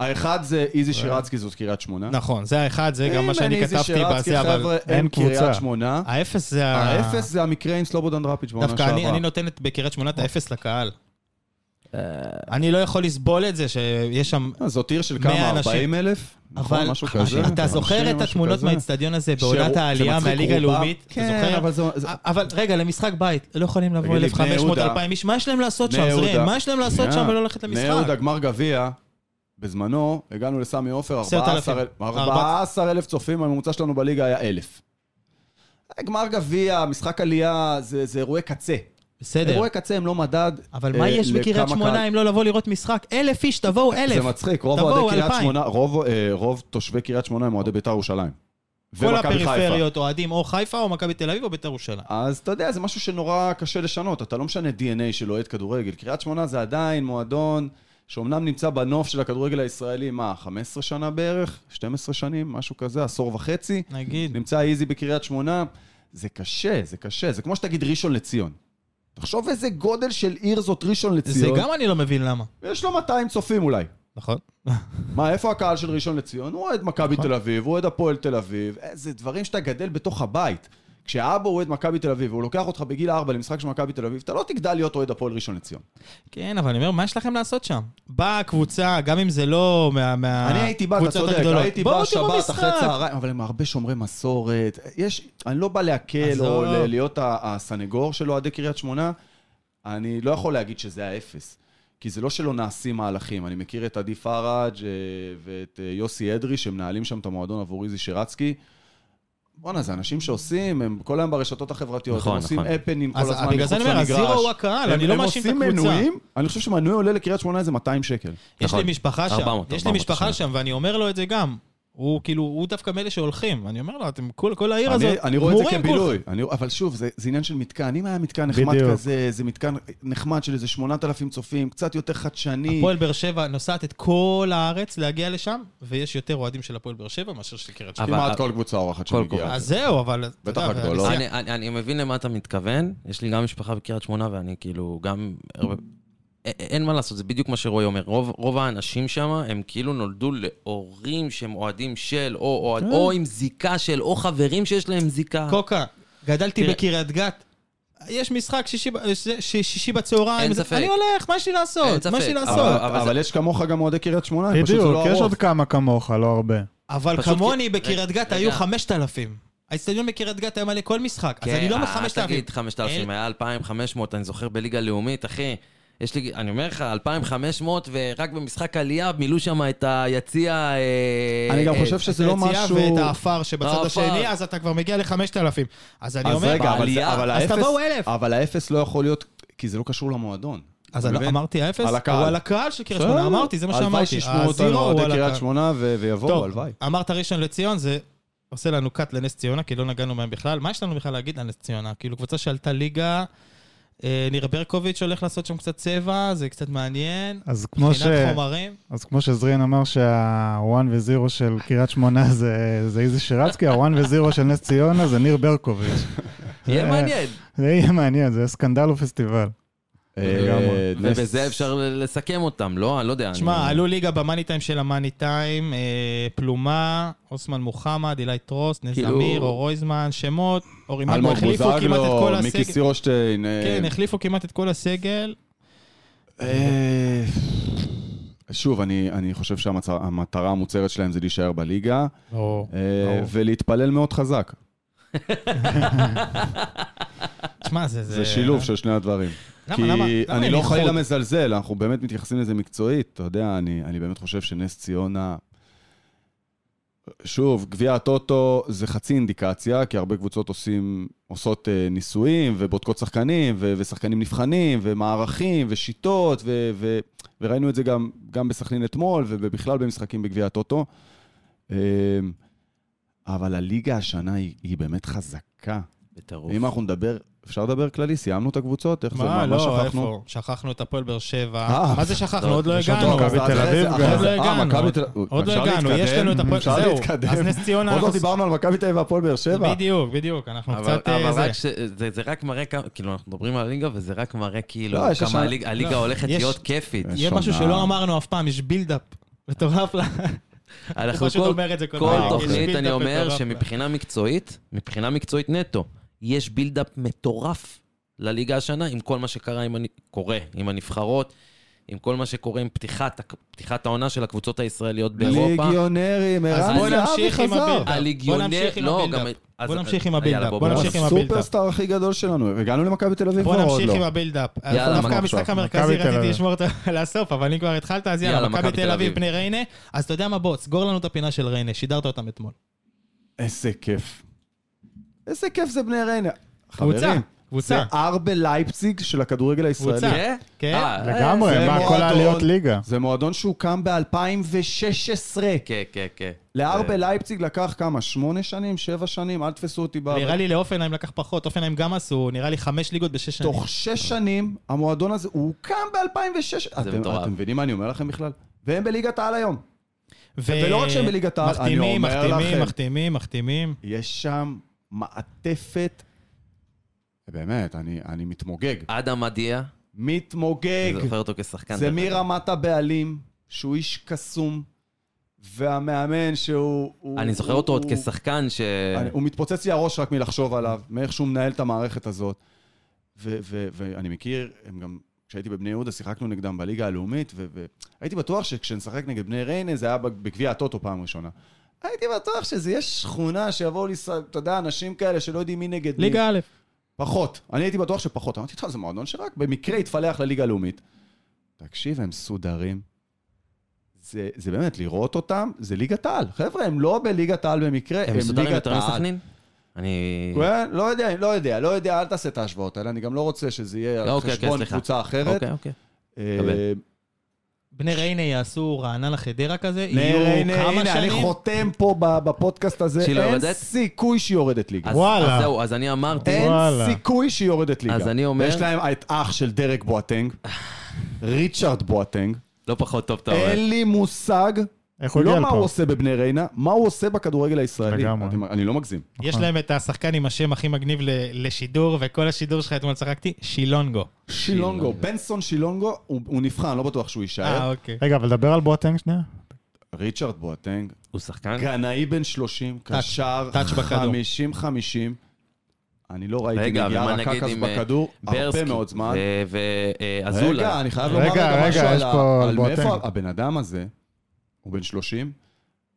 Speaker 2: האחד זה איזי שירצקי זאת קריית שמונה.
Speaker 1: אה. נכון, זה האחד, זה גם מה
Speaker 2: אה, אם אין
Speaker 1: שאני
Speaker 2: איזי
Speaker 1: כתבתי
Speaker 2: שירצקי,
Speaker 1: בזה, אבל
Speaker 2: חבר'ה, אין
Speaker 4: אין קבוצה.
Speaker 2: קריית שמונה.
Speaker 1: האפס זה ה...
Speaker 2: האפס זה המקרה עם סלובודן דראפיץ' בעונה
Speaker 1: דווקא אני, לא-
Speaker 2: שעברה.
Speaker 1: אני נותן את בקריית שמונה את האפס לקהל. אני לא יכול לסבול את זה שיש שם...
Speaker 2: אה, זאת עיר של
Speaker 1: מאה
Speaker 2: כמה?
Speaker 1: אנשים.
Speaker 2: 40 אלף?
Speaker 1: אבל
Speaker 2: נכון, משהו כזה?
Speaker 1: אתה זוכר
Speaker 2: 50,
Speaker 1: את
Speaker 2: משהו
Speaker 1: התמונות
Speaker 2: כזה?
Speaker 1: מהאיצטדיון הזה בעונת
Speaker 2: שהוא-
Speaker 1: העלייה
Speaker 2: שמצחיק
Speaker 1: מהליגה
Speaker 2: רובם.
Speaker 1: הלאומית? אתה
Speaker 2: כן,
Speaker 1: זוכר?
Speaker 2: אבל זו... זה-
Speaker 1: אבל רגע, למשחק בית, לא יכולים לבוא
Speaker 2: תגיד לי, בני
Speaker 1: 1,500-2,000
Speaker 2: יהודה-
Speaker 1: איש, מה יש להם לעשות שם,
Speaker 2: בני
Speaker 1: זרין?
Speaker 2: יהודה.
Speaker 1: מה יש להם לעשות שם
Speaker 2: שנייה.
Speaker 1: ולא ללכת
Speaker 2: בני יהודה,
Speaker 1: למשחק?
Speaker 2: גמר גביע, בזמנו, הגענו לסמי עופר,
Speaker 1: 10,000.
Speaker 2: 14,000 14,000 צופים, הממוצע שלנו בליגה היה 1,000. גמר גביע, משחק עלייה, זה זה אירועי קצה.
Speaker 1: בסדר,
Speaker 2: אירועי קצה הם לא מדד.
Speaker 1: אבל
Speaker 2: אה,
Speaker 1: מה יש
Speaker 2: לכמה
Speaker 1: בקריית שמונה
Speaker 2: קהל.
Speaker 1: אם לא לבוא לראות משחק? אלף איש, תבואו
Speaker 2: זה
Speaker 1: אלף.
Speaker 2: מצחיק, רוב
Speaker 1: תבואו,
Speaker 2: אוהדי קריית
Speaker 1: 2,000.
Speaker 2: שמונה, רוב, אה, רוב תושבי קריית שמונה הם אוהדי בית"ר ירושלים.
Speaker 1: כל
Speaker 2: ומכבי חיפה.
Speaker 1: הפריפריות אוהדים או חיפה או מכבי תל אביב או בית"ר ירושלים.
Speaker 2: אז אתה יודע, זה משהו שנורא קשה לשנות. אתה לא משנה DNA של אוהד כדורגל. קריית שמונה זה עדיין מועדון שאומנם נמצא בנוף של הכדורגל הישראלי, מה, 15 שנה בערך? 12 שנים? משהו כזה, עשור וחצי.
Speaker 1: נגיד.
Speaker 2: נמצא איזי בקריית שמונה. זה קשה, זה קשה. זה כמו שתגיד ראשון לציון. תחשוב איזה גודל של עיר זאת ראשון
Speaker 1: זה
Speaker 2: לציון.
Speaker 1: גם אני לא מבין למה.
Speaker 2: יש לו 200 צופים אולי.
Speaker 1: נכון.
Speaker 2: מה, איפה הקהל של ראשון לציון? הוא אוהד מכבי תל אביב, הוא אוהד הפועל תל אביב. זה דברים שאתה גדל בתוך הבית. כשאבא אוהד מכבי תל אביב, והוא לוקח אותך בגיל ארבע למשחק של מכבי תל אביב, אתה לא תגדל להיות אוהד הפועל ראשון לציון.
Speaker 1: כן, אבל אני אומר, מה יש לכם לעשות שם? באה הקבוצה, גם אם זה לא מה-
Speaker 2: אני הייתי בא, אתה
Speaker 1: מהקבוצות
Speaker 2: צודק,
Speaker 1: הגדולות.
Speaker 2: הייתי
Speaker 1: בואו
Speaker 2: בא
Speaker 1: תראו
Speaker 2: שבת
Speaker 1: משחק.
Speaker 2: אחרי צהריים, אבל הם הרבה שומרי מסורת. יש, אני לא בא להקל
Speaker 1: עזוב.
Speaker 2: או ל- להיות ה- הסנגור של אוהדי קריית שמונה, אני לא יכול להגיד שזה האפס. כי זה לא שלא נעשים מהלכים. אני מכיר את עדי פראג' אה, ואת אה, יוסי אדרי, שמנהלים שם את המועדון עבור איזי שירצקי. בואנה, זה אנשים שעושים, הם כל היום ברשתות החברתיות,
Speaker 3: נכון,
Speaker 2: הם עושים
Speaker 3: נכון.
Speaker 2: הפנים כל
Speaker 1: אז
Speaker 2: הזמן
Speaker 1: בגלל
Speaker 2: מחוץ
Speaker 1: זה אני אומר,
Speaker 2: למגרש.
Speaker 1: הזירו הוא הקהל,
Speaker 2: הם-
Speaker 1: אני לא
Speaker 2: הם
Speaker 1: מאשים את
Speaker 2: עושים
Speaker 1: הקבוצה.
Speaker 2: מנויים, אני חושב שמנוי עולה לקריית שמונה איזה 200 שקל.
Speaker 1: יש
Speaker 3: נכון.
Speaker 1: לי משפחה שם,
Speaker 3: 400,
Speaker 1: יש לי
Speaker 3: 400
Speaker 1: משפחה
Speaker 3: שם.
Speaker 1: שם, ואני אומר לו את זה גם. הוא כאילו, הוא דווקא מאלה שהולכים. אני אומר לו, אתם, כל כל העיר הזאת,
Speaker 2: אני, אני רואה את זה
Speaker 1: גמורים
Speaker 2: כבילוי, אני, אבל שוב, זה, זה עניין של מתקן. אם היה מתקן נחמד
Speaker 4: בדיוק.
Speaker 2: כזה, זה מתקן נחמד של איזה 8,000 צופים, קצת יותר חדשני.
Speaker 1: הפועל באר שבע נוסעת את כל הארץ להגיע לשם, ויש יותר אוהדים של הפועל באר שבע מאשר של קריית שמונה.
Speaker 3: אבל-
Speaker 2: כמעט כל קבוצה אורחת
Speaker 3: כל
Speaker 2: שמגיעה.
Speaker 1: אז זהו, אבל... אתה
Speaker 2: בטח
Speaker 1: יודע,
Speaker 2: הגדולות.
Speaker 1: הנסיעה-
Speaker 3: אני, אני, אני מבין למה אתה מתכוון, יש לי גם משפחה בקריית שמונה ואני כאילו גם... הרבה- א- א- אין מה לעשות, זה בדיוק מה שרועי אומר. רוב, רוב האנשים שם הם כאילו נולדו להורים שהם אוהדים של, או, או,
Speaker 2: אה.
Speaker 3: או עם זיקה של, או חברים שיש להם זיקה.
Speaker 1: קוקה, גדלתי
Speaker 3: אה. תראה-
Speaker 1: בקריית גת. יש משחק שישי, ב- ש- ש- שישי בצהריים.
Speaker 3: אין
Speaker 1: זה-
Speaker 3: ספק.
Speaker 1: אני הולך, מה יש לי
Speaker 3: אין
Speaker 1: לעשות?
Speaker 3: ספק,
Speaker 1: מה יש לי
Speaker 3: אבל-
Speaker 1: לעשות?
Speaker 2: אבל, אבל יש כמוך גם אוהדי קריית שמונה, פשוט זה
Speaker 4: בדיוק,
Speaker 2: לא
Speaker 4: יש
Speaker 2: הרוב.
Speaker 4: עוד כמה כמוך, לא הרבה.
Speaker 1: אבל
Speaker 3: פשוט
Speaker 1: כמוני
Speaker 3: כי-
Speaker 1: בקריית
Speaker 3: רגע,
Speaker 1: גת היו
Speaker 3: רגע.
Speaker 1: 5,000. האצטדיון בקריית גת היה מלא כל משחק, אז אני לא
Speaker 3: אה,
Speaker 1: מ-5,000.
Speaker 3: תגיד 5,000, היה 2,500, אני זוכר בליגה לאומית, אחי. יש לי, אני אומר לך, 2,500, ורק במשחק עלייה מילאו שם את היציע... אה,
Speaker 2: אני גם
Speaker 3: אה,
Speaker 2: חושב שזה לא
Speaker 1: היציאה
Speaker 2: משהו...
Speaker 1: ואת האפר שבצד
Speaker 3: האפר.
Speaker 1: השני, אז אתה כבר מגיע ל-5,000. אז אני
Speaker 2: אז
Speaker 1: אומר,
Speaker 2: רגע, אבל זה-
Speaker 3: בעלייה,
Speaker 2: אבל
Speaker 1: אז
Speaker 2: האפס...
Speaker 1: תבואו אלף.
Speaker 2: אבל האפס לא יכול להיות, כי זה לא קשור למועדון.
Speaker 1: אז
Speaker 2: אתה
Speaker 1: אני לא-
Speaker 2: מבין?
Speaker 1: אמרתי האפס,
Speaker 2: על הקהל.
Speaker 1: הוא על הקהל של קריית שמונה,
Speaker 2: בסדר.
Speaker 1: אמרתי, זה מה שאמרתי.
Speaker 2: הלוואי שישמעו אותנו
Speaker 1: הזירו הוא
Speaker 2: אוהדי
Speaker 1: על
Speaker 2: קריית
Speaker 1: הקהל.
Speaker 2: שמונה ו- ויבואו,
Speaker 1: טוב,
Speaker 2: הלוואי.
Speaker 1: אמרת ראשון לציון, זה עושה לנו קאט לנס ציונה, כי לא נגענו בהם בכלל. מה יש לנו בכלל להגיד על נס ציונה? כאילו, קבוצה שעלתה ליגה, אה, ניר ברקוביץ' הולך לעשות שם קצת צבע, זה קצת מעניין.
Speaker 4: אז כמו, ש...
Speaker 1: מבחינת חומרים.
Speaker 4: אז כמו שזרין אמר שהוואן וזירו של קריית שמונה זה, זה איזי שירצקי, הוואן וזירו של נס ציונה זה ניר ברקוביץ'.
Speaker 3: יהיה
Speaker 4: זה-
Speaker 3: מעניין.
Speaker 4: זה יהיה מעניין, זה סקנדל ופסטיבל.
Speaker 2: אה,
Speaker 4: לגמרי.
Speaker 2: נס-
Speaker 3: ובזה אפשר ל- לסכם אותם, לא? אני לא יודע.
Speaker 1: תשמע,
Speaker 3: אני-
Speaker 1: עלו ליגה במאני טיים של המאני טיים, אה, פלומה, אוסמן מוחמד, אילי טרוסט, נס
Speaker 3: כאילו-
Speaker 1: אמיר, אור רויזמן, שמות, אורי מלמור,
Speaker 2: אלמוג
Speaker 1: החליפו כמעט את כל
Speaker 2: בוזגלו, מיקי
Speaker 1: הסגל.
Speaker 2: סירושטיין. אה,
Speaker 1: כן, החליפו כמעט את כל הסגל.
Speaker 2: אה, שוב, אני אני חושב שהמטרה המוצהרת שלהם זה להישאר בליגה, אה,
Speaker 4: ברור.
Speaker 2: ולהתפלל מאוד חזק.
Speaker 1: תשמע, זה...
Speaker 2: זה שילוב של שני הדברים.
Speaker 1: למה-
Speaker 2: כי
Speaker 1: למה- למה
Speaker 2: אני
Speaker 1: אין
Speaker 2: לא
Speaker 1: איחוד?
Speaker 2: חלילה מזלזל, אנחנו באמת מתייחסים לזה מקצועית. אתה יודע, אני, אני באמת חושב שנס ציונה... שוב, גביע הטוטו זה חצי אינדיקציה, כי הרבה קבוצות עושים, עושות אה, ניסויים ובודקות שחקנים, ו, ושחקנים נבחנים, ומערכים, ושיטות, ו, ו, וראינו את זה גם, גם בסכנין אתמול, ובכלל במשחקים בגביע הטוטו. אה, אבל הליגה השנה היא, היא באמת חזקה.
Speaker 3: בטירוף.
Speaker 2: אם אנחנו נדבר, אפשר לדבר כללי? סיימנו את הקבוצות? איך זה?
Speaker 1: מה,
Speaker 2: שכחנו?
Speaker 1: לא, איפה? שכחנו את הפועל באר שבע.
Speaker 2: אה.
Speaker 1: מה זה שכחנו?
Speaker 3: לא,
Speaker 1: עוד לא
Speaker 4: יש עוד
Speaker 1: הגענו.
Speaker 4: מכבי
Speaker 2: אז
Speaker 4: תל
Speaker 2: אחרי
Speaker 4: אביב
Speaker 2: זה-
Speaker 4: גם.
Speaker 2: אחרי
Speaker 1: עוד לא
Speaker 2: זה- אה,
Speaker 1: הגענו.
Speaker 2: מכבי תל-
Speaker 1: עוד לא
Speaker 2: אפשר
Speaker 1: הגענו, יש לנו את
Speaker 2: להתקדם?
Speaker 1: הפועל...
Speaker 2: אפשר
Speaker 1: זהו,
Speaker 2: להתקדם.
Speaker 1: אז נס ציונה...
Speaker 2: עוד לא
Speaker 1: אנחנו-
Speaker 2: דיברנו על מכבי תל אביב והפועל באר שבע.
Speaker 1: בדיוק, בדיוק, אנחנו
Speaker 3: אבל,
Speaker 1: קצת... אה,
Speaker 3: אבל
Speaker 1: זה.
Speaker 3: רק ש... זה, זה רק מראה כמה, כאילו, אנחנו מדברים על הליגה, וזה רק מראה כאילו
Speaker 2: לא, יש
Speaker 3: כמה
Speaker 2: השנה-
Speaker 3: הליג, הליגה
Speaker 1: לא,
Speaker 3: הולכת
Speaker 1: יש-
Speaker 3: להיות כיפית.
Speaker 2: יש-
Speaker 1: יהיה משהו
Speaker 2: שונה.
Speaker 1: שלא אמרנו אף פעם, יש בילדאפ. מטורף לה.
Speaker 3: אנחנו
Speaker 1: פשוט
Speaker 3: כל,
Speaker 1: אומר את זה כל
Speaker 3: כל
Speaker 2: פעם. יש
Speaker 3: תוכנית,
Speaker 1: בילדאפ
Speaker 3: אני אומר
Speaker 1: מטורף.
Speaker 3: שמבחינה מקצועית, מבחינה מקצועית נטו, יש בילדאפ מטורף לליגה השנה, עם כל מה שקרה, עם הנ... קורה, עם הנבחרות, עם כל מה שקורה עם פתיחת, הק- פתיחת העונה של הקבוצות הישראליות באירופה.
Speaker 2: ליגיונרים,
Speaker 1: אז
Speaker 2: ערן
Speaker 1: בוא
Speaker 2: זהבי
Speaker 1: נמשיך עם
Speaker 2: חזר.
Speaker 1: הבילדאפ.
Speaker 3: הליגיונר...
Speaker 1: בוא נמשיך עם
Speaker 3: לא,
Speaker 1: הבילדאפ.
Speaker 3: גם- אז-
Speaker 1: בוא נמשיך עם
Speaker 3: יאללה,
Speaker 1: הבילדאפ.
Speaker 3: בוא
Speaker 1: בוא
Speaker 3: בוא.
Speaker 1: נמשיך עם הבילדאפ.
Speaker 2: הסופרסטאר הכי גדול שלנו, הגענו למכבי תל אביב
Speaker 1: בוא
Speaker 2: כבר עוד
Speaker 1: נמשיך עם
Speaker 2: לא.
Speaker 1: הבילדאפ.
Speaker 3: יאללה,
Speaker 1: דווקא
Speaker 3: מכבי
Speaker 1: המשחק
Speaker 2: עכשיו.
Speaker 1: המרכזי
Speaker 4: מכבי תל
Speaker 1: רציתי
Speaker 4: אביב.
Speaker 1: לשמור אותו לסוף, אבל אם כבר התחלת, אז יאללה,
Speaker 3: יאללה,
Speaker 1: מכבי
Speaker 3: מכבי
Speaker 1: תל
Speaker 3: תל
Speaker 1: אביב,
Speaker 3: אביב.
Speaker 1: בני ריינה. אז אתה יודע מה, בוא, סגור לנו את הפינה של ריינה, שידרת אותם אתמול.
Speaker 2: איזה כיף. איזה כיף זה בני ריינה.
Speaker 1: קבוצה,
Speaker 2: חברים, זה
Speaker 1: קבוצה.
Speaker 2: ארבל לייפציג של הכדורגל
Speaker 1: קבוצה.
Speaker 2: הישראלי.
Speaker 3: כן?
Speaker 1: כן?
Speaker 3: אה,
Speaker 2: זה
Speaker 4: לגמרי, מה, כל
Speaker 2: מועדון.
Speaker 4: העליות ליגה.
Speaker 2: זה מועדון שהוקם ב-2016.
Speaker 3: כן, כן, כן.
Speaker 2: לארבל לייפציג לקח כמה? שמונה שנים? שבע שנים? אל תפסו אותי ב...
Speaker 1: נראה לי לאופנהיים לקח פחות, אופנהיים גם עשו, נראה לי חמש ליגות בשש שנים.
Speaker 2: תוך שש שנים המועדון הזה, הוא הוקם ב-2006. אתם,
Speaker 3: מטורף.
Speaker 2: אתם מבינים מה אני אומר לכם בכלל? והם בליגת העל היום.
Speaker 1: ו-
Speaker 2: ולא רק שהם בליגת העל,
Speaker 1: מחתימים,
Speaker 2: אני אומר
Speaker 1: מחתימים,
Speaker 2: לכם.
Speaker 1: מחתימים, מחתימים.
Speaker 2: יש שם מעטפת... באמת, אני, אני מתמוגג.
Speaker 3: אדם אדיה,
Speaker 2: מתמוגג.
Speaker 3: אני זוכר אותו כשחקן.
Speaker 2: זה
Speaker 3: דרך אגב.
Speaker 2: מרמת הבעלים, שהוא איש קסום, והמאמן שהוא... הוא-
Speaker 3: אני זוכר
Speaker 2: הוא-
Speaker 3: אותו עוד
Speaker 2: הוא-
Speaker 3: כשחקן ש...
Speaker 2: אני- הוא מתפוצץ לי הראש רק מלחשוב עליו, מאיך שהוא מנהל את המערכת הזאת. ו- ו- ואני מכיר, הם גם, כשהייתי בבני יהודה, שיחקנו נגדם בליגה הלאומית, והייתי בטוח שכשנשחק נגד בני ריינה, זה היה בג- בגביע הטוטו פעם ראשונה. הייתי בטוח שזה יהיה שכונה שיבואו לי, ס- אתה יודע, אנשים כאלה שלא יודעים מי נגד מי.
Speaker 1: ליגה א'.
Speaker 2: פחות. אני הייתי בטוח שפחות. אמרתי, טוב, זה מועדון שרק במקרה התפלח לליגה הלאומית. תקשיב, הם סודרים. זה, זה באמת, לראות אותם, זה ליגת העל. חבר'ה, הם לא בליגת העל במקרה, הם,
Speaker 3: הם מסודרים
Speaker 2: ליגת
Speaker 3: יותר
Speaker 2: העל.
Speaker 3: מסכנין? אני...
Speaker 2: כן, לא יודע, לא יודע, לא יודע, אל תעשה את ההשוואות האלה, אני גם לא רוצה שזה יהיה על
Speaker 3: אוקיי, אוקיי,
Speaker 2: חשבון
Speaker 3: סליחה.
Speaker 2: קבוצה אחרת.
Speaker 3: אוקיי, אוקיי.
Speaker 2: אה,
Speaker 3: מקבל.
Speaker 1: בני ריינה יעשו רעננה חדרה כזה,
Speaker 2: נהר,
Speaker 1: יהיו
Speaker 2: הנה,
Speaker 1: כמה
Speaker 2: הנה, אני
Speaker 1: שנים.
Speaker 2: חותם פה ב- בפודקאסט הזה,
Speaker 3: שהיא לא
Speaker 2: אין
Speaker 3: יורדת?
Speaker 2: סיכוי שהיא יורדת ליגה.
Speaker 3: אז-
Speaker 4: וואלה.
Speaker 3: אז זהו, אז אני אמרתי...
Speaker 2: אין
Speaker 4: וואלה.
Speaker 2: סיכוי שהיא יורדת ליגה.
Speaker 3: אז אני אומר-
Speaker 2: יש להם את אח של דרק בואטנג, ריצ'רד בואטנג.
Speaker 3: לא פחות טוב, אתה אומר.
Speaker 2: אין לי מושג,
Speaker 4: איך הוא הגיע
Speaker 2: לא מה הוא
Speaker 4: לפה?
Speaker 2: עושה בבני ריינה, מה הוא עושה בכדורגל הישראלי.
Speaker 4: לגמרי.
Speaker 2: אתם- אני לא מגזים.
Speaker 1: יש
Speaker 4: נכון.
Speaker 1: להם את השחקן עם השם הכי מגניב ל- לשידור, וכל השידור שלך אתמול צחקתי, שילונגו.
Speaker 2: כן. שילונגו, בנסון שילונגו, הוא הוא נבחן, לא בטוח שהוא
Speaker 1: אה,
Speaker 2: יישאר.
Speaker 1: אוקיי.
Speaker 4: רגע, אבל דבר על בואטנג שנייה.
Speaker 3: אוקיי.
Speaker 2: ריצ'רד בואטנג,
Speaker 3: הוא שחקן?
Speaker 2: גנאי בן 30, קשר
Speaker 1: טאץ' בכדור.
Speaker 2: 50-50. אני לא ראיתי
Speaker 3: רגע,
Speaker 2: נגיעה
Speaker 3: ומה
Speaker 2: רכה
Speaker 3: נגיד
Speaker 2: כזו
Speaker 3: עם, אה,
Speaker 2: בכדור, הרבה
Speaker 3: ברסקי אה,
Speaker 2: מאוד זמן. רגע,
Speaker 3: ואזולה.
Speaker 2: אני חייב
Speaker 4: רגע,
Speaker 2: לומר רגע
Speaker 4: רגע,
Speaker 2: משהו
Speaker 4: יש
Speaker 2: על
Speaker 4: פה
Speaker 2: ה- על
Speaker 4: בואטנג.
Speaker 2: מאיפה הבן אדם הזה, הוא בן 30,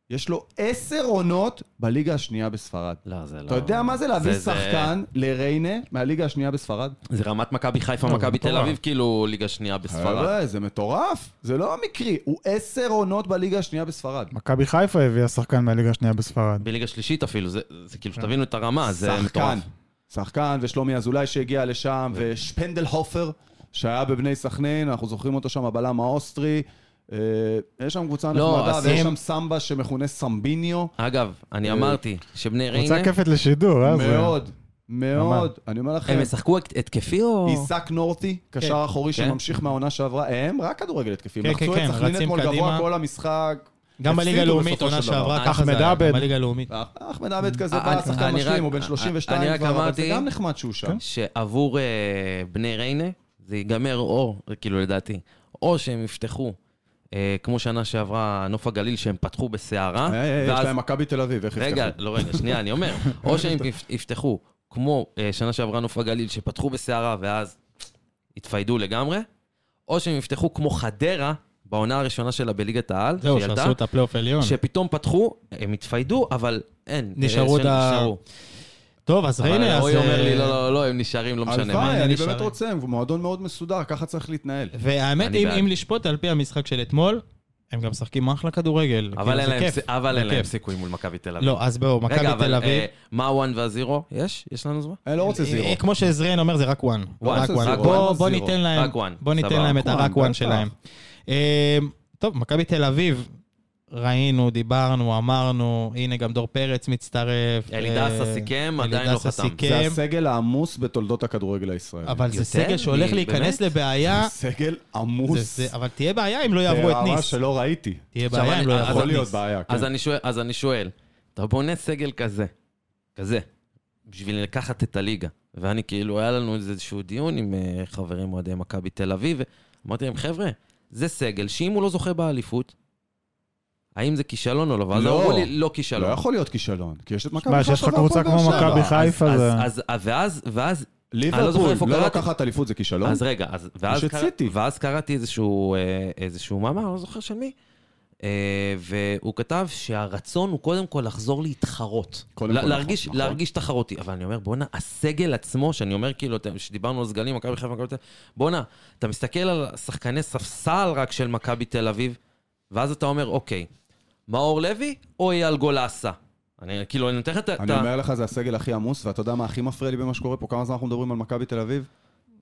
Speaker 2: יש לו עשר עונות בליגה השנייה בספרד.
Speaker 3: לא, זה לא...
Speaker 2: אתה יודע מה זה להביא
Speaker 3: זה- זה-
Speaker 2: שחקן לריינה מהליגה השנייה בספרד?
Speaker 3: זה רמת מכבי חיפה, מכבי תל
Speaker 1: מטורף.
Speaker 3: אביב, כאילו ליגה שנייה בספרד.
Speaker 2: חבר'ה, זה מטורף. זה לא מקרי, הוא עשר עונות בליגה השנייה בספרד.
Speaker 4: מכבי חיפה הביאה שחקן מהליגה השנייה בספרד.
Speaker 3: בליגה שלישית אפילו, זה זה כאילו שתבינו את הרמה, זה
Speaker 2: שחקן.
Speaker 3: מטורף. כן.
Speaker 2: שחקן, ושלומי אזולאי שהגיע לשם, ושפנדל הופר, שהיה בבני סכנין, אנחנו זוכרים אותו שם, הבלם האוסטרי. אה, יש שם קבוצה
Speaker 3: לא,
Speaker 2: נחמדה,
Speaker 3: אז
Speaker 2: ויש
Speaker 3: הם-
Speaker 2: שם סמבה שמכונה סמביניו.
Speaker 3: אגב, אני
Speaker 2: אה,
Speaker 3: אמרתי שבני ריינה,
Speaker 4: קבוצה כיפת לשידור,
Speaker 1: לא
Speaker 4: אה? זה-
Speaker 2: מאוד, מאוד. אני אומר לכם,
Speaker 3: הם ישחקו הת- התקפי או...
Speaker 2: עיסק נורתי, קשר אחורי
Speaker 3: כן.
Speaker 2: שממשיך מהעונה שעברה, הם רק כדורגל התקפים.
Speaker 1: כן,
Speaker 2: לחצו
Speaker 1: כן,
Speaker 2: את
Speaker 1: כן,
Speaker 2: סכנין
Speaker 1: רצים
Speaker 2: אתמול גבוה
Speaker 1: קדימה.
Speaker 2: כל המשחק.
Speaker 1: גם בליגה
Speaker 2: הפסידו
Speaker 1: הלאומית,
Speaker 2: בסופו
Speaker 1: עונה
Speaker 2: של דבר.
Speaker 1: שעברה, ככה
Speaker 3: אחמד
Speaker 1: זה היה,
Speaker 4: עבד.
Speaker 1: גם בליגה הלאומית.
Speaker 2: אחמד עבד כזה
Speaker 3: אני-
Speaker 2: בא, שחקן
Speaker 3: אה, אני
Speaker 2: משלים,
Speaker 3: רק-
Speaker 2: הוא בן
Speaker 3: אני-
Speaker 2: 32
Speaker 3: אני רק
Speaker 2: כבר, אבל זה
Speaker 3: אמרתי-
Speaker 2: גם נחמד שהוא שם.
Speaker 1: כן.
Speaker 3: שעבור אה, בני ריינה זה ייגמר או, כאילו לדעתי, או שהם יפתחו, אה, כמו שנה שעברה נוף הגליל, שהם פתחו בסערה,
Speaker 2: אה, אה, יש
Speaker 3: ואז...
Speaker 2: להם מכבי תל אביב, איך
Speaker 3: רגע,
Speaker 2: יפתחו?
Speaker 3: לא רגע, שנייה, אני אומר, או שהם יפ- יפתחו, כמו אה, שנה שעברה נוף הגליל, שפתחו בסערה ואז התפיידו לגמרי, או שהם יפתחו כמו חדרה, בעונה הראשונה שלה בליגת העל,
Speaker 1: זהו,
Speaker 3: שהיא עלתה,
Speaker 1: שעשו את הפלייאוף העליון.
Speaker 3: שפתאום פתחו, הם התפיידו, אבל אין.
Speaker 1: נשארו
Speaker 3: אה,
Speaker 1: את ה-
Speaker 3: נשארו.
Speaker 1: טוב, אז
Speaker 3: אבל
Speaker 1: הנה, אז...
Speaker 3: אוי אומר לי,
Speaker 1: אה,
Speaker 3: לא, לא, לא, הם נשארים, לא משנה. מה.
Speaker 1: מה,
Speaker 2: הלוואי, אני
Speaker 1: נשארים?
Speaker 2: באמת רוצה, הם מועדון מאוד מסודר, ככה צריך להתנהל.
Speaker 1: והאמת,
Speaker 3: אני
Speaker 1: אם,
Speaker 3: בעד.
Speaker 1: אם לשפוט על פי המשחק של אתמול, הם גם משחקים אחלה כדורגל.
Speaker 3: אבל
Speaker 1: כאילו,
Speaker 3: אין
Speaker 1: זה
Speaker 3: להם
Speaker 1: כיף,
Speaker 3: סי- אבל
Speaker 1: זה
Speaker 3: אין להם
Speaker 1: כיף.
Speaker 3: סיכוי מול מכבי תל אביב.
Speaker 1: לא, אז בואו, מכבי
Speaker 3: רגע, אבל,
Speaker 1: תל אביב.
Speaker 3: אה, מה הוואן והזירו? יש? יש לנו זמן?
Speaker 2: אני לא רוצה זירו.
Speaker 1: אה, כמו שעזריאן אומר, זה רק וואן.
Speaker 3: וואן,
Speaker 1: רק
Speaker 2: זה
Speaker 1: וואן.
Speaker 2: זירו.
Speaker 1: בוא-
Speaker 2: רק
Speaker 1: בוא
Speaker 2: זירו.
Speaker 1: ניתן להם
Speaker 3: רק וואן,
Speaker 1: בוא ניתן
Speaker 3: סבבה.
Speaker 1: להם את
Speaker 2: רק
Speaker 1: הרק
Speaker 2: וואן,
Speaker 1: וואן
Speaker 2: בטח.
Speaker 1: שלהם. אה, טוב, מכבי תל אביב, ראינו, דיברנו, אמרנו, הנה גם דור פרץ מצטרף.
Speaker 3: אלידסה
Speaker 1: אה,
Speaker 3: סיכם, עדיין לא
Speaker 1: אלידסה
Speaker 3: חתם.
Speaker 2: זה
Speaker 1: סיכם,
Speaker 2: הסגל העמוס בתולדות הכדורגל הישראלי.
Speaker 1: אה, אבל זה
Speaker 3: יותר?
Speaker 1: סגל שהולך
Speaker 3: מי-
Speaker 1: להיכנס
Speaker 3: באמת?
Speaker 1: לבעיה.
Speaker 2: סגל
Speaker 1: זה-
Speaker 2: עמוס.
Speaker 1: זה- אבל תהיה בעיה אם לא יעברו את
Speaker 2: ברמה
Speaker 1: ניס.
Speaker 2: שלא ראיתי.
Speaker 1: תהיה
Speaker 3: עכשיו
Speaker 1: בעיה אם
Speaker 3: אני- אה,
Speaker 1: לא
Speaker 3: אז
Speaker 1: יעברו
Speaker 2: יכול
Speaker 1: את
Speaker 2: להיות
Speaker 1: ניס.
Speaker 2: בעיה, כן.
Speaker 3: אז אני שואל, אז אני שואל, אתה בונה סגל כזה, כזה, בשביל לקחת את הליגה. ואני כאילו, היה לנו איזשהו דיון עם אה, חברים אוהדי מכבי תל אביב, ואמרתי להם, חבר'ה, זה סגל שאם הוא לא זוכה באליפות, האם זה כישלון או לא? ואז
Speaker 2: לא.
Speaker 3: אמרו לי, לא
Speaker 2: לא
Speaker 3: כישלון.
Speaker 2: יכול להיות כישלון, כי יש את מכבי
Speaker 4: שמע, שיש לך קבוצה
Speaker 2: והפועל
Speaker 4: כמו
Speaker 2: באר שבע.
Speaker 4: מכבי חיפה,
Speaker 3: אז-
Speaker 4: זה...
Speaker 3: אז- אז- ואז, ואז אני לא זוכר איפה
Speaker 2: ליברפול, לא
Speaker 3: קראתי.
Speaker 2: לקחת אליפות זה כישלון?
Speaker 3: אז רגע, אז, ואז,
Speaker 2: יש את סיטי.
Speaker 3: ואז קראתי איזשהו, אה, איזשהו מאמר, לא זוכר של מי, אה, והוא כתב שהרצון הוא קודם כל לחזור להתחרות.
Speaker 2: קודם
Speaker 3: לה-
Speaker 2: כל,
Speaker 3: להרגיש,
Speaker 2: נכון, נכון.
Speaker 3: להרגיש תחרותי. אבל אני אומר, בואנה, הסגל עצמו, שאני אומר כאילו, אתם- שדיברנו על סגלים, מכבי חיפה, מכבי תל אביב, בואנה, אתה מסתכל על שחקני ספסל רק של מכבי תל אביב, ואז אתה אומר, אוקיי, מאור לוי או אייל גולסה? אני כאילו, אני נותן לך את ה...
Speaker 2: אני אומר לך, זה הסגל הכי עמוס, ואתה יודע מה הכי מפריע לי במה שקורה פה? כמה זמן אנחנו מדברים על מכבי תל אביב?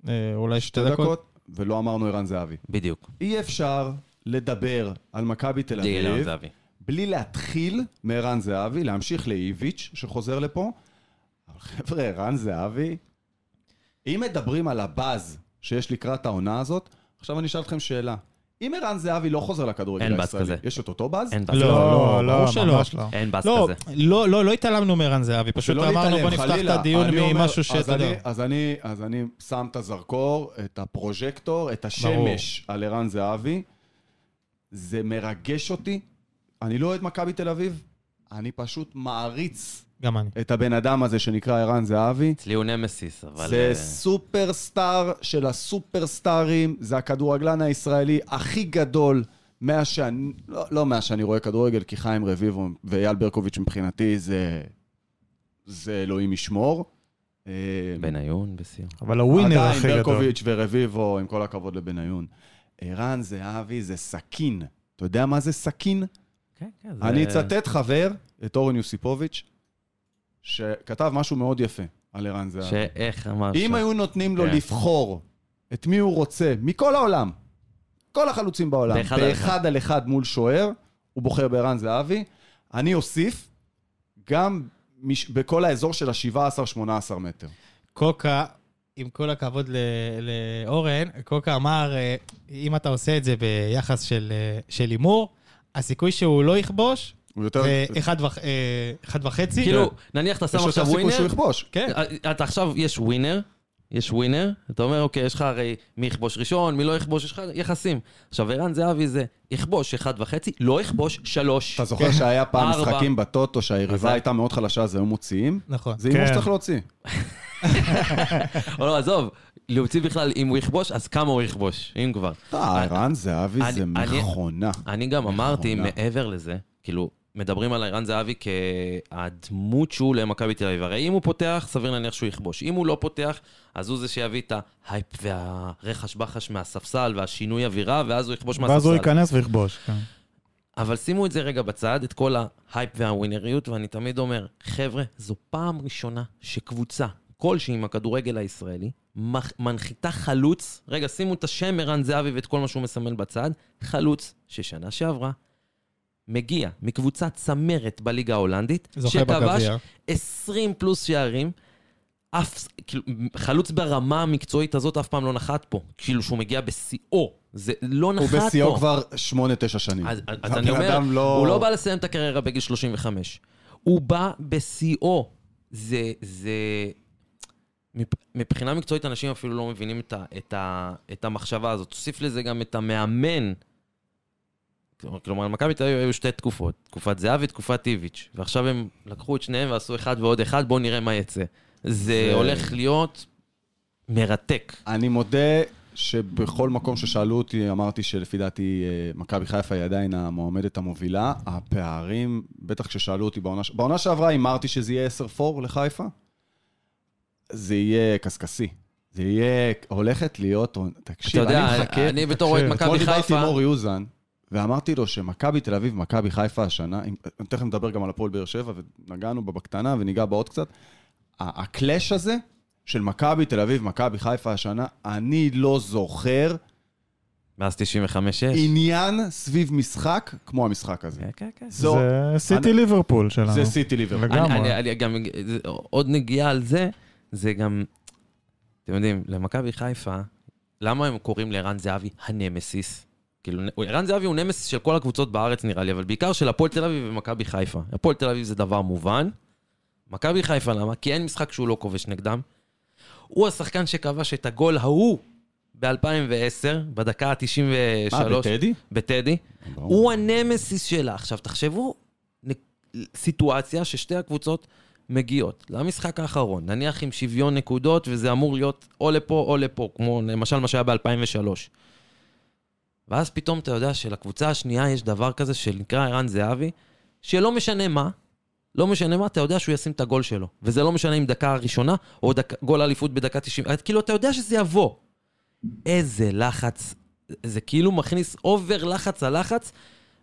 Speaker 1: אה, אולי שתי
Speaker 2: שתי
Speaker 1: דקות.
Speaker 2: דקות, ולא אמרנו ערן זהבי.
Speaker 3: בדיוק.
Speaker 2: אי אפשר לדבר על מכבי תל
Speaker 3: דיילן
Speaker 2: אביב
Speaker 3: זהבי.
Speaker 2: בלי להתחיל מערן זהבי, להמשיך לאיביץ' שחוזר לפה. אבל חבר'ה, ערן זהבי, אם מדברים על הבאז שיש לקראת העונה הזאת, עכשיו אני אשאל אתכם שאלה. אם ערן זהבי לא חוזר
Speaker 3: אין
Speaker 2: לכדורגל
Speaker 3: באז
Speaker 2: הישראלי,
Speaker 3: כזה.
Speaker 2: יש את אותו באז?
Speaker 3: אין באז
Speaker 1: לא,
Speaker 3: כזה.
Speaker 1: לא, ברור שלא.
Speaker 4: ממש לא.
Speaker 3: אין באז
Speaker 1: לא,
Speaker 3: כזה.
Speaker 1: לא, לא, לא התעלמנו מערן זהבי, פשוט
Speaker 2: שלא
Speaker 1: אמרנו
Speaker 2: להתעלם,
Speaker 1: בוא נפתח את
Speaker 2: לא חלילה.
Speaker 1: הדיון
Speaker 2: אני אומר,
Speaker 1: ממשהו
Speaker 2: אז
Speaker 1: שאתה
Speaker 2: אני-
Speaker 1: יודע.
Speaker 2: אז אני- אז אני שם את הזרקור, את הפרוז'קטור, את השמש על ערן זהבי. זה מרגש אותי. אני לא אוהד מכבי תל אביב, אני פשוט מעריץ
Speaker 1: גם אני.
Speaker 2: את הבן אדם הזה שנקרא ערן זהבי.
Speaker 3: אצלי הוא נמסיס, אבל...
Speaker 2: זה
Speaker 3: אה,
Speaker 2: סופרסטאר של הסופרסטארים, זה הכדורגלן הישראלי הכי גדול מאז שאני, לא, לא מאז שאני רואה כדורגל, כי חיים רביבו ואייל ברקוביץ' מבחינתי זה, זה אלוהים ישמור. אה,
Speaker 3: בניון בסיום.
Speaker 4: אבל הווינר
Speaker 2: עדיין
Speaker 4: הכי גדול.
Speaker 2: ברקוביץ' ורביבו, עם כל הכבוד לבניון. ערן זהבי זה סכין. אתה יודע מה זה סכין?
Speaker 3: כן, כן, זה...
Speaker 2: אני אצטט חבר, את אורן יוסיפוביץ', שכתב משהו מאוד יפה על ערן זהבי.
Speaker 3: שאיך אמר
Speaker 2: אם היו נותנים לו
Speaker 3: כן.
Speaker 2: לבחור את מי הוא רוצה, מכל העולם, כל החלוצים בעולם,
Speaker 3: באחד על
Speaker 2: באחד על אחד מול שוער, הוא בוחר בערן זהבי. אני אוסיף, גם מש- בכל האזור של ה-17-18 מטר.
Speaker 1: קוקה, עם כל הכבוד ל- לאורן, קוקה אמר, אה, אם אתה עושה את זה ביחס של אה, של הימור, הסיכוי שהוא לא יכבוש
Speaker 2: הוא יותר...
Speaker 1: זה אחד וח- אה, אחד וחצי.
Speaker 3: כאילו, נניח אתה שם
Speaker 2: יש יותר
Speaker 3: עכשיו
Speaker 2: סיכוי שהוא
Speaker 3: ווינר,
Speaker 2: יכבוש.
Speaker 1: כן.
Speaker 3: אה, אתה עכשיו, יש ווינר, יש ווינר, אתה אומר, אוקיי, יש לך הרי מי יכבוש ראשון, מי לא יכבוש, יש לך יחסים. עכשיו, ערן זהבי זה יכבוש אחד וחצי, לא יכבוש שלוש.
Speaker 2: אתה זוכר שהיה פעם
Speaker 3: כן. ארבע.
Speaker 2: משחקים בטוטו
Speaker 3: אז-
Speaker 2: שהיריבה הייתה מאוד חלשה, אז היו מוציאים?
Speaker 1: נכון.
Speaker 2: זה הימור
Speaker 4: כן.
Speaker 2: שצריך להוציא.
Speaker 3: או לא, עזוב, להוציא בכלל, אם הוא יכבוש, אז כמה הוא יכבוש, אם כבר.
Speaker 2: אה, ערן זהבי
Speaker 3: אני-
Speaker 2: זה
Speaker 3: אני-
Speaker 2: מכונה.
Speaker 3: אני גם אמרתי,
Speaker 2: אחרונה.
Speaker 3: מעבר לזה, כאילו, מדברים על ערן זהבי כהדמות שהוא למכבי תל אביב. הרי אם הוא פותח, סביר להניח שהוא יכבוש. אם הוא לא פותח, אז הוא זה שיביא את ההייפ והרחש בחש מהספסל והשינוי אווירה, ואז הוא יכבוש מהספסל.
Speaker 4: ואז הוא ייכנס ויכבוש. כן.
Speaker 3: אבל שימו את זה רגע בצד, את כל ההייפ והווינריות, ואני תמיד אומר, חבר'ה, זו פעם ראשונה שקבוצה כלשהי מהכדורגל הישראלי מח- מנחיתה חלוץ, רגע, שימו את השם ערן זהבי ואת כל מה שהוא מסמל בצד, חלוץ ששנה שעברה מגיע מקבוצת צמרת בליגה ההולנדית,
Speaker 1: זוכה
Speaker 3: שכבש
Speaker 1: בגביע.
Speaker 3: 20 פלוס שערים, אף, כאילו, חלוץ ברמה המקצועית הזאת אף פעם לא נחת פה. כאילו שהוא מגיע בשיאו, זה לא נחת
Speaker 2: הוא
Speaker 3: פה.
Speaker 2: בשיאו כבר 8-9 שנים.
Speaker 3: אז, אז אני אומר,
Speaker 2: הבן אדם
Speaker 3: לא... הוא לא בא לסיים את הקריירה בגיל 35. הוא בא בשיאו. זה, זה... מפ- מבחינה מקצועית אנשים אפילו לא מבינים את, ה, את, ה, את המחשבה הזאת. תוסיף לזה גם את המאמן. כלומר- כלומר, למכבי תל אביב היו שתי תקופות, תקופת זהבי, תקופת איביץ', ועכשיו הם לקחו את שניהם ועשו אחד ועוד אחד, בואו נראה מה יצא. זה
Speaker 2: זה-
Speaker 3: הולך להיות מרתק.
Speaker 2: אני מודה שבכל מקום ששאלו אותי, אמרתי שלפי דעתי אה, מכבי חיפה היא עדיין המועמדת המובילה. הפערים, בטח כששאלו אותי בעונה... ש- בעונה שעברה הימרתי שזה יהיה 10-4 לחיפה. זה יהיה קשקשי. זה יהיה... הולכת להיות...
Speaker 3: אתה
Speaker 2: תקשיב, אני
Speaker 3: יודע, אה,
Speaker 2: מחכה...
Speaker 3: אני בתור אוהד
Speaker 4: תקשיב,
Speaker 3: מכבי
Speaker 2: אתמול דיברתי עם
Speaker 3: חיפה,
Speaker 2: אורי אוזן, ואמרתי לו שמכבי תל אביב, מכבי חיפה השנה, אם- תכף נדבר גם על הפועל באר שבע, ונגענו בה בקטנה וניגע בה עוד קצת, ה- הקלאש הזה של מכבי תל אביב, מכבי חיפה השנה, אני לא זוכר
Speaker 3: מאז 95-6.
Speaker 2: עניין סביב משחק כמו המשחק הזה.
Speaker 3: כן, כן, כן.
Speaker 2: זו,
Speaker 4: זה סיטי ליברפול שלנו.
Speaker 2: זה סיטי ליברפול.
Speaker 4: לגמרי.
Speaker 3: אני, אני, אני גם, זה- עוד נגיעה על זה, זה גם, אתם יודעים, למכבי חיפה, למה הם קוראים לערן זהבי הנמסיס? כאילו, נ- ערן זהבי הוא נמסיס של כל הקבוצות בארץ נראה לי, אבל בעיקר של הפועל תל אביב ומכבי חיפה. הפועל תל אביב זה דבר מובן. מכבי חיפה למה? כי אין משחק שהוא לא כובש נגדם. הוא השחקן שכבש את הגול ההוא ב-2010, בדקה ה-93.
Speaker 2: מה, אה, בטדי?
Speaker 3: בטדי. הוא הנמסיס שלה. עכשיו, תחשבו, נ- סיטואציה ששתי הקבוצות מגיעות למשחק האחרון, נניח עם שוויון נקודות, וזה אמור להיות או לפה או לפה, כמו למשל מה שהיה ב-2003. ואז פתאום אתה יודע שלקבוצה השנייה יש דבר כזה שנקרא ערן זהבי, שלא משנה מה, לא משנה מה, אתה יודע שהוא ישים את הגול שלו. וזה לא משנה אם דקה ראשונה, או דק, גול אליפות בדקה 90, את- כאילו, אתה יודע שזה יבוא. איזה לחץ. זה כאילו מכניס אובר לחץ על לחץ,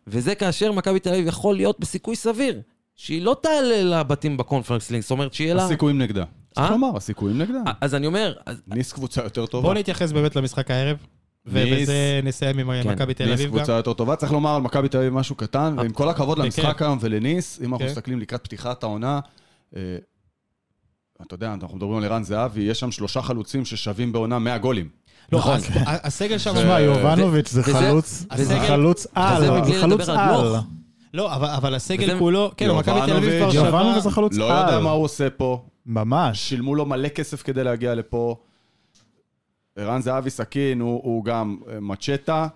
Speaker 3: וזה כאשר מכבי תל אביב יכול להיות בסיכוי סביר, שהיא לא תעלה לבתים בקונפרנס לינק, זאת אומרת שיהיה לה...
Speaker 2: הסיכויים נגדה. צריך
Speaker 3: אה?
Speaker 2: לומר, הסיכויים נגדה.
Speaker 3: אז אני אומר, אז-
Speaker 2: ניס קבוצה יותר טובה.
Speaker 1: בואו נתייחס באמת למשחק הערב, ובזה נסיים עם אה,
Speaker 3: כן.
Speaker 1: מכבי תל
Speaker 2: ניס
Speaker 1: אביב גם.
Speaker 2: קבוצה יותר טובה. צריך לומר על מכבי תל אביב משהו קטן, ועם כל הכבוד
Speaker 1: כן.
Speaker 2: למשחק היום ולניס, אם אנחנו
Speaker 1: כן.
Speaker 2: מסתכלים לקראת פתיחת העונה, אה, אתה יודע, אנחנו מדברים על ערן זהבי, יש שם שלושה חלוצים ששווים בעונה 100 גולים.
Speaker 1: לא,
Speaker 3: נכון.
Speaker 1: אז- ה- הסגל שם...
Speaker 4: תשמע, יובנוביץ' זה
Speaker 3: וזה-
Speaker 4: חלוץ,
Speaker 1: וזה-
Speaker 4: זה חלוץ על,
Speaker 3: וזה מבלי
Speaker 4: זה חלוץ
Speaker 3: לדבר על
Speaker 4: על.
Speaker 3: גלוך.
Speaker 1: לא, אבל- אבל הסגל
Speaker 3: וזה-
Speaker 1: כולו... כן, מכבי תל אביב כבר
Speaker 2: יובנוביץ',
Speaker 1: שווה...
Speaker 4: יובנוביץ' זה חלוץ
Speaker 2: לא יודע
Speaker 4: על.
Speaker 2: מה הוא עושה פה,
Speaker 4: ממש.
Speaker 2: שילמו לו מלא כסף כדי להגיע לפה. ערן זהבי סכין, הוא הוא גם אה, מצ'טה.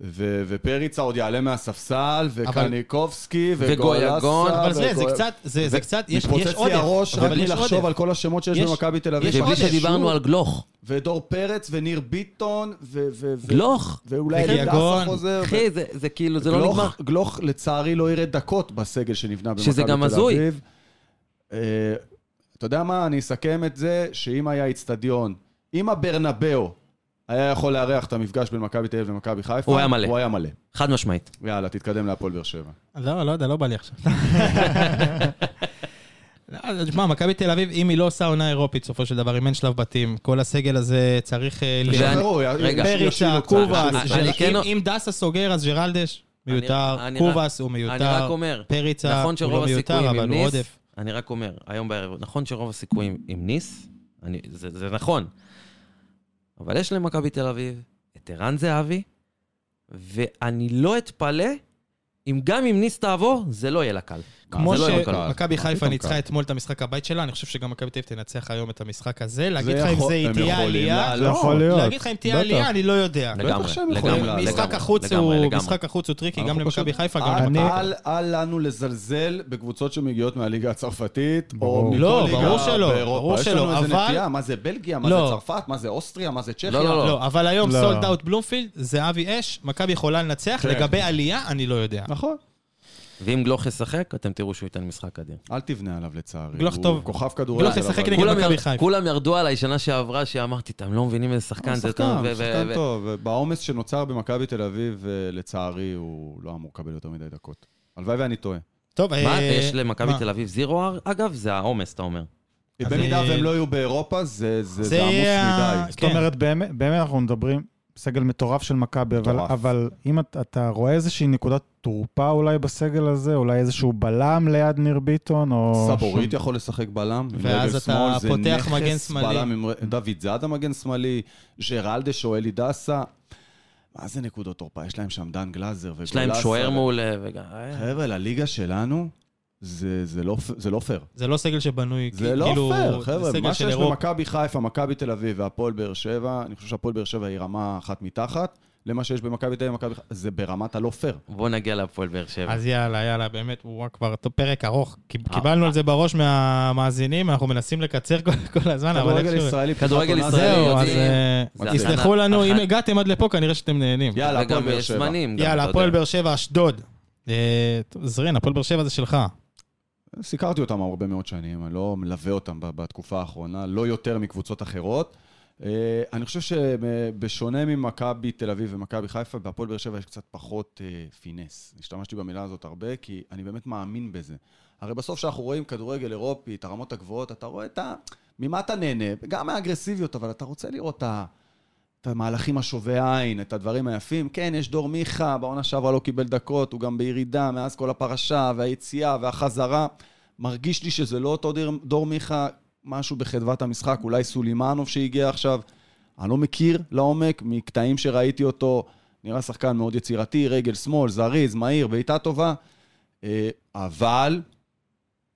Speaker 2: ו- ופריצה עוד יעלה מהספסל, וקניקובסקי,
Speaker 3: וגויגון,
Speaker 2: וגויאסה,
Speaker 1: אבל זה, זה
Speaker 2: וגויאגון.
Speaker 1: קצת, זה זה קצת, יש יש
Speaker 2: מתפוצץ לי הראש
Speaker 1: עודף,
Speaker 2: רק
Speaker 1: אבל יש
Speaker 2: מלחשוב
Speaker 1: עודף.
Speaker 2: על כל השמות שיש
Speaker 1: יש-
Speaker 2: במכבי תל אביב.
Speaker 1: יש
Speaker 3: ובלי
Speaker 1: עודף.
Speaker 3: שדיברנו על גלוך.
Speaker 2: ודור פרץ וניר ביטון, ו... ו- ו-
Speaker 3: גלוך.
Speaker 2: ואולי
Speaker 1: וגלגון.
Speaker 2: אלי דסה חוזר. ו-
Speaker 3: אחי, זה- זה כאילו, לא. זה לא
Speaker 2: גלוך-
Speaker 3: נגמר.
Speaker 2: גלוך לצערי לא יראה דקות בסגל שנבנה במכבי תל אביב.
Speaker 3: שזה גם הזוי.
Speaker 2: אה, אתה יודע מה, אני אסכם את זה, שאם היה איצטדיון, אם הברנבאו היה יכול לארח את המפגש בין מכבי תל אביב למכבי חיפה,
Speaker 3: הוא היה מלא.
Speaker 2: הוא היה מלא.
Speaker 3: חד משמעית.
Speaker 2: יאללה, תתקדם להפועל באר שבע.
Speaker 1: לא, לא יודע, לא בא לי עכשיו. לא, תשמע, מכבי תל אביב, אם היא לא עושה עונה אירופית, בסופו של דבר, אם אין שלב בתים, כל הסגל הזה צריך אה, ל-
Speaker 3: ואני-
Speaker 2: שחררו, י-
Speaker 3: רגע.
Speaker 2: ישילו
Speaker 1: פריצה,
Speaker 2: קצת.
Speaker 1: קובאס,
Speaker 3: אני-
Speaker 1: ז'ר-
Speaker 3: אני כן-
Speaker 1: אם- אם דסה סוגר, אז ג'רלדש
Speaker 3: אני-
Speaker 1: מיותר,
Speaker 3: אני רק-
Speaker 1: קובאס הוא מיותר,
Speaker 3: אני רק אומר,
Speaker 1: פריצה
Speaker 3: נכון
Speaker 1: הוא
Speaker 3: שרוב
Speaker 1: לא מיותר,
Speaker 3: הסיכויים
Speaker 1: אבל
Speaker 3: עם
Speaker 1: הוא
Speaker 3: ניס, אה,
Speaker 1: עודף.
Speaker 3: אני רק אומר, היום בערב, נכון שרוב הסיכויים עם ניס, אני, זה, זה נכון, אבל יש למכבי תל אביב את ערן זהבי, ואני לא אתפלא אם גם אם ניס תעבור, זה לא יהיה לה קל.
Speaker 1: כמו
Speaker 3: זה לא יהיה קל.
Speaker 1: שמכבי חיפה
Speaker 2: פתאום קל.
Speaker 1: ניצחה אתמול את המשחק הבית שלה, אני חושב שגם מכבי תל אביב תנצח היום את המשחק הזה. להגיד
Speaker 2: זה
Speaker 1: לך אם
Speaker 2: יכול-
Speaker 1: זה לא.
Speaker 2: הם
Speaker 1: תהיה
Speaker 2: יכולים
Speaker 1: עלייה,
Speaker 2: לעלות.
Speaker 4: זה יכול להיות.
Speaker 1: להגיד לך אם תהיה
Speaker 4: בטח.
Speaker 1: עלייה, אני לא יודע.
Speaker 3: לגמרי,
Speaker 2: בטח שהם
Speaker 3: לגמרי,
Speaker 2: יכולים לעלות.
Speaker 1: משחק
Speaker 3: לגמרי,
Speaker 1: החוץ
Speaker 3: לגמרי,
Speaker 1: הוא-
Speaker 3: לגמרי.
Speaker 1: משחק החוץ הוא טריקי, גם
Speaker 2: אנחנו
Speaker 1: למכבי
Speaker 2: פשוט- אה,
Speaker 1: חיפה, גם
Speaker 2: אל-
Speaker 1: למכבי
Speaker 2: אל- אל לנו לזלזל בקבוצות שמגיעות מהליגה הצרפתית, או
Speaker 4: ברור.
Speaker 2: מכל
Speaker 1: לא,
Speaker 2: ליגה
Speaker 1: ברור שלא,
Speaker 2: באירופה.
Speaker 1: ברור
Speaker 2: יש
Speaker 1: שלא,
Speaker 2: לנו איזה
Speaker 1: אבל-
Speaker 2: נטייה, מה זה בלגיה, מה זה
Speaker 1: לא.
Speaker 2: צרפת, מה זה אוסטריה, מה זה צ'כיה.
Speaker 3: לא, לא,
Speaker 1: לא, אבל היום
Speaker 4: לא.
Speaker 1: סולד אאוט בלומפילד, זה אבי אש, מכבי יכולה לנצח,
Speaker 2: כן.
Speaker 1: לגבי עלייה, אני לא יודע.
Speaker 2: נכון.
Speaker 3: ואם גלוך ישחק, אתם תראו שהוא ייתן משחק אדיר.
Speaker 2: אל תבנה עליו לצערי.
Speaker 1: גלוך
Speaker 2: הוא
Speaker 1: טוב.
Speaker 2: כוכב כדורגל.
Speaker 1: גלוך ישחק
Speaker 2: אבל-
Speaker 1: נגד
Speaker 3: כולם
Speaker 1: מכבי
Speaker 3: יר-
Speaker 1: חיפה.
Speaker 3: כולם ירדו עליי שנה שעברה, שאמרתי, אתם לא מבינים איזה שחקן
Speaker 2: הוא
Speaker 3: זה.
Speaker 2: שחקן,
Speaker 3: ו-
Speaker 2: הוא
Speaker 3: ו-
Speaker 2: שחקן
Speaker 3: ו-
Speaker 2: טוב. ובעומס שנוצר במכבי תל אביב, אה, לצערי, הוא לא אמור לקבל יותר מדי דקות. הלוואי ואני טועה.
Speaker 1: טוב,
Speaker 3: מה,
Speaker 1: אה,
Speaker 3: ויש למכבי
Speaker 1: מה?
Speaker 3: תל אביב זירו R? אגב, זה העומס, אתה אומר.
Speaker 1: אז,
Speaker 2: במידה
Speaker 1: אה,
Speaker 2: והם לא יהיו באירופה, זה
Speaker 1: זה
Speaker 2: זה- זה עמוס
Speaker 1: יהיה
Speaker 2: מדי.
Speaker 1: ה-
Speaker 4: זאת
Speaker 1: כן.
Speaker 4: אומרת, באמת באמת אנחנו מדברים, סגל מטורף של מכבי, אבל-
Speaker 2: מטורף.
Speaker 4: אבל אם אתה- אתה רואה איזושהי נקודת תורפה אולי בסגל הזה, אולי איזשהו בלם ליד ניר ביטון, או...
Speaker 2: סבורית
Speaker 4: שם-
Speaker 2: יכול לשחק בלם, עם
Speaker 1: ואז
Speaker 2: רגל
Speaker 1: אתה
Speaker 2: שמאל, זה
Speaker 1: פותח
Speaker 2: נכס
Speaker 1: מגן שמאלי.
Speaker 2: בלם עם ר- דוד זאדה מגן שמאלי, ג'רלדש או אלי דסה. מה זה נקודות תורפה? יש להם שם דן גלאזר וגולאסה.
Speaker 3: יש להם שוער מעולה. וגם- אה,
Speaker 2: חבר'ה, לליגה שלנו, זה זה לא פ- זה לא פייר.
Speaker 1: זה לא סגל שבנוי,
Speaker 2: זה לא
Speaker 1: כאילו,
Speaker 2: פייר,
Speaker 1: זה
Speaker 2: חבר'ה.
Speaker 1: סגל
Speaker 2: מה
Speaker 1: של
Speaker 2: שיש
Speaker 1: אירופה.
Speaker 2: במכבי חיפה, מכבי תל אביב והפועל באר שבע, אני חושב שהפועל באר שבע היא רמה אחת מתחת למה שיש במכבי תל אביב ומכבי חיפה. זה ברמת הלא פייר.
Speaker 3: בוא נגיע להפועל באר שבע.
Speaker 1: אז יאללה, יאללה, באמת, וואו, כבר ת- פרק ארוך. קיב-
Speaker 3: אה.
Speaker 1: קיבלנו על זה בראש מהמאזינים, אנחנו מנסים לקצר כל- כל הזמן, כן, אבל
Speaker 2: כדורגל
Speaker 1: איכשהו...
Speaker 2: ישראלי, פתיחת
Speaker 3: כדורגל
Speaker 2: עונה,
Speaker 3: ישראלי,
Speaker 1: זהו, אז
Speaker 3: יודעים.
Speaker 1: אה,
Speaker 3: זה
Speaker 1: תסלחו
Speaker 3: הכנה-
Speaker 1: לנו, אם
Speaker 3: הכנה.
Speaker 1: הגעתם עד לפה, כנראה שאתם נהנים.
Speaker 2: יאללה, הפועל
Speaker 3: וגם
Speaker 2: באר
Speaker 3: יש
Speaker 2: שבע.
Speaker 3: זמנים. גם,
Speaker 1: יאללה,
Speaker 3: אתה
Speaker 1: הפועל
Speaker 3: יודע.
Speaker 1: באר שבע, אשדוד. אה, זרין, הפועל באר שבע זה שלך.
Speaker 2: סיקרתי אותם הרבה מאוד שנים, אני לא מלווה אותם ב- בתקופה האחרונה, לא יותר מקבוצות אחרות. אה, אני חושב שבשונה ממכבי תל אביב ומכבי חיפה, בהפועל באר שבע יש קצת פחות אה, פינס. השתמשתי במילה הזאת הרבה, כי אני באמת מאמין בזה. הרי בסוף כשאנחנו רואים כדורגל אירופי, את הרמות הגבוהות, אתה רואה את ה... ממה אתה נהנה? גם מהאגרסיביות, אבל אתה רוצה לראות את ה... את המהלכים השובי עין, את הדברים היפים. כן, יש דור מיכה, בעונה שעברה לא קיבל דקות, הוא גם בירידה מאז כל הפרשה והיציאה והחזרה. מרגיש לי שזה לא אותו דור, דור מיכה, משהו בחדוות המשחק, אולי סולימנוב שהגיע עכשיו. אני לא מכיר לעומק, מקטעים שראיתי אותו, נראה שחקן מאוד יצירתי, רגל שמאל, זריז, מהיר, בעיטה טובה. אה, אבל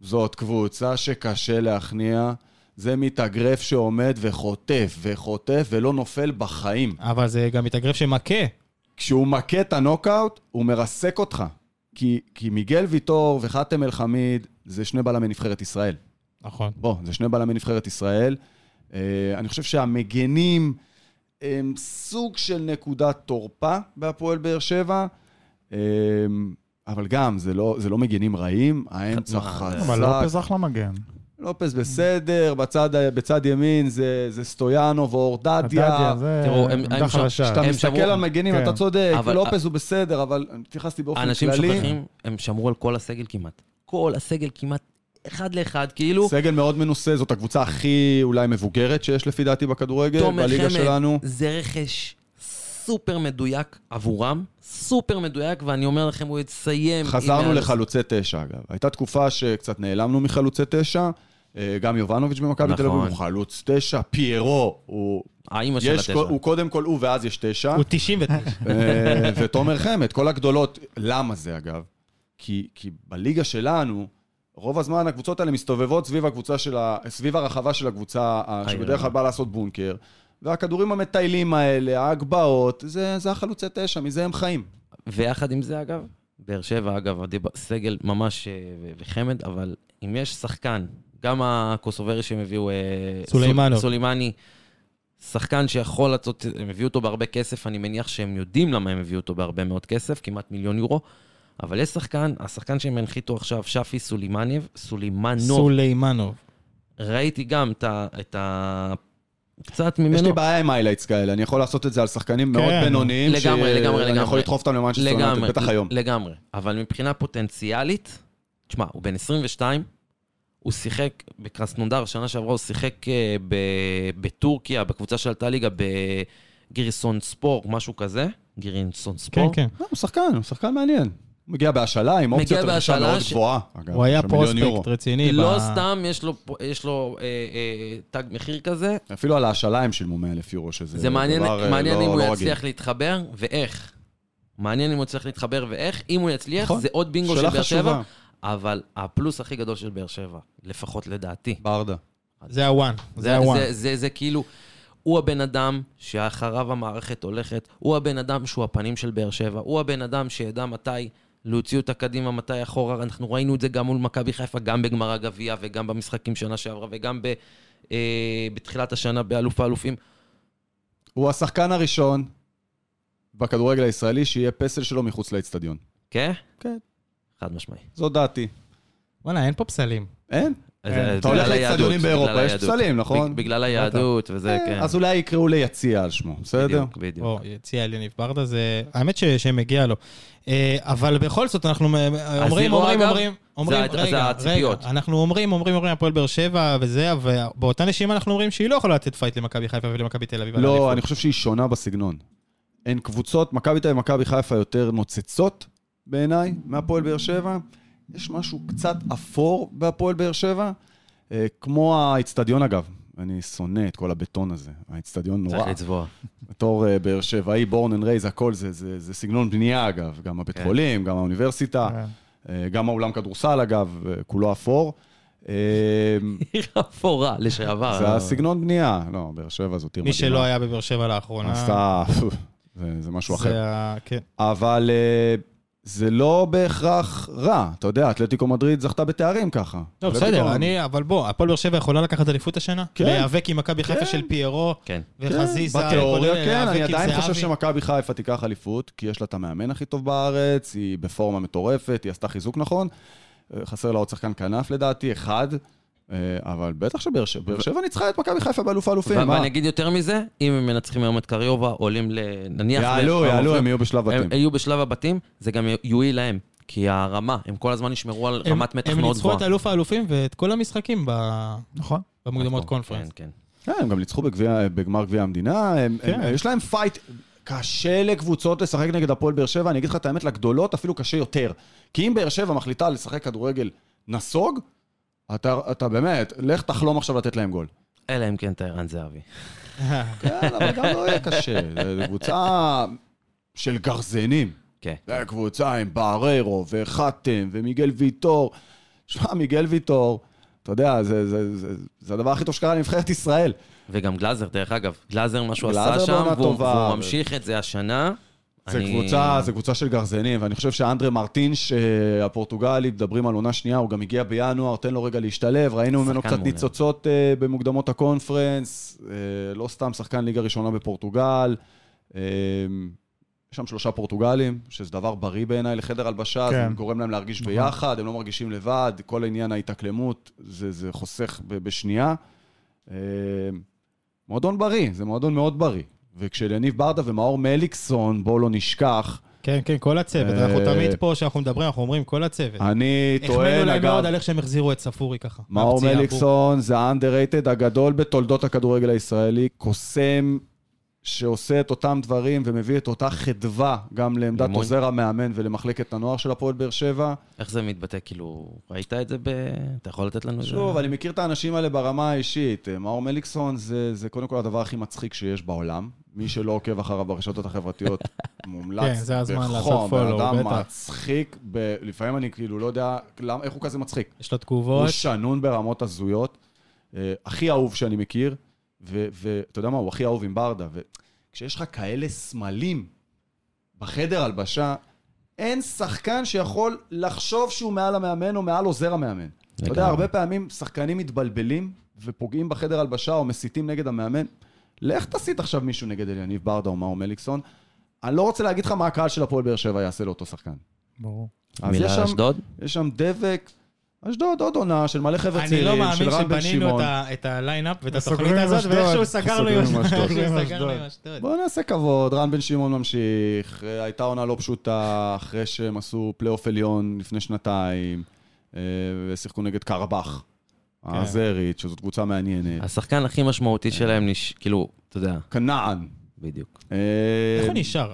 Speaker 2: זאת קבוצה שקשה להכניע. זה מתאגרף שעומד וחוטף וחוטף ולא נופל בחיים.
Speaker 1: אבל זה גם מתאגרף שמכה.
Speaker 2: כשהוא מכה את הנוקאוט, הוא מרסק אותך. כי, כי מיגל ויטור וחאתם אל-חמיד זה שני בלמי נבחרת ישראל.
Speaker 1: נכון.
Speaker 2: בוא, זה שני בלמי נבחרת ישראל. אה, אני חושב שהמגנים הם סוג של נקודת תורפה בהפועל באר שבע, אה, אבל גם, זה לא, זה לא מגנים רעים, האמצע
Speaker 3: מה,
Speaker 4: אבל
Speaker 2: חזק,
Speaker 4: לופז אחלה מגן.
Speaker 2: לופס בסדר, בצד, בצד ימין זה, זה סטויאנוב או אורדדיה.
Speaker 4: הדדיה, זה
Speaker 3: תראו, הם-
Speaker 4: עמדה
Speaker 3: הם שם-
Speaker 4: חלשה.
Speaker 2: כשאתה
Speaker 3: הם
Speaker 2: מסתכל
Speaker 3: שמרו-
Speaker 2: על מגנים,
Speaker 4: כן.
Speaker 2: אתה צודק,
Speaker 3: אבל-
Speaker 2: לופס הוא בסדר, אבל התייחסתי באופן כללי.
Speaker 3: האנשים שוכחים, הם שמרו על כל הסגל כמעט. כל הסגל כמעט, אחד לאחד, כאילו...
Speaker 2: סגל מאוד מנוסה, זאת הקבוצה הכי אולי מבוגרת שיש לפי דעתי בכדורגל,
Speaker 3: תומר
Speaker 2: בליגה
Speaker 3: חמד,
Speaker 2: שלנו.
Speaker 3: זה רכש סופר מדויק עבורם, סופר מדויק, ואני אומר לכם, הוא יסיים... עם
Speaker 2: חזרנו
Speaker 3: מעל-
Speaker 2: לחלוצי תשע, אגב. הייתה תקופה שקצת נעלמנו מחלוצי תשע. אה, גם יובנוביץ' במכבי תל אביב
Speaker 3: נכון.
Speaker 2: הוא חלוץ תשע, פיירו, הוא,
Speaker 3: האימא של
Speaker 2: יש,
Speaker 3: התשע.
Speaker 2: קו- הוא קודם כל הוא ואז יש תשע.
Speaker 1: הוא 99.
Speaker 2: אה, ותומר חמד, כל הגדולות. למה זה, אגב? כי, כי בליגה שלנו, רוב הזמן הקבוצות האלה מסתובבות סביב, הקבוצה של ה... סביב הרחבה של הקבוצה, ה-
Speaker 3: העיר.
Speaker 2: שבדרך כלל באה לעשות בונקר. והכדורים המטיילים האלה, ההגבהות, זה, זה החלוצי תשע, מזה הם חיים.
Speaker 3: ויחד עם זה, אגב, באר שבע, אגב, הדיב- סגל ממש אה, ו- וחמד, אבל אם יש שחקן, גם הקוסוברי שהם הביאו... אה,
Speaker 1: סולימנוב.
Speaker 3: סול- סולימני, שחקן שיכול לעשות, הם הביאו אותו בהרבה כסף, אני מניח שהם יודעים למה הם הביאו אותו בהרבה מאוד כסף, כמעט מיליון יורו. אבל יש שחקן, השחקן שהם הנחיתו עכשיו, שפי סולימניב, סולימנוב.
Speaker 1: סולימנוב.
Speaker 3: ראיתי גם את ה... את ה... קצת
Speaker 2: יש לי
Speaker 3: ממנו.
Speaker 2: בעיה עם היילייטס כאלה, אני יכול לעשות את זה על שחקנים
Speaker 1: כן.
Speaker 2: מאוד בינוניים,
Speaker 3: לגמרי, לגמרי,
Speaker 2: אני
Speaker 3: לגמרי.
Speaker 2: יכול לדחוף אותם למאנצ'סטר יונייטד, בטח היום.
Speaker 3: לגמרי. אבל מבחינה פוטנציאלית, תשמע, הוא בן 22, הוא שיחק בקרסנונדר, שנה שעברה הוא שיחק אה, ב... בטורקיה, בקבוצה שעלתה ליגה, בגריסון ספור, משהו כזה. גרינסון
Speaker 1: כן,
Speaker 3: ספור.
Speaker 1: כן.
Speaker 2: לא, הוא שחקן, הוא שחקן מעניין. הוא מגיע בהשאלה עם אופציות
Speaker 3: מגיע
Speaker 2: רכישה
Speaker 3: בהשאלה
Speaker 2: מאוד
Speaker 3: ש-
Speaker 2: גבוהה. אגב,
Speaker 1: הוא היה
Speaker 2: של מיליון
Speaker 1: פרוספקט
Speaker 2: יורו.
Speaker 1: רציני.
Speaker 3: לא
Speaker 1: ב-
Speaker 3: סתם, יש לו, פה- יש לו אה, אה, תג מחיר כזה.
Speaker 2: אפילו על ההשאלה הם שילמו 100 אלף יורו, שזה
Speaker 3: זה מעניין,
Speaker 2: דבר אה,
Speaker 3: מעניין
Speaker 2: לא-
Speaker 3: אם הוא
Speaker 2: לא רגיל.
Speaker 3: יצליח להתחבר ואיך. מעניין אם הוא יצליח להתחבר ואיך. אם הוא יצליח,
Speaker 2: נכון.
Speaker 3: זה עוד בינגו של
Speaker 2: שאלה
Speaker 3: באר שבע.
Speaker 2: חשובה.
Speaker 3: אבל הפלוס הכי גדול של באר שבע, לפחות לדעתי.
Speaker 2: ברדה.
Speaker 1: זה הוואן. זה
Speaker 3: זה,
Speaker 1: הוואן.
Speaker 3: זה, זה, זה כאילו, הוא הבן אדם שאחריו המערכת הולכת, הוא הבן אדם שהוא הפנים של באר שבע, הוא הבן אדם שידע מתי להוציא אותה קדימה, מתי אחורה. אנחנו ראינו את זה גם מול מכבי חיפה, גם בגמר הגביע וגם במשחקים שנה שעברה וגם ב, אה, בתחילת השנה באלוף האלופים.
Speaker 2: הוא השחקן הראשון בכדורגל הישראלי שיהיה פסל שלו מחוץ לאצטדיון.
Speaker 3: כן?
Speaker 2: כן.
Speaker 3: חד משמעי.
Speaker 2: זו דעתי.
Speaker 1: וואלה, אין פה פסלים.
Speaker 2: אין.
Speaker 3: אז,
Speaker 1: אתה
Speaker 3: אה,
Speaker 2: כן. אתה
Speaker 3: בגלל
Speaker 2: הולך
Speaker 3: היהדות,
Speaker 2: לאצטדיונים
Speaker 3: בגלל
Speaker 2: באירופה, יש
Speaker 3: היהדות.
Speaker 2: פסלים,
Speaker 3: ב-
Speaker 2: נכון?
Speaker 3: בגלל היהדות וזה,
Speaker 2: אה,
Speaker 3: כן.
Speaker 2: אז אולי יקראו ליציע על שמו, בסדר?
Speaker 3: בדיוק, בדיוק.
Speaker 1: או, יציע אליניב ברדה זה... האמת ש- שמגיע לו. אה, אבל בכל זאת, אנחנו מ- אה, אומרים,
Speaker 3: זירו,
Speaker 1: אומרים,
Speaker 3: אגב,
Speaker 1: אומרים, אומרים,
Speaker 3: זה ה- זה
Speaker 1: רגע, רגע,
Speaker 3: הציפיות.
Speaker 1: אנחנו אומרים, אומרים, אומרים, הפועל באר שבע וזה, ובאותה נשימה אנחנו אומרים שהיא לא יכולה לתת פייט למכבי חיפה ולמכבי תל אביב. על
Speaker 2: לא,
Speaker 1: האליפות.
Speaker 2: אני חושב שהיא שונה בסגנון. הן קבוצות, מכבי תל אביב ומכבי חיפה יותר נוצצות בעיניי מהפועל באר שבע. יש משהו קצת אפור בהפועל באר שבע, אה, כמו האיצטדיון אגב. אני שונא את כל הבטון הזה, האיצטדיון נורא.
Speaker 3: צריך לצבוע.
Speaker 2: בתור אה, באר שבעי, בורן אנד רייז, הכל זה, זה, זה סגנון בנייה אגב, גם הבית
Speaker 3: כן.
Speaker 2: חולים, גם האוניברסיטה,
Speaker 4: כן.
Speaker 2: אה, גם האולם כדורסל אגב, אה, כולו אפור. אה,
Speaker 3: עיר אפורה, לשעבר.
Speaker 2: זה
Speaker 3: לא-
Speaker 2: הסגנון בנייה. לא, באר שבע זאת עיר
Speaker 1: מי
Speaker 2: מדהימה.
Speaker 1: שלא היה בבאר שבע לאחרונה,
Speaker 2: עשתה... זה- זה לא. משהו אחר.
Speaker 1: אה. זה ה... כן.
Speaker 2: אבל אה, זה לא בהכרח רע. אתה יודע, אתלטיקו מדריד זכתה בתארים ככה.
Speaker 1: לא,
Speaker 2: אתלטיקו-
Speaker 1: בסדר, אני, אבל בוא, הפועל באר שבע יכולה לקחת אליפות השנה?
Speaker 2: כן.
Speaker 1: להיאבק עם מכבי חיפה
Speaker 2: כן.
Speaker 1: של פיירו
Speaker 3: כן.
Speaker 2: כן,
Speaker 1: וחזיזה.
Speaker 2: בתיאוריה
Speaker 1: וכל אלה,
Speaker 2: כן,
Speaker 1: להיאבק
Speaker 2: אני
Speaker 1: עם
Speaker 2: עדיין
Speaker 1: זהבי.
Speaker 2: חושב שמכבי חיפה תיקח אליפות, כי יש לה את המאמן הכי טוב בארץ, היא בפורמה מטורפת, היא עשתה חיזוק נכון. אה, חסר לה עוד שחקן כנף לדעתי, אחד. אה, אבל בטח שבאר שבע באר שבע ניצחה את מכבי חיפה באלוף
Speaker 3: ו-
Speaker 2: האלופים. כן, מה?
Speaker 3: ואני אגיד יותר מזה, אם הם מנצחים היום את קריובה, עולים ל... נניח...
Speaker 2: יעלו,
Speaker 3: ב-
Speaker 2: יעלו, הם יהיו בשלב
Speaker 3: הם
Speaker 2: בתים.
Speaker 3: יהיו בשלב הבתים, זה גם יועיל להם. כי הרמה, הם כל הזמן ישמרו על
Speaker 1: הם-
Speaker 3: רמת מתח
Speaker 1: הם
Speaker 3: מאוד
Speaker 1: ניצחו
Speaker 3: גבוהה.
Speaker 1: את אלוף האלופים ואת כל המשחקים ב-
Speaker 4: נכון.
Speaker 1: במוקדמות
Speaker 3: כן,
Speaker 1: קונפרנס.
Speaker 3: כן,
Speaker 2: כן, הם גם ניצחו בגביע- בגמר גביע המדינה, הם-
Speaker 1: כן.
Speaker 2: הם- יש להם פייט. קשה לקבוצות לשחק נגד הפועל באר שבע, אני אגיד לך את האמת, לגדולות אפילו קשה יותר. כי אם באר שבע מחליטה לשחק כדורגל נסוג, אתה, אתה באמת, לך תחלום עכשיו לתת להם גול.
Speaker 3: כן. אלא אם כן אתה ערן זהבי.
Speaker 2: כן, אבל גם לא יהיה קשה. זו קבוצה של גרזנים.
Speaker 3: כן.
Speaker 2: זו קבוצה עם בררו וחתם ומיגל ויטור. שמע, מיגל ויטור, אתה יודע, זה, זה, זה, זה, זה הדבר הכי טוב שקרה לנבחרת ישראל.
Speaker 3: וגם גלאזר, דרך אגב, גלאזר, מה שהוא
Speaker 2: גלאזר
Speaker 3: עשה שם,
Speaker 2: בעונה
Speaker 3: והוא-
Speaker 2: טובה.
Speaker 3: והוא ממשיך את זה השנה.
Speaker 2: זה
Speaker 3: אני-
Speaker 2: קבוצה, זה קבוצה של גרזנים, ואני חושב שאנדרה מרטינש, אה, הפורטוגלי, מדברים על עונה שנייה, הוא גם הגיע בינואר, תן לו רגע להשתלב, ראינו ממנו
Speaker 3: שחקן
Speaker 2: קצת
Speaker 3: מעולה.
Speaker 2: ניצוצות אה, במוקדמות הקונפרנס, אה, לא סתם שחקן ליגה ראשונה בפורטוגל. אה, יש שם שלושה פורטוגלים, שזה דבר בריא בעיניי לחדר הלבשה, זה
Speaker 4: כן.
Speaker 2: גורם להם להרגיש
Speaker 1: נכון.
Speaker 2: ביחד, הם לא מרגישים לבד, כל עניין ההתאקלמות, זה, זה חוסך ב- בשנייה. אה, מועדון בריא, זה מועדון מאוד בריא. וכשליניב ברדה ומאור מליקסון, בואו לא נשכח,
Speaker 1: כן, כן, כל הצוות.
Speaker 2: אה,
Speaker 1: אנחנו תמיד פה, כשאנחנו מדברים, אנחנו אומרים כל הצוות.
Speaker 2: אני
Speaker 1: כן. החמאנו
Speaker 2: טוען,
Speaker 1: להם
Speaker 2: אגב,
Speaker 1: מאוד על איך שהם החזירו את ספורי ככה.
Speaker 2: מאור
Speaker 1: מהפציעה, בור.
Speaker 2: מליקסון זה האנדררייטד הגדול בתולדות הכדורגל הישראלי, קוסם שעושה את אותם דברים ומביא את אותה חדווה גם לעמדת
Speaker 3: אימון.
Speaker 2: עוזר המאמן ולמחלקת הנוער של הפועל באר שבע.
Speaker 3: איך זה מתבטא? כאילו, ראית את זה ב... אתה יכול לתת לנו את זה?
Speaker 2: שוב, אני מכיר את האנשים האלה ברמה האישית. מאור מליקסון זה, זה קודם כל הדבר הכי מצחיק שיש בעולם. מי שלא עוקב אחריו ברשתות החברתיות, מומלץ
Speaker 1: כן, זה הזמן לעשות
Speaker 2: בחום, בן
Speaker 1: follow,
Speaker 2: אדם
Speaker 1: בטח.
Speaker 2: מצחיק, ב... לפעמים אני כאילו לא יודע למ... איך הוא כזה מצחיק.
Speaker 1: יש לו
Speaker 2: הוא
Speaker 1: תגובות.
Speaker 2: שנון ברמות הזויות, אה, הכי אהוב שאני מכיר, ו- ואתה יודע מה, הוא הכי אהוב עם ברדה. וכשיש לך כאלה סמלים בחדר הלבשה, אין שחקן שיכול לחשוב שהוא מעל המאמן או מעל עוזר המאמן. אתה יודע,
Speaker 3: לגמרי.
Speaker 2: הרבה פעמים שחקנים מתבלבלים ופוגעים בחדר הלבשה או מסיתים נגד המאמן. לך תסית עכשיו מישהו נגד אליניב ברדה או מאור מליקסון. אני לא רוצה להגיד לך מה הקהל של הפועל באר שבע יעשה לאותו שחקן.
Speaker 4: ברור.
Speaker 2: אז יש
Speaker 3: מילה על
Speaker 2: שם-
Speaker 3: אשדוד?
Speaker 2: יש שם דבק. אשדוד עוד עונה של מלא חבר'ה
Speaker 1: אני לא
Speaker 2: צעירים,
Speaker 1: מאמין
Speaker 2: של רן בן
Speaker 1: שבנינו
Speaker 2: שמעון.
Speaker 1: את ה- את הליינאפ ואת התוכנית
Speaker 4: וסוגרים עם
Speaker 1: הזאת,
Speaker 4: אשדוד.
Speaker 1: ואיכשהו סגרנו עם
Speaker 2: וסוגרים עם אשדוד.
Speaker 1: איכשהו
Speaker 4: עם
Speaker 1: סגרנו עם
Speaker 4: אשדוד.
Speaker 1: אשדוד.
Speaker 2: בואו נעשה כבוד, רן בן שמעון ממשיך, אה, הייתה עונה לא פשוטה אחרי שהם עשו פלייאוף עליון לפני שנתיים, אה, ושיחקו נגד קרבח,
Speaker 1: כן.
Speaker 2: האזרית, שזאת קבוצה מעניינת.
Speaker 3: השחקן הכי משמעותי שלהם, נש- כאילו, אתה יודע,
Speaker 2: כנען.
Speaker 3: בדיוק.
Speaker 2: אה,
Speaker 1: איך הוא נשאר?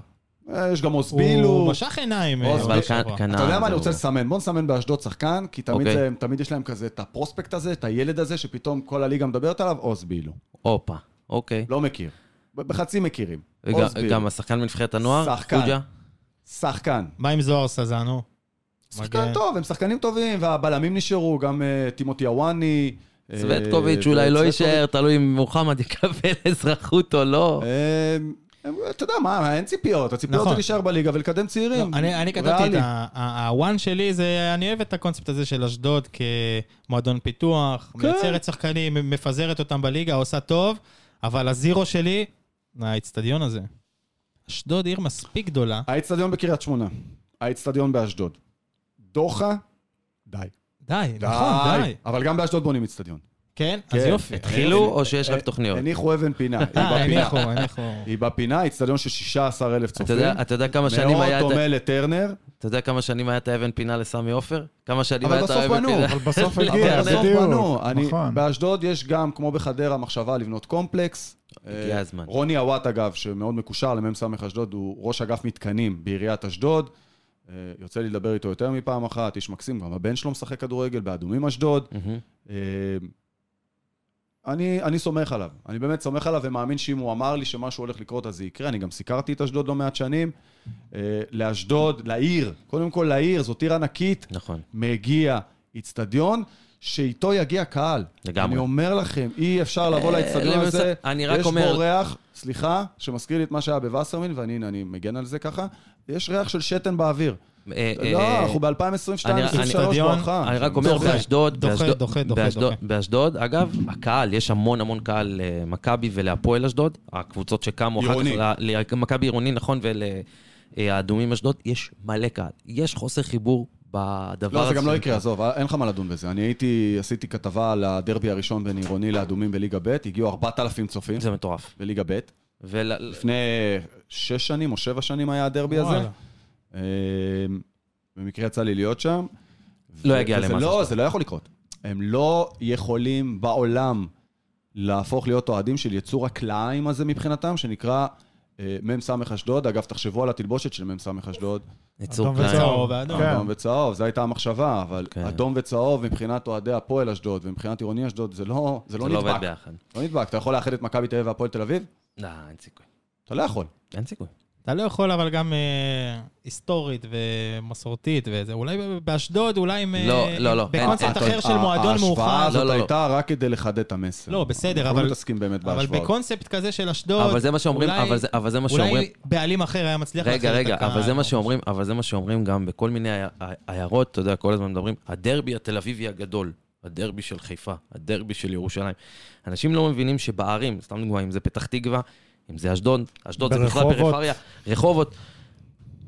Speaker 2: אה, יש גם
Speaker 1: הוא
Speaker 2: אוסבילו.
Speaker 1: משך עיניים. אה,
Speaker 2: עוז
Speaker 1: בעונה
Speaker 3: אבל
Speaker 2: בשבוע.
Speaker 1: שעברה.
Speaker 3: כנען...
Speaker 2: אתה יודע מה
Speaker 3: זה
Speaker 2: אני רוצה
Speaker 3: הוא.
Speaker 2: לסמן? בוא נסמן באשדוד שחקן, כי תמיד
Speaker 3: אה, אוקיי.
Speaker 2: זה- תמיד יש להם כזה את הפרוספקט הזה, את הילד הזה, שפתאום כל הליגה מדברת עליו, אוסבילו.
Speaker 3: הופה, אוקיי.
Speaker 2: לא מכיר. ב- בחצי מכירים.
Speaker 3: וגם-
Speaker 2: אוסבילו.
Speaker 3: גם השחקן בנבחרת הנוער,
Speaker 2: שחקן.
Speaker 3: חוג'ה.
Speaker 2: שחקן.
Speaker 1: מה עם זוהר סזנו?
Speaker 2: שחקן
Speaker 1: מגן.
Speaker 2: טוב, הם שחקנים טובים, והבלמים נשארו, גם אה, טימותי הוואני. אה,
Speaker 3: סווטקוביץ' אולי לא
Speaker 2: וצוותקוביץ'.
Speaker 3: יישאר, תלוי אם מוחמד יקבל אזרחות או לא.
Speaker 2: אה, הם- אתה יודע מה, אין ציפיות, הציפיות
Speaker 1: נכון.
Speaker 2: זה להישאר בליגה ולקדם צעירים.
Speaker 1: לא, אני, אני כתבתי את
Speaker 2: ריאלי.
Speaker 1: ה- ה- הוואן שלי, זה, אני אוהב את הקונספט הזה של אשדוד כמועדון פיתוח,
Speaker 2: כן.
Speaker 1: מייצרת שחקנים, מפזרת אותם בליגה, עושה טוב, אבל הזירו שלי, האיצטדיון הזה. אשדוד עיר מספיק גדולה.
Speaker 2: האיצטדיון בקריית שמונה, האיצטדיון באשדוד. דוחה, די.
Speaker 1: די, נכון, די.
Speaker 2: אבל גם באשדוד בונים אצטדיון.
Speaker 1: כן?
Speaker 2: כן.
Speaker 1: אז יופי.
Speaker 3: התחילו או שיש
Speaker 2: אה,
Speaker 3: רק תוכניות?
Speaker 2: הניחו אבן פינה, היא
Speaker 1: אה,
Speaker 2: בפינה.
Speaker 1: הניחו, הניחו.
Speaker 2: היא בפינה, אצטדיון של 16,000
Speaker 3: אתה
Speaker 2: צופים.
Speaker 3: יודע- אתה יודע כמה שנים היה...
Speaker 2: מאוד
Speaker 3: את ה-
Speaker 2: דומה לטרנר,
Speaker 3: אתה יודע כמה שנים היה את האבן פינה לסמי עופר? כמה שנים
Speaker 2: אבל
Speaker 3: היה את
Speaker 2: בסוף
Speaker 3: האבן
Speaker 2: בנו,
Speaker 3: פינה?
Speaker 4: אבל בסוף
Speaker 3: אבל
Speaker 4: הגיע,
Speaker 3: בסוף
Speaker 4: בדיוק.
Speaker 2: בנו. אני-
Speaker 4: נכון.
Speaker 2: באשדוד יש גם, כמו בחדרה, מחשבה לבנות קומפלקס.
Speaker 3: הגיע
Speaker 2: אה,
Speaker 3: הזמן.
Speaker 2: רוני אוואט, אגב, שמאוד מקושר למ"ס אשדוד, הוא ראש אגף מתקנים בעיריית אשדוד. אה, יוצא לי לדבר איתו יותר מפעם אחת, איש מקסים, גם הבן שלו משחק כדורגל באדומים אשדוד.
Speaker 3: מהמם.
Speaker 2: אה, אני, אני סומך עליו, אני באמת סומך עליו ומאמין שאם הוא אמר לי שמשהו הולך לקרות אז זה יקרה. אני גם סיקרתי את אשדוד לא מעט שנים. אה, לאשדוד, לעיר, קודם כל לעיר, זאת עיר ענקית,
Speaker 3: נכון.
Speaker 2: מגיע איצטדיון, שאיתו יגיע קהל.
Speaker 3: לגמרי.
Speaker 2: אני אומר לכם, אי אפשר לבוא
Speaker 3: אה,
Speaker 2: לאיצטדיון
Speaker 3: למס-
Speaker 2: הזה.
Speaker 3: אני רק
Speaker 2: יש
Speaker 3: אומר-
Speaker 2: בו ריח, סליחה, שמזכיר לי את מה שהיה בווסרמיל, ואני הנה, אני מגן על זה ככה, יש ריח של שתן באוויר.
Speaker 3: אה, אה,
Speaker 2: לא,
Speaker 3: אה,
Speaker 2: אנחנו ב-2022,
Speaker 3: אני- אני-
Speaker 2: 2023,
Speaker 1: איצטדיון,
Speaker 2: בואכה.
Speaker 3: אני רק אומר,
Speaker 1: דוחה,
Speaker 3: באשדוד,
Speaker 1: דוחה,
Speaker 3: באשדוד-
Speaker 1: דוחה, דוחה,
Speaker 3: באשדוד-
Speaker 1: דוחה.
Speaker 3: באשדוד, אגב, הקהל, יש המון המון קהל למכבי ולהפועל אשדוד, הקבוצות שקמו אחר
Speaker 2: עירוני.
Speaker 3: כך, ל- למכבי עירוני, נכון, ולאדומים אשדוד, יש מלא קהל. יש חוסר חיבור בדבר
Speaker 2: לא,
Speaker 3: הזה.
Speaker 2: זה גם לא יקרה, עזוב, אין לך מה לדון בזה. אני הייתי, עשיתי כתבה על הדרבי הראשון בין עירוני לאדומים בליגה ב', הגיעו 4,000 צופים
Speaker 3: זה מטורף.
Speaker 2: בליגה ב'.
Speaker 3: ול- לא
Speaker 2: לפני שש שנים או שבע שנים היה הדרבי הזה.
Speaker 1: וואלה.
Speaker 2: אה, במקרה יצא לי להיות שם.
Speaker 3: לא
Speaker 2: ו-
Speaker 3: יגיע
Speaker 2: וזה
Speaker 3: למס
Speaker 2: לא, זה לא יכול לקרות. הם לא יכולים בעולם להפוך להיות אוהדים של יצור הכלאיים הזה מבחינתם, שנקרא אה, מ"ס אשדוד. אגב, תחשבו על התלבושת של מ"ס אשדוד.
Speaker 3: יצור
Speaker 4: אדום
Speaker 3: כלאיים.
Speaker 4: וצהוב.
Speaker 1: צהוב ואדום.
Speaker 4: כן.
Speaker 2: אדום וצהוב, זו הייתה המחשבה, אבל
Speaker 3: כן.
Speaker 2: אדום וצהוב מבחינת אוהדי הפועל אשדוד ומבחינת עירוני אשדוד, זה לא, זה לא
Speaker 3: זה לא עובד
Speaker 2: נדבק.
Speaker 3: ביחד.
Speaker 2: לא נדבק. אתה יכול לאחד את מכבי תל אביב והפועל תל אביב?
Speaker 3: לא, אין סיכוי.
Speaker 2: אתה לא יכול.
Speaker 3: אין סיכוי.
Speaker 1: אתה לא יכול, אבל גם אה, היסטורית ומסורתית וזה. אולי באשדוד, אולי עם... אה,
Speaker 3: לא, לא, לא, אין,
Speaker 1: בקונספט
Speaker 3: אין.
Speaker 1: אחר של
Speaker 2: ה-
Speaker 1: מועדון
Speaker 2: ההשוואה
Speaker 1: מאוחד.
Speaker 2: הזאת
Speaker 3: לא, לא, לא.
Speaker 2: הייתה רק כדי לחדד את המסר.
Speaker 1: לא, בסדר,
Speaker 2: אנחנו
Speaker 1: אבל-
Speaker 2: לא מתעסקים באמת
Speaker 1: אבל
Speaker 2: בהשוואות.
Speaker 1: בקונספט כזה של אשדוד,
Speaker 3: אבל זה מה שאומרים,
Speaker 1: לא, אולי-
Speaker 3: אבל זה- אבל זה מה שאומרים.
Speaker 1: אולי בעלים אחר היה מצליח...
Speaker 3: רגע,
Speaker 1: להחזיר את
Speaker 3: רגע,
Speaker 1: הקהל.
Speaker 3: אבל זה מה שאומרים, אבל זה מה שאומרים גם בכל מיני עי- עי- עיירות, אתה יודע, כל הזמן מדברים, הדרבי התל אביבי הגדול, הדרבי של חיפה, הדרבי של ירושלים. אנשים לא מבינים שבערים, סתם דוגמא, אם זה פתח תקווה, אם זה אשדוד, אשדוד זה בכלל
Speaker 4: ברחובות.
Speaker 3: פריפריה, רחובות.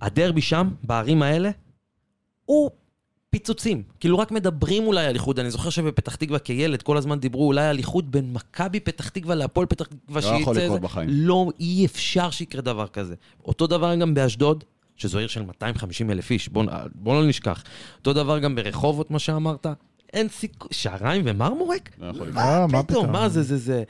Speaker 3: הדרבי שם, בערים האלה, הוא פיצוצים. כאילו, רק מדברים אולי על איחוד. אני זוכר שבפתח תקווה כילד כל הזמן דיברו אולי על איחוד בין מכבי פתח תקווה להפועל פתח תקווה.
Speaker 2: לא יכול
Speaker 3: שייצא
Speaker 2: לקרות
Speaker 3: זה.
Speaker 2: בחיים.
Speaker 3: לא, אי אפשר שיקרה דבר כזה. אותו דבר גם באשדוד, שזו עיר של 250 אלף איש, בואו בוא לא נשכח. אותו דבר גם ברחובות, מה שאמרת. אין סיכוי, שעריים ומרמורק?
Speaker 2: לא יכול לקרות.
Speaker 4: אה, מה פתאום?
Speaker 3: מה זה, זה, זה.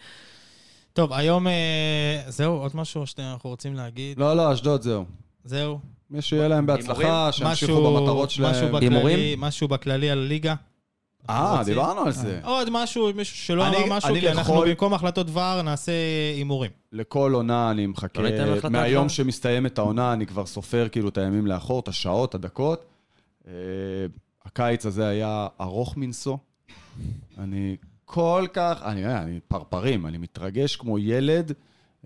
Speaker 1: טוב, היום... אה, זהו, עוד משהו שאנחנו רוצים להגיד?
Speaker 2: לא, לא, אשדוד, זהו.
Speaker 1: זהו.
Speaker 2: מי שיהיה להם בהצלחה,
Speaker 3: הימורים?
Speaker 2: שימשיכו
Speaker 1: משהו-
Speaker 2: במטרות
Speaker 1: משהו
Speaker 2: שלהם.
Speaker 1: בכללי-
Speaker 3: הימורים?
Speaker 1: משהו בכללי על הליגה.
Speaker 2: אה,
Speaker 1: רוצים?
Speaker 2: דיברנו על זה.
Speaker 1: עוד משהו, מישהו שלא
Speaker 2: אני-
Speaker 1: אמר משהו,
Speaker 2: אני
Speaker 1: כי אנחנו
Speaker 2: לכל-
Speaker 1: במקום החלטות ור נעשה הימורים.
Speaker 2: לכל עונה אני מחכה.
Speaker 3: לא ניתן להחלטה
Speaker 2: מהיום
Speaker 3: עכשיו?
Speaker 2: שמסתיימת העונה, אני כבר סופר כאילו את הימים לאחור, את השעות, הדקות. אה, הקיץ הזה היה ארוך מנשוא. אני כל כך, אני, אה, אני פרפרים, אני מתרגש כמו ילד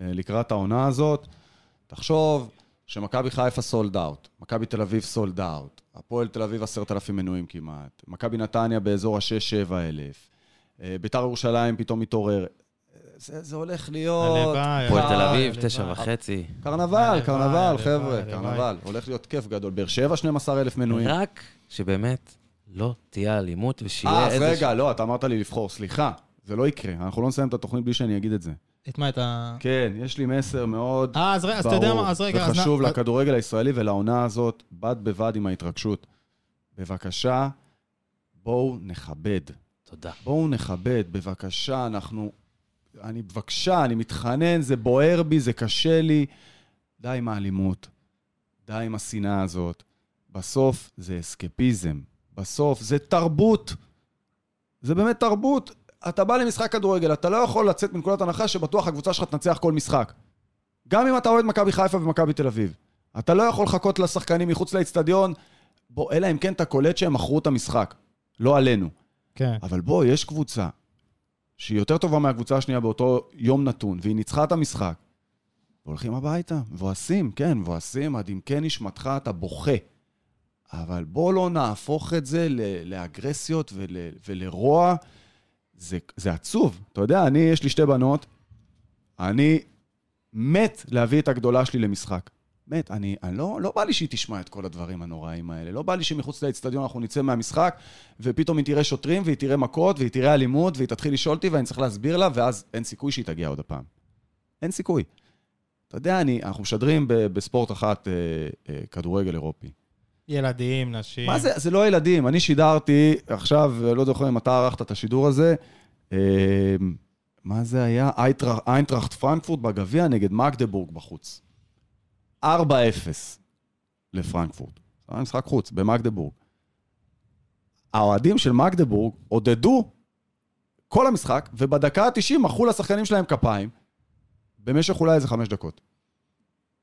Speaker 2: אה, לקראת העונה הזאת. תחשוב שמכבי חיפה סולד אאוט, מכבי תל אביב סולד אאוט, הפועל תל אביב עשרת אלפים מנויים כמעט, מכבי נתניה באזור ה-6-7 אלף, אה, ביתר ירושלים פתאום מתעורר. אה, זה, זה הולך להיות...
Speaker 1: הלוואי,
Speaker 3: הפועל תל
Speaker 1: הלוואי,
Speaker 3: אביב,
Speaker 1: הלוואי.
Speaker 3: תשע וחצי.
Speaker 2: קרנבל,
Speaker 1: הלוואי,
Speaker 2: קרנבל,
Speaker 1: הלוואי,
Speaker 2: חבר'ה,
Speaker 1: הלוואי.
Speaker 2: קרנבל. הולך להיות כיף גדול. באר שבע 12,000 מנויים.
Speaker 3: רק שבאמת לא תהיה אלימות ושיהיה
Speaker 2: אה, אז
Speaker 3: איזה...
Speaker 2: רגע, לא, אתה אמרת לי לבחור, סליחה. זה לא יקרה, אנחנו לא נסיים את התוכנית בלי שאני אגיד את זה.
Speaker 1: את מה אתה...
Speaker 2: כן, יש לי מסר מאוד
Speaker 1: אה, אז רגע, אז אתה יודע
Speaker 2: ברור
Speaker 1: מה, אז רגע, אז אה, נע-
Speaker 2: וחשוב לכדורגל הישראלי ולעונה הזאת, בד בבד עם ההתרגשות. בבקשה, בואו נכבד.
Speaker 3: תודה.
Speaker 2: בואו נכבד, בבקשה, אנחנו... אני בבקשה, אני מתחנן, זה בוער בי, זה קשה לי. די עם האלימות, די עם השנאה הזאת. בסוף זה אסקפיזם, בסוף זה תרבות. זה באמת תרבות. אתה בא למשחק כדורגל, אתה לא יכול לצאת מנקודת הנחה שבטוח הקבוצה שלך תנצח כל משחק. גם אם אתה אוהד מכבי חיפה ומכבי תל אביב. אתה לא יכול לחכות לשחקנים מחוץ לאצטדיון, בוא, אלא אם כן אתה קולט שהם מכרו את המשחק. לא עלינו.
Speaker 1: כן.
Speaker 2: אבל בוא, יש קבוצה שהיא יותר טובה מהקבוצה השנייה באותו יום נתון, והיא ניצחה את המשחק, והולכים הביתה, מבואסים, כן, מבואסים, עד עמקי נשמתך אתה בוכה. אבל בוא לא נהפוך את זה ל- לאגרסיות ול, ולרוע. זה, זה עצוב. אתה יודע, אני, יש לי שתי בנות, אני מת להביא את הגדולה שלי למשחק. באמת, אני, אני לא, לא בא לי שהיא תשמע את כל הדברים הנוראים האלה. לא בא לי שמחוץ לאצטדיון אנחנו נצא מהמשחק, ופתאום היא תראה שוטרים, והיא תראה מכות, והיא תראה אלימות, והיא תתחיל לשאול אותי, ואני צריך להסביר לה, ואז אין סיכוי שהיא תגיע עוד הפעם. אין סיכוי. אתה יודע, אני, אנחנו משדרים ב, בספורט אחת אה, אה, כדורגל אירופי.
Speaker 1: ילדים, נשים.
Speaker 2: מה זה? זה לא ילדים. אני שידרתי עכשיו, לא זוכר אם אתה ערכת את השידור הזה, אה, מה זה היה? אייטרח- איינטראכט פרנקפורט בגביע נגד מקדבורג בחוץ. 4-0 לפרנקפורט. זה היה משחק חוץ, במקדבורג. האוהדים של מקדבורג עודדו כל המשחק, ובדקה ה-90 מחאו לשחקנים שלהם כפיים במשך אולי איזה חמש דקות.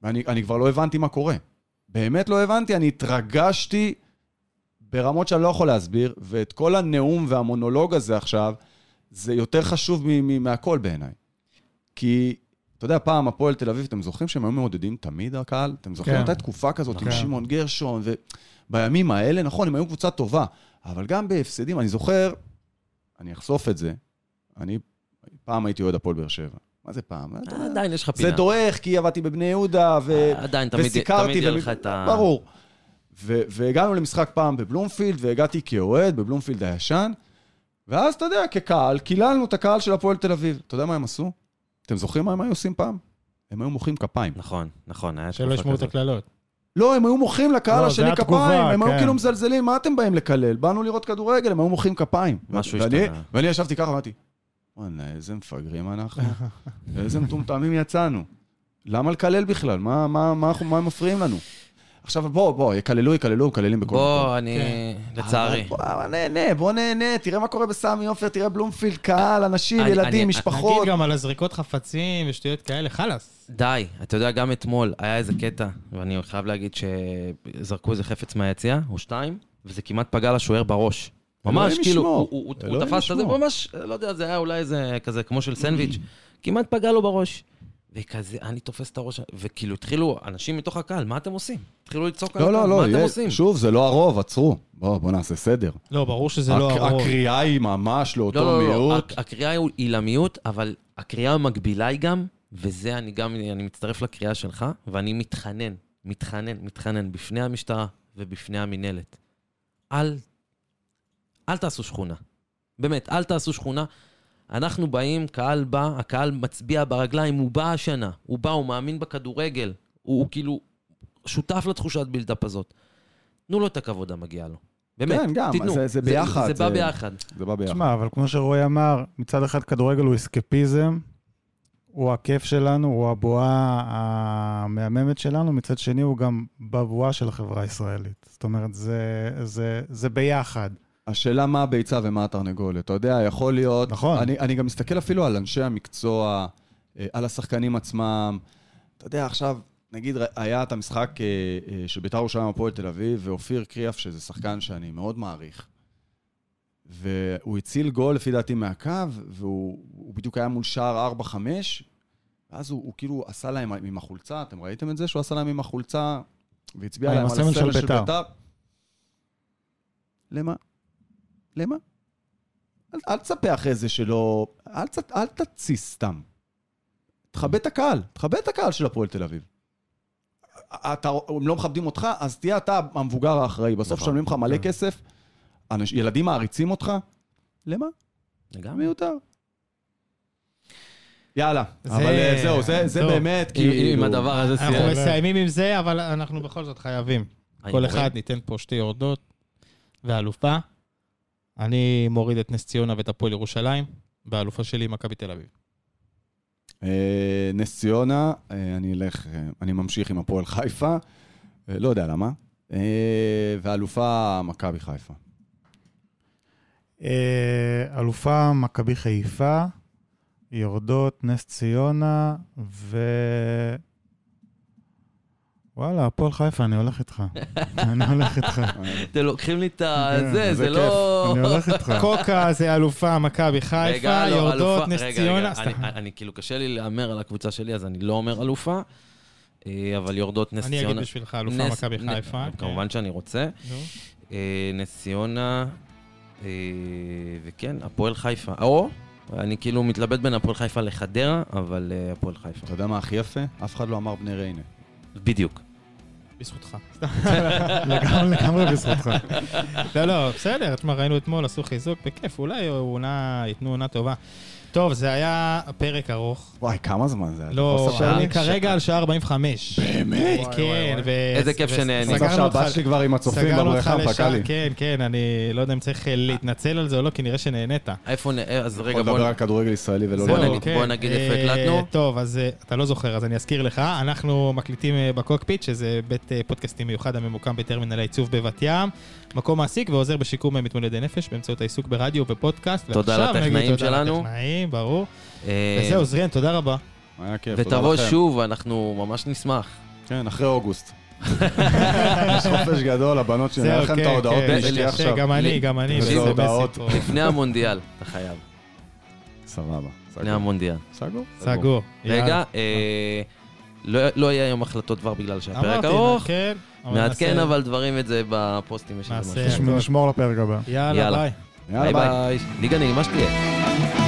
Speaker 2: ואני אני כבר לא הבנתי מה קורה. באמת לא הבנתי, אני התרגשתי ברמות שאני לא יכול להסביר, ואת כל הנאום והמונולוג הזה עכשיו, זה יותר חשוב מ- מ- מהכל בעיניי. כי, אתה יודע, פעם הפועל תל אביב, אתם זוכרים שהם היו מעודדים תמיד הקהל? אתם זוכרים?
Speaker 4: כן.
Speaker 2: הייתה תקופה כזאת עם
Speaker 4: כן.
Speaker 2: שמעון גרשון, ובימים האלה, נכון, הם היו קבוצה טובה, אבל גם בהפסדים, אני זוכר, אני אחשוף את זה, אני פעם הייתי אוהד הפועל באר שבע. מה זה פעם? אתה יודע,
Speaker 3: עדיין יש לך פינה. אה,
Speaker 2: זה דועך, כי עבדתי בבני יהודה, ו...
Speaker 3: עדיין, תמיד
Speaker 2: וסיקרתי
Speaker 3: תמיד יהיה
Speaker 2: וב-
Speaker 3: לך את ה...
Speaker 2: ברור. ו- והגענו למשחק פעם בבלומפילד, והגעתי כאוהד בבלומפילד הישן, ואז, אתה יודע, כקהל, קיללנו את הקהל של הפועל תל אביב. אתה יודע מה הם עשו? אתם זוכרים מה הם היו עושים פעם? הם היו מוחאים כפיים.
Speaker 3: נכון, נכון, היה
Speaker 1: שלא
Speaker 3: תקופה
Speaker 1: ישמעו את
Speaker 3: כזאת.
Speaker 1: הקללות.
Speaker 2: לא, הם היו מוחאים לקהל
Speaker 4: לא, זה
Speaker 2: השני
Speaker 4: התגובה,
Speaker 2: כפיים, הם
Speaker 4: כן.
Speaker 2: היו כאילו מזלזלים, מה אתם באים לקלל? באנו לראות כדורגל, הם היו מוחאים כפיים.
Speaker 3: משהו
Speaker 2: ואני-
Speaker 3: השתנה.
Speaker 2: ואני ישבתי ככה, אמרתי, וואלה, איזה מפגרים אנחנו, איזה מטומטמים יצאנו. למה לקלל בכלל? מה, מה, מה, אנחנו- מה הם מפריעים לנו? עכשיו, בוא, בוא, יקללו, יקללו, מקללים בכל מקום.
Speaker 3: בוא, אני...
Speaker 1: כן.
Speaker 3: לצערי.
Speaker 2: בוא, נהנה, בוא נהנה, תראה מה קורה בסמי עופר, תראה בלומפילד, קהל, אנשים,
Speaker 3: אני- אני-
Speaker 2: ילדים,
Speaker 1: נגיד
Speaker 2: משפחות.
Speaker 1: גם על הזריקות חפצים ושטויות כאלה, חלאס.
Speaker 3: די, אתה יודע, גם אתמול היה איזה קטע, ואני חייב להגיד שזרקו איזה חפץ מהיציאה, או שתיים, וזה כמעט פגע לשוער בראש. ממש,
Speaker 2: אלוהים
Speaker 3: כאילו,
Speaker 2: ישמור.
Speaker 3: הוא- הוא- הוא- הוא
Speaker 2: אלוהים
Speaker 3: תפס את זה,
Speaker 2: ישמור.
Speaker 3: ממש, לא יודע, זה היה אולי איזה כזה, כמו של סנדוויץ', כמעט פגע לו בראש. וכזה, אני תופס את הראש, וכאילו התחילו, אנשים מתוך הקהל, מה אתם עושים? התחילו לצעוק על
Speaker 2: לא,
Speaker 3: הקהל,
Speaker 2: לא, לא,
Speaker 3: מה אתם
Speaker 2: יהיה-
Speaker 3: עושים?
Speaker 2: שוב, זה לא הרוב, עצרו. בוא, בוא נעשה סדר.
Speaker 1: לא, ברור שזה לא
Speaker 2: הק-
Speaker 1: הרוב.
Speaker 2: הקריאה היא ממש
Speaker 3: לא,
Speaker 2: לאותו
Speaker 3: לא, לא, לא,
Speaker 2: מיעוט.
Speaker 3: הק- הקריאה הוא- היא למיעוט, אבל הקריאה המקבילה היא גם, וזה אני גם, אני מצטרף לקריאה שלך, ואני מתחנן, מתחנן, מתחנן בפני המשטרה ובפני המינהלת. אל, אל תעשו שכונה. באמת, אל תעשו שכונה. אנחנו באים, קהל בא, הקהל מצביע ברגליים, הוא בא השנה, הוא בא, הוא מאמין בכדורגל, הוא, הוא כאילו שותף לתחושת בילדאפ הזאת. תנו לו את הכבוד המגיע לו. באמת,
Speaker 2: כן, גם,
Speaker 3: תיתנו.
Speaker 2: זה- זה ביחד,
Speaker 3: זה, זה בא
Speaker 2: זה-
Speaker 3: ביחד.
Speaker 2: זה בא ביחד.
Speaker 4: תשמע, אבל כמו שרועי אמר, מצד אחד כדורגל הוא אסקפיזם, הוא הכיף שלנו, הוא הבועה המהממת שלנו, מצד שני הוא גם בבועה של החברה הישראלית. זאת אומרת, זה, זה, זה ביחד.
Speaker 2: השאלה מה הביצה ומה התרנגולת. אתה יודע, יכול להיות...
Speaker 4: נכון.
Speaker 2: אני, אני גם מסתכל אפילו על אנשי המקצוע, אה, על השחקנים עצמם. אתה יודע, עכשיו, נגיד, ר- היה את המשחק אה, אה, של בית"ר ירושלים הפועל תל אביב, ואופיר קריאף, שזה שחקן שאני מאוד מעריך. והוא הציל גול, לפי דעתי, מהקו, והוא הוא בדיוק היה מול שער 4-5, ואז הוא, הוא כאילו עשה להם עם החולצה, אתם ראיתם את זה? שהוא עשה להם עם החולצה, והצביע
Speaker 4: אה, עם
Speaker 2: להם על
Speaker 4: הסמל של
Speaker 2: הסמל של
Speaker 4: בית"ר.
Speaker 2: בית"ר. למה? למה? אל, אל תצפה אחרי זה שלא... אל, ת- אל תתסיס סתם. תכבד את הקהל, תכבד את הקהל של הפועל תל אביב. אתה, הם לא מכבדים אותך, אז תהיה אתה המבוגר האחראי. בסוף
Speaker 3: נכון.
Speaker 2: משלמים לך מלא
Speaker 3: כן.
Speaker 2: כסף, אנש, ילדים מעריצים אותך, למה?
Speaker 3: לגמרי.
Speaker 2: מיותר. יאללה,
Speaker 1: זה-
Speaker 2: אבל אה, זהו, זה, זה
Speaker 1: טוב.
Speaker 2: באמת,
Speaker 3: עם-
Speaker 2: כאילו...
Speaker 3: עם הדבר הזה
Speaker 1: אנחנו
Speaker 4: יאללה.
Speaker 3: סיימנו.
Speaker 1: מסיימים עם זה, אבל אנחנו בכל זאת חייבים. כל
Speaker 3: ההימורים.
Speaker 1: אחד ניתן פה שתי יורדות ואלופה. אני מוריד את נס ציונה ואת הפועל ירושלים, והאלופה שלי היא מכבי תל אביב.
Speaker 2: אה, נס ציונה, אה, אני אלך, אה, אני ממשיך עם הפועל חיפה, אה, לא יודע למה. אה, והאלופה, מכבי חיפה.
Speaker 4: אה, אלופה מכבי חיפה, יורדות, נס ציונה, ו... וואלה, הפועל חיפה, אני הולך איתך. אני הולך איתך.
Speaker 3: אתם לוקחים לי את ה...
Speaker 4: כן,
Speaker 3: זה,
Speaker 2: זה
Speaker 3: זה לא...
Speaker 4: אני הולך איתך.
Speaker 1: קוקה זה אלופה מכבי חיפה,
Speaker 3: רגע, לא, אלופה-
Speaker 1: יורדות נס
Speaker 3: רגע,
Speaker 1: ציונה.
Speaker 3: רגע, אני-
Speaker 1: סתם.
Speaker 3: אני כאילו, קשה לי להמר על הקבוצה שלי, אז אני לא אומר אלופה, אה, אבל יורדות נס
Speaker 1: אני
Speaker 3: ציונה.
Speaker 1: אגיד בשבילך אלופה
Speaker 3: נס-
Speaker 1: מכבי
Speaker 3: נ- אה,
Speaker 1: חיפה. כן.
Speaker 3: כמובן שאני רוצה.
Speaker 1: נו.
Speaker 3: אה, נס ציונה, אה, וכן, הפועל חיפה. או, אני כאילו מתלבט בין הפועל חיפה לחדרה, אבל אה, הפועל חיפה.
Speaker 2: אתה יודע מה הכי יפה? אף אחד לא אמר בני ריינה.
Speaker 3: בדיוק.
Speaker 1: בזכותך.
Speaker 4: לגמרי, לגמרי בזכותך.
Speaker 1: לא, לא, בסדר, תשמע, ראינו אתמול, עשו חיזוק, בכיף, אולי עונה, ייתנו עונה טובה. טוב, זה היה פרק ארוך.
Speaker 2: וואי, כמה זמן זה היה?
Speaker 1: לא,
Speaker 2: חוסר
Speaker 1: אני
Speaker 2: שלי?
Speaker 1: כרגע על שעה 45. באמת? כן, ו...
Speaker 3: איזה כיף
Speaker 1: ו- סגרנו
Speaker 3: שנהנים.
Speaker 2: מצב שהבת
Speaker 1: אותך-
Speaker 2: שלי כבר עם הצופים
Speaker 1: סגרנו אותך
Speaker 2: בבריכה, פקע
Speaker 1: לשעה,
Speaker 2: לי.
Speaker 1: כן, כן, אני לא יודע אם צריך אה, להתנצל על זה או לא, כי נראה שנהנית.
Speaker 3: איפה נ... אה, אז רגע,
Speaker 2: יכול
Speaker 3: בוא...
Speaker 2: לדבר על כדורגל ישראלי ולא
Speaker 1: כן. זהו,
Speaker 2: לעולם.
Speaker 3: נגיד- לא, בוא נגיד איפה
Speaker 1: אה,
Speaker 3: הקלטנו.
Speaker 1: טוב, אז אה, אתה לא זוכר, אז אני אזכיר לך. אנחנו מקליטים אה, בקוקפיט, שזה בית אה, פודקאסטים מיוחד הממוקם בטרמינל העיצוב בבת ים. מקום מעסיק ועוזר בשיקום אה, מתמודדי נפש באמצעות העיסוק ברדיו ופודקאסט.
Speaker 3: תודה
Speaker 1: ועכשיו
Speaker 3: לטכנאים
Speaker 1: נגיד
Speaker 3: שלנו.
Speaker 1: תודה לטכנאים, ברור.
Speaker 3: אה,
Speaker 1: וזהו, זריאן, תודה רבה.
Speaker 2: היה כיף, תודה
Speaker 3: ותבוא
Speaker 2: לכם.
Speaker 3: שוב, אנחנו ממש נשמח.
Speaker 2: כן, אחרי אוגוסט. יש חופש גדול, הבנות שלי, נראה
Speaker 1: זהו,
Speaker 2: לכם את
Speaker 1: כן,
Speaker 2: ההודעות
Speaker 1: כן,
Speaker 2: מאשתי
Speaker 1: יפה,
Speaker 2: עכשיו.
Speaker 1: גם אני, גם אני.
Speaker 2: וזה
Speaker 1: וזה
Speaker 2: הודעות.
Speaker 1: מסי פה.
Speaker 3: לפני המונדיאל, אתה חייב.
Speaker 2: סבבה.
Speaker 3: לפני
Speaker 2: סגור.
Speaker 3: המונדיאל.
Speaker 2: סגור?
Speaker 1: סגור.
Speaker 3: רגע, אה, לא לא יהיה היום החלטות דבר בגלל
Speaker 1: יאללה.
Speaker 3: שהפרק
Speaker 1: אמרתי,
Speaker 3: ארוך.
Speaker 1: כן. אבל
Speaker 3: נעדכן
Speaker 1: נעשה-
Speaker 3: אבל דברים את זה בפוסטים. יש איזה
Speaker 1: נעשה.
Speaker 3: משהו.
Speaker 1: כן.
Speaker 4: נשמור לפרק הבא.
Speaker 1: יאללה,
Speaker 3: יאללה.
Speaker 1: ביי.
Speaker 2: יאללה,
Speaker 3: ביי
Speaker 2: ביי.
Speaker 3: ביי. ליגה נעימה שתהיה.